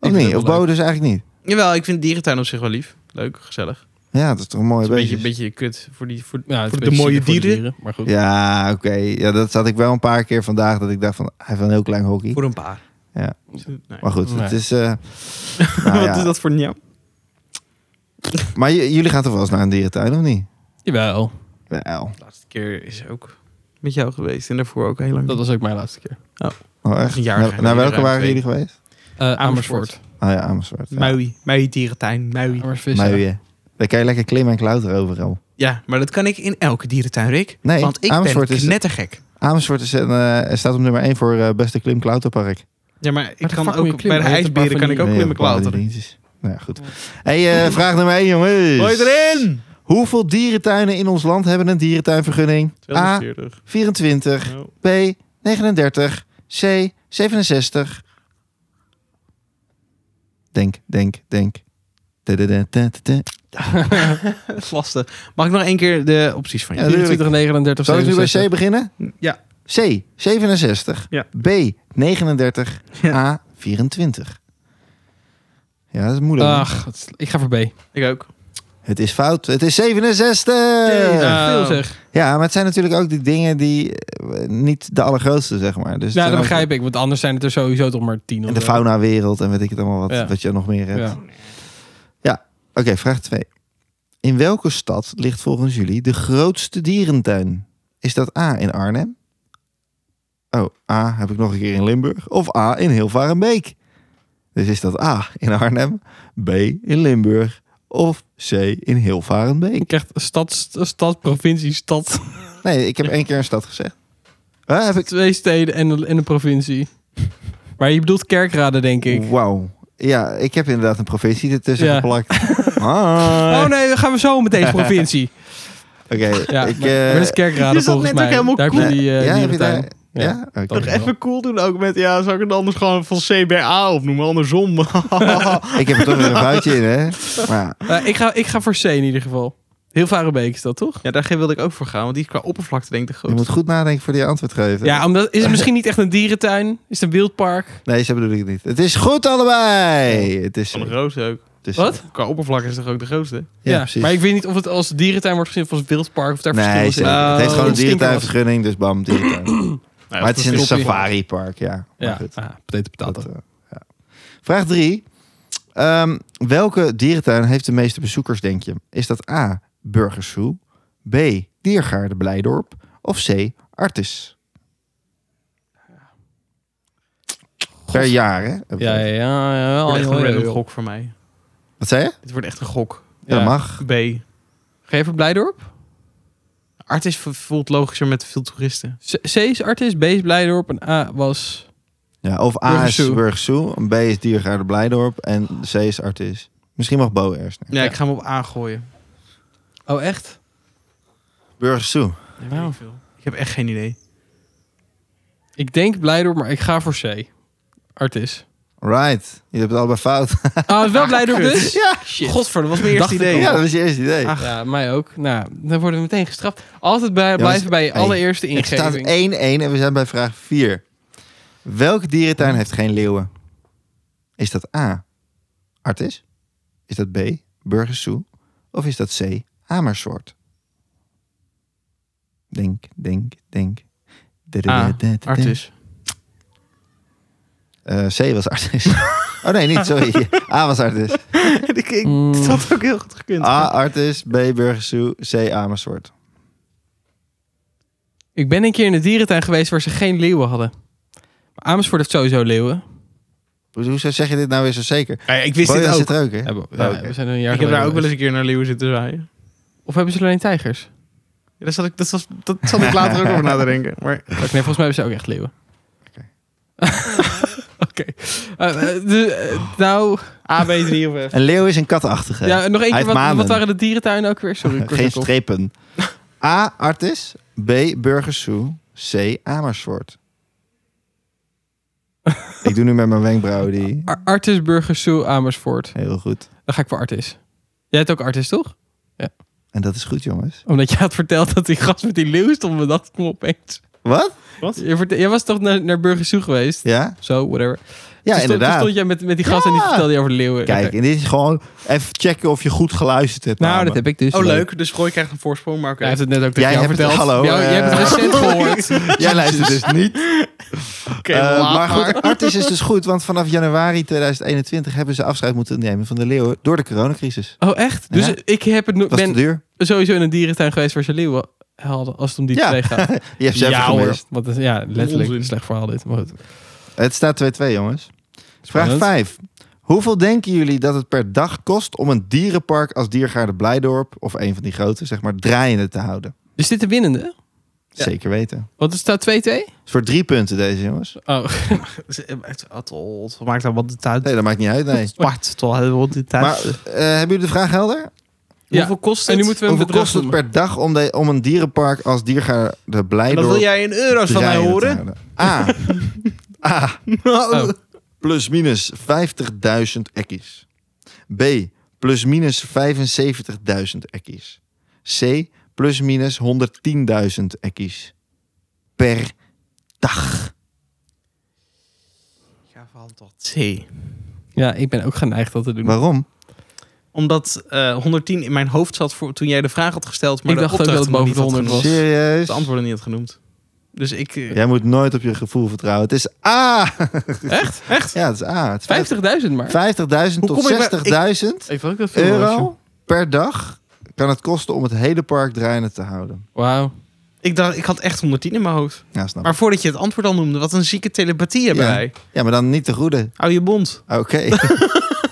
Speaker 3: vind het
Speaker 1: niet?
Speaker 3: wel
Speaker 1: Of Bo dus eigenlijk niet?
Speaker 2: Jawel, ik vind dierentuin op zich wel lief. Leuk, gezellig.
Speaker 1: Ja, dat is toch een mooie
Speaker 2: Het is een beetje,
Speaker 1: beetje.
Speaker 2: een beetje kut voor, die, voor,
Speaker 3: Ja, het is
Speaker 2: voor
Speaker 3: een
Speaker 2: de
Speaker 3: beetje
Speaker 2: mooie
Speaker 3: zielig voor de
Speaker 2: dieren.
Speaker 3: Maar goed.
Speaker 1: Ja, oké. Ja, dat zat ik wel een paar keer vandaag. Dat ik dacht van, hij heeft wel een heel klein hockey.
Speaker 2: Voor een paar.
Speaker 1: Ja.
Speaker 2: Nee.
Speaker 1: Maar goed, het
Speaker 3: Nee.
Speaker 1: is... eh, nou
Speaker 2: Wat
Speaker 1: ja.
Speaker 2: is dat voor jou?
Speaker 1: Maar j- jullie gaan toch wel eens naar een dierentuin, of niet?
Speaker 3: Jawel,
Speaker 1: Wel.
Speaker 2: De laatste keer is ook met jou geweest en daarvoor ook heel lang.
Speaker 3: dat was ook mijn laatste keer.
Speaker 1: Oh, echt?
Speaker 2: Een jaar
Speaker 1: naar,
Speaker 2: geleden,
Speaker 1: naar welke
Speaker 2: ruim
Speaker 1: waren
Speaker 2: twee.
Speaker 1: jullie geweest?
Speaker 3: Eh
Speaker 2: Amersfoort.
Speaker 3: Amersfoort.
Speaker 1: Oh ja, Amersfoort. Ja.
Speaker 2: Maui, Maui dierentuin, Maui.
Speaker 3: Amersvissen.
Speaker 1: Muien. Daar kan je lekker klimmen en klauteren overal.
Speaker 2: Ja, maar dat kan ik in elke dierentuin, Rick.
Speaker 1: Nee,
Speaker 2: want ik
Speaker 1: Amersfoort
Speaker 2: ben
Speaker 1: is-
Speaker 2: knettergek.
Speaker 1: Amersfoort is een, eh, staat op nummer 1 voor eh, beste klim-klauterpark.
Speaker 2: Ja, maar ik
Speaker 3: de fuck
Speaker 2: kan
Speaker 3: moet je
Speaker 2: ook bij de
Speaker 3: klimmen? Heet het
Speaker 2: ijsberen kan ik ook
Speaker 1: Nee,
Speaker 2: klimmen
Speaker 1: dat waren die
Speaker 2: klauteren.
Speaker 1: dingetjes. Nou ja, goed. hey, eh, vraag nummer 1, jongens.
Speaker 2: Gooi erin!
Speaker 1: Hoeveel dierentuinen in ons land hebben een dierentuinvergunning? A.
Speaker 2: 240.
Speaker 1: 24.
Speaker 2: Nou,
Speaker 1: B. 39. C. 67. Denk, denk, denk. Da-da-da-da-da-da.
Speaker 2: dat is lastig. Mag ik nog één keer de opties van je?
Speaker 1: Ja,
Speaker 3: 24, 39,
Speaker 1: Zal ik nu bij
Speaker 3: 67.
Speaker 1: C beginnen?
Speaker 2: Ja.
Speaker 1: C, 67.
Speaker 2: Ja.
Speaker 1: B, 39. A, 24. Ja, dat is moeilijk. hè?
Speaker 3: Ach, wat is- ik ga voor B.
Speaker 2: Ik ook.
Speaker 1: Het is fout. Het is 67.
Speaker 2: Ja.
Speaker 3: Veel zeg.
Speaker 1: Ja, maar het zijn natuurlijk ook die dingen die eh, niet de allergrootste, zeg maar. Dus
Speaker 3: Ja,
Speaker 1: het
Speaker 3: dat
Speaker 1: zijn ook-
Speaker 3: begrijp ik. Want anders zijn het er sowieso toch maar 10.
Speaker 1: En de faunawereld en weet ik het allemaal wat,
Speaker 3: Ja.
Speaker 1: wat je nog meer hebt.
Speaker 3: Ja.
Speaker 1: Oké, vraag 2. In welke stad ligt volgens jullie de grootste dierentuin? Is dat A in Arnhem? Oh, A heb ik nog een keer in Limburg. Of A in Hilvarenbeek? Dus is dat A in Arnhem, B in Limburg of C in Hilvarenbeek?
Speaker 3: Ik krijg stad, st- stad, provincie, stad.
Speaker 1: Nee, ik heb één keer een stad gezegd. Hè, heb ik...
Speaker 3: Twee steden en, een- en een provincie. Maar je bedoelt kerkraden, denk
Speaker 1: Oh,
Speaker 3: ik.
Speaker 1: Wauw. Ja, ik heb inderdaad een provincie ertussen
Speaker 3: Ja.
Speaker 1: geplakt.
Speaker 3: Oh
Speaker 1: Ah.
Speaker 3: nee, dan gaan we zo met deze provincie.
Speaker 1: Oké,
Speaker 3: Ja,
Speaker 1: ik...
Speaker 3: maar,
Speaker 1: eh,
Speaker 3: maar dat is kerkraden
Speaker 2: is dat
Speaker 3: volgens
Speaker 2: net ook
Speaker 3: mij.
Speaker 2: helemaal
Speaker 3: Daar
Speaker 1: cool?
Speaker 3: heb je die eh,
Speaker 1: Ja, heb je
Speaker 3: dierentuin.
Speaker 1: ja? Oké.
Speaker 3: dat wel.
Speaker 2: cool doen ook met, ja, zou ik het anders gewoon van CBA opnoemen, andersom.
Speaker 1: Ik heb er toch weer een foutje in, hè? Maar
Speaker 3: Eh, ik, ga, ik ga voor C in ieder geval. Heel Varenbeek is dat, toch?
Speaker 2: ja, daar wilde ik ook voor gaan, want die is qua oppervlakte denk ik de
Speaker 1: Je moet
Speaker 2: grootste.
Speaker 1: goed nadenken voor die antwoord geven.
Speaker 3: Ja, omdat, is het misschien niet echt een dierentuin? Is het een wildpark?
Speaker 1: Nee, ze bedoel ik het niet. Het is goed allebei. Het is,
Speaker 2: Van de
Speaker 1: het
Speaker 2: grootste ook.
Speaker 1: is-
Speaker 3: Wat?
Speaker 2: Qua oppervlakte is toch ook de grootste?
Speaker 1: Ja, precies.
Speaker 3: Maar ik weet niet of het als dierentuin wordt gezien of als wildpark of daar
Speaker 1: nee,
Speaker 3: verschillen
Speaker 1: ze,
Speaker 3: zitten.
Speaker 2: Oh.
Speaker 1: het heeft gewoon een
Speaker 3: Het stinkt
Speaker 1: dierentuinvergunning, dus bam, dierentuin. maar het is in een
Speaker 3: stoppie.
Speaker 1: safaripark, ja. Maar
Speaker 3: Ja,
Speaker 1: goed,
Speaker 3: ah, potato, potato.
Speaker 1: dat, eh, ja. Vraag 3. welke dierentuin heeft de meeste bezoekers, denk je? Is dat A, Burgers Zoo, B, Diergaarde Blijdorp of C, Artis? Per jaar, hè? Heb ik
Speaker 3: Ja, ja,
Speaker 1: het.
Speaker 3: ja. ja,
Speaker 2: Dit wordt echt
Speaker 3: Oh, ja,
Speaker 2: een
Speaker 3: ja,
Speaker 2: random
Speaker 3: ja.
Speaker 2: gok voor mij.
Speaker 1: Wat zei je?
Speaker 2: Dit wordt echt een gok.
Speaker 1: Ja,
Speaker 3: Ja.
Speaker 1: mag.
Speaker 2: B.
Speaker 3: Ga je voor Blijdorp?
Speaker 2: Artis voelt logischer met veel toeristen.
Speaker 3: C, C is artist, B is Blijdorp en A was...
Speaker 1: Ja, of A
Speaker 3: Burgers
Speaker 1: is
Speaker 3: Zoo.
Speaker 1: Burgers Zoo, B is Diergaarde Blijdorp en C is Artis. Misschien mag Bo eerst. Nee.
Speaker 2: Ja, ik ga hem op A gooien.
Speaker 3: Oh, echt?
Speaker 1: Burgers Zoo.
Speaker 2: Nee,
Speaker 3: Nou.
Speaker 2: weet ik veel. Ik heb echt geen idee.
Speaker 3: Ik denk Blijdorp, maar ik ga voor C. Artis.
Speaker 1: Right. Je hebt het allebei fout.
Speaker 3: Ah, het is wel Blijdorp dus?
Speaker 1: Ja.
Speaker 3: Shit.
Speaker 2: Godver, dat was mijn
Speaker 3: Dacht
Speaker 2: eerste
Speaker 3: ik
Speaker 2: idee.
Speaker 3: al.
Speaker 1: Ja, dat was je eerste idee.
Speaker 2: Ach,
Speaker 3: Ja, mij ook. Nou, dan worden we meteen gestraft. Altijd bij,
Speaker 1: Jongens,
Speaker 3: blijven bij je
Speaker 1: hey,
Speaker 3: allereerste
Speaker 1: Het staat 1-1
Speaker 3: ingeving.
Speaker 1: en we zijn bij vraag 4. Welke dierentuin heeft geen leeuwen? Is dat A, Artis? Is dat B, Burgers Zoo? Of is dat C, Amersfoort? Denk, denk, denk.
Speaker 3: Ah, Artis.
Speaker 1: Eh, C was artis. oh nee, niet, sorry. A was artis.
Speaker 2: ik, ik,
Speaker 3: Mm.
Speaker 2: Dat had ook heel goed gekund.
Speaker 1: A artis, B Burgersoe, C Amersfoort.
Speaker 3: Ik ben een keer in de dierentuin geweest waar ze geen leeuwen hadden. Maar Amersfoort heeft sowieso leeuwen.
Speaker 1: Hoe- Hoezo zeg je dit nou weer zo zeker?
Speaker 2: Ja, ik wist dit
Speaker 1: Bojan
Speaker 2: ook.
Speaker 1: zit er ook, hè?
Speaker 3: Ja, we-
Speaker 1: Ja,
Speaker 3: ja,
Speaker 1: oké.
Speaker 3: We zijn er een jaar
Speaker 2: Ik heb daar ook wel
Speaker 3: geleden
Speaker 2: eens
Speaker 3: geweest.
Speaker 2: een keer naar leeuwen zitten zwaaien.
Speaker 3: Of hebben ze alleen tijgers?
Speaker 2: Ja, dat, zat ik, dat, was, dat zat ik later ook over na te denken. Maar
Speaker 3: Nee, volgens mij hebben ze ook echt leeuwen.
Speaker 1: Oké.
Speaker 3: Oké. Eh, eh, de- eh, nou,
Speaker 2: A, B, 3 of F.
Speaker 1: Een leeuw is een katachtige.
Speaker 3: ja, nog één
Speaker 1: Hij
Speaker 3: keer.
Speaker 1: heeft
Speaker 3: Wat, wat
Speaker 1: manen.
Speaker 3: waren de dierentuinen ook weer? Sorry. ik was
Speaker 1: Geen
Speaker 3: ook op.
Speaker 1: strepen. A artis, B Burgersoe, C Amersfoort. ik doe nu met mijn wenkbrauw die...
Speaker 3: Ar- Artis Burgersoe Amersfoort.
Speaker 1: Heel goed.
Speaker 3: Dan ga ik voor Artis. Jij hebt ook Artis, toch?
Speaker 1: En dat is goed, jongens.
Speaker 3: Omdat je had verteld dat die gast met die leeuw stond, bedacht ik me opeens.
Speaker 1: Wat?
Speaker 3: Je verte- Jij was toch naar, naar Burgersoe geweest?
Speaker 1: Ja?
Speaker 3: Zo, whatever. Toen
Speaker 1: Ja,
Speaker 3: stond-
Speaker 1: inderdaad.
Speaker 3: Toen stond jij met, met die gast en die
Speaker 1: Ja.
Speaker 3: vertelde je over de leeuwen.
Speaker 1: Kijk,
Speaker 3: Oké.
Speaker 1: en dit is gewoon even checken of je goed geluisterd hebt.
Speaker 3: Nou,
Speaker 1: Abe.
Speaker 3: dat heb ik dus.
Speaker 2: Oh, leuk. Dus Gooi krijgt een voorsprong, maar oké.
Speaker 3: Hij heeft het net ook tegen
Speaker 1: Jij
Speaker 3: jou
Speaker 1: hebt het-
Speaker 3: verteld.
Speaker 1: hallo,
Speaker 3: Jou- jij
Speaker 1: eh.
Speaker 3: hebt het recent gehoord.
Speaker 1: Jij luistert dus niet.
Speaker 2: Oké,
Speaker 1: Eh,
Speaker 2: laat
Speaker 1: maar goed, Artis is dus goed, want vanaf januari 2021 hebben ze afscheid moeten nemen van de leeuwen door de coronacrisis.
Speaker 3: Oh, echt? Dus
Speaker 1: Ja.
Speaker 3: ik heb het, no-
Speaker 1: Dat was te
Speaker 3: ben
Speaker 1: duur.
Speaker 3: sowieso in een dierentuin geweest waar ze leeuwen hadden. Als het om die
Speaker 1: Ja.
Speaker 3: twee gaat.
Speaker 1: Je hebt ze even
Speaker 2: Ja,
Speaker 1: gemist.
Speaker 3: Want dat is- ja, letterlijk
Speaker 2: Onzin.
Speaker 3: een slecht verhaal dit. Maar goed.
Speaker 1: Het staat 2-2, jongens. Vraag
Speaker 3: Spannend.
Speaker 1: 5. Hoeveel denken jullie dat het per dag kost om een dierenpark als Diergaarde Blijdorp, of een van die grote, zeg maar, draaiende te houden?
Speaker 3: Is Dus dit de winnende?
Speaker 2: Ja.
Speaker 1: Zeker weten.
Speaker 3: Want het staat 2-2?
Speaker 1: Het is voor drie punten deze, jongens.
Speaker 3: Oh,
Speaker 2: Atol, maakt dat wat de tijd.
Speaker 1: Nee, dat maakt niet uit, nee.
Speaker 2: Zwart, toch? Wat de tijd.
Speaker 1: Maar eh, hebben jullie de vraag helder?
Speaker 3: Ja.
Speaker 2: Hoeveel kost het?
Speaker 3: en nu moeten we een
Speaker 1: Hoeveel
Speaker 3: bedrag
Speaker 1: kost het
Speaker 3: noemen.
Speaker 1: per dag om, de, om een dierenpark als Diergaarde
Speaker 2: En
Speaker 1: Blijdorp...
Speaker 2: dat wil jij in euro's van mij
Speaker 1: draaiende te
Speaker 2: horen? Ah.
Speaker 1: houden? A. A.
Speaker 3: Oh,
Speaker 1: Ah. plus minus 50.000 ekkies. B. Plus minus 75.000 ekkies. C. Plus minus 110.000 ekkies. Per dag.
Speaker 2: Ja, van tot C.
Speaker 3: Ja, ik ben ook geneigd dat te doen.
Speaker 1: Waarom?
Speaker 2: Omdat eh, 110 in mijn hoofd zat voor, toen jij de vraag had gesteld, maar
Speaker 3: Ik
Speaker 2: de
Speaker 3: dacht ook
Speaker 2: opdracht
Speaker 3: dat het
Speaker 2: nog
Speaker 3: boven
Speaker 2: niet
Speaker 3: de
Speaker 2: had
Speaker 3: 100 was.
Speaker 2: genoemd.
Speaker 1: Serieus?
Speaker 2: De antwoorden niet had genoemd. Dus ik... eh,
Speaker 1: Jij moet nooit op je gevoel vertrouwen. Het is A.
Speaker 3: Echt? Echt?
Speaker 1: Ja, het is A. Het is
Speaker 3: 50.000 maar.
Speaker 1: 50.000 tot
Speaker 2: kom ik bij- ik-
Speaker 1: 60.000
Speaker 3: Ik vond ook dat veel was,
Speaker 1: euro per dag kan het kosten om het hele park draaiende te houden.
Speaker 3: joh. Wauw.
Speaker 2: Ik, dacht, ik had echt 110 in mijn hoofd.
Speaker 1: Ja, snap ik.
Speaker 2: Maar voordat je het antwoord al noemde, wat een zieke telepathie hebben
Speaker 1: Ja.
Speaker 2: wij.
Speaker 1: Ja, maar dan niet de goede.
Speaker 2: Hou je bond.
Speaker 1: Oké.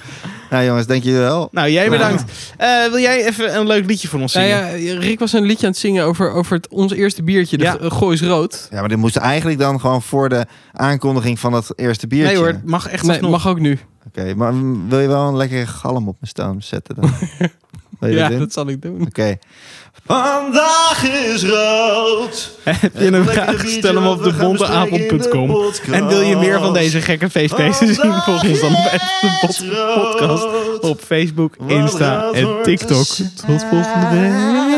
Speaker 1: nou jongens, denk je wel?
Speaker 2: Nou, jij
Speaker 1: Nou.
Speaker 2: bedankt. Eh, wil jij even een leuk liedje voor ons
Speaker 3: Nou
Speaker 2: zingen?
Speaker 3: ja, Rick was een liedje aan het zingen over, over het, ons eerste biertje, de
Speaker 2: Ja.
Speaker 3: G- Goois Rood.
Speaker 1: Ja, maar dit moest eigenlijk dan gewoon voor de aankondiging van dat eerste biertje.
Speaker 2: nee hoor, het mag echt
Speaker 3: Nee,
Speaker 2: alsnog.
Speaker 3: mag ook nu.
Speaker 1: Oké, maar mm, wil je wel een lekkere galm op mijn staan zetten dan? Wil je
Speaker 3: Ja,
Speaker 1: dat doen?
Speaker 3: dat zal ik doen.
Speaker 1: Oké. Vandaag is rood.
Speaker 2: Heb je een vraag, stel hem op debonteavond.com. En wil je meer van deze gekke feestfeesten zien? Volg ons dan bij de Bot Podcast op Facebook, Insta en TikTok. Tot volgende week.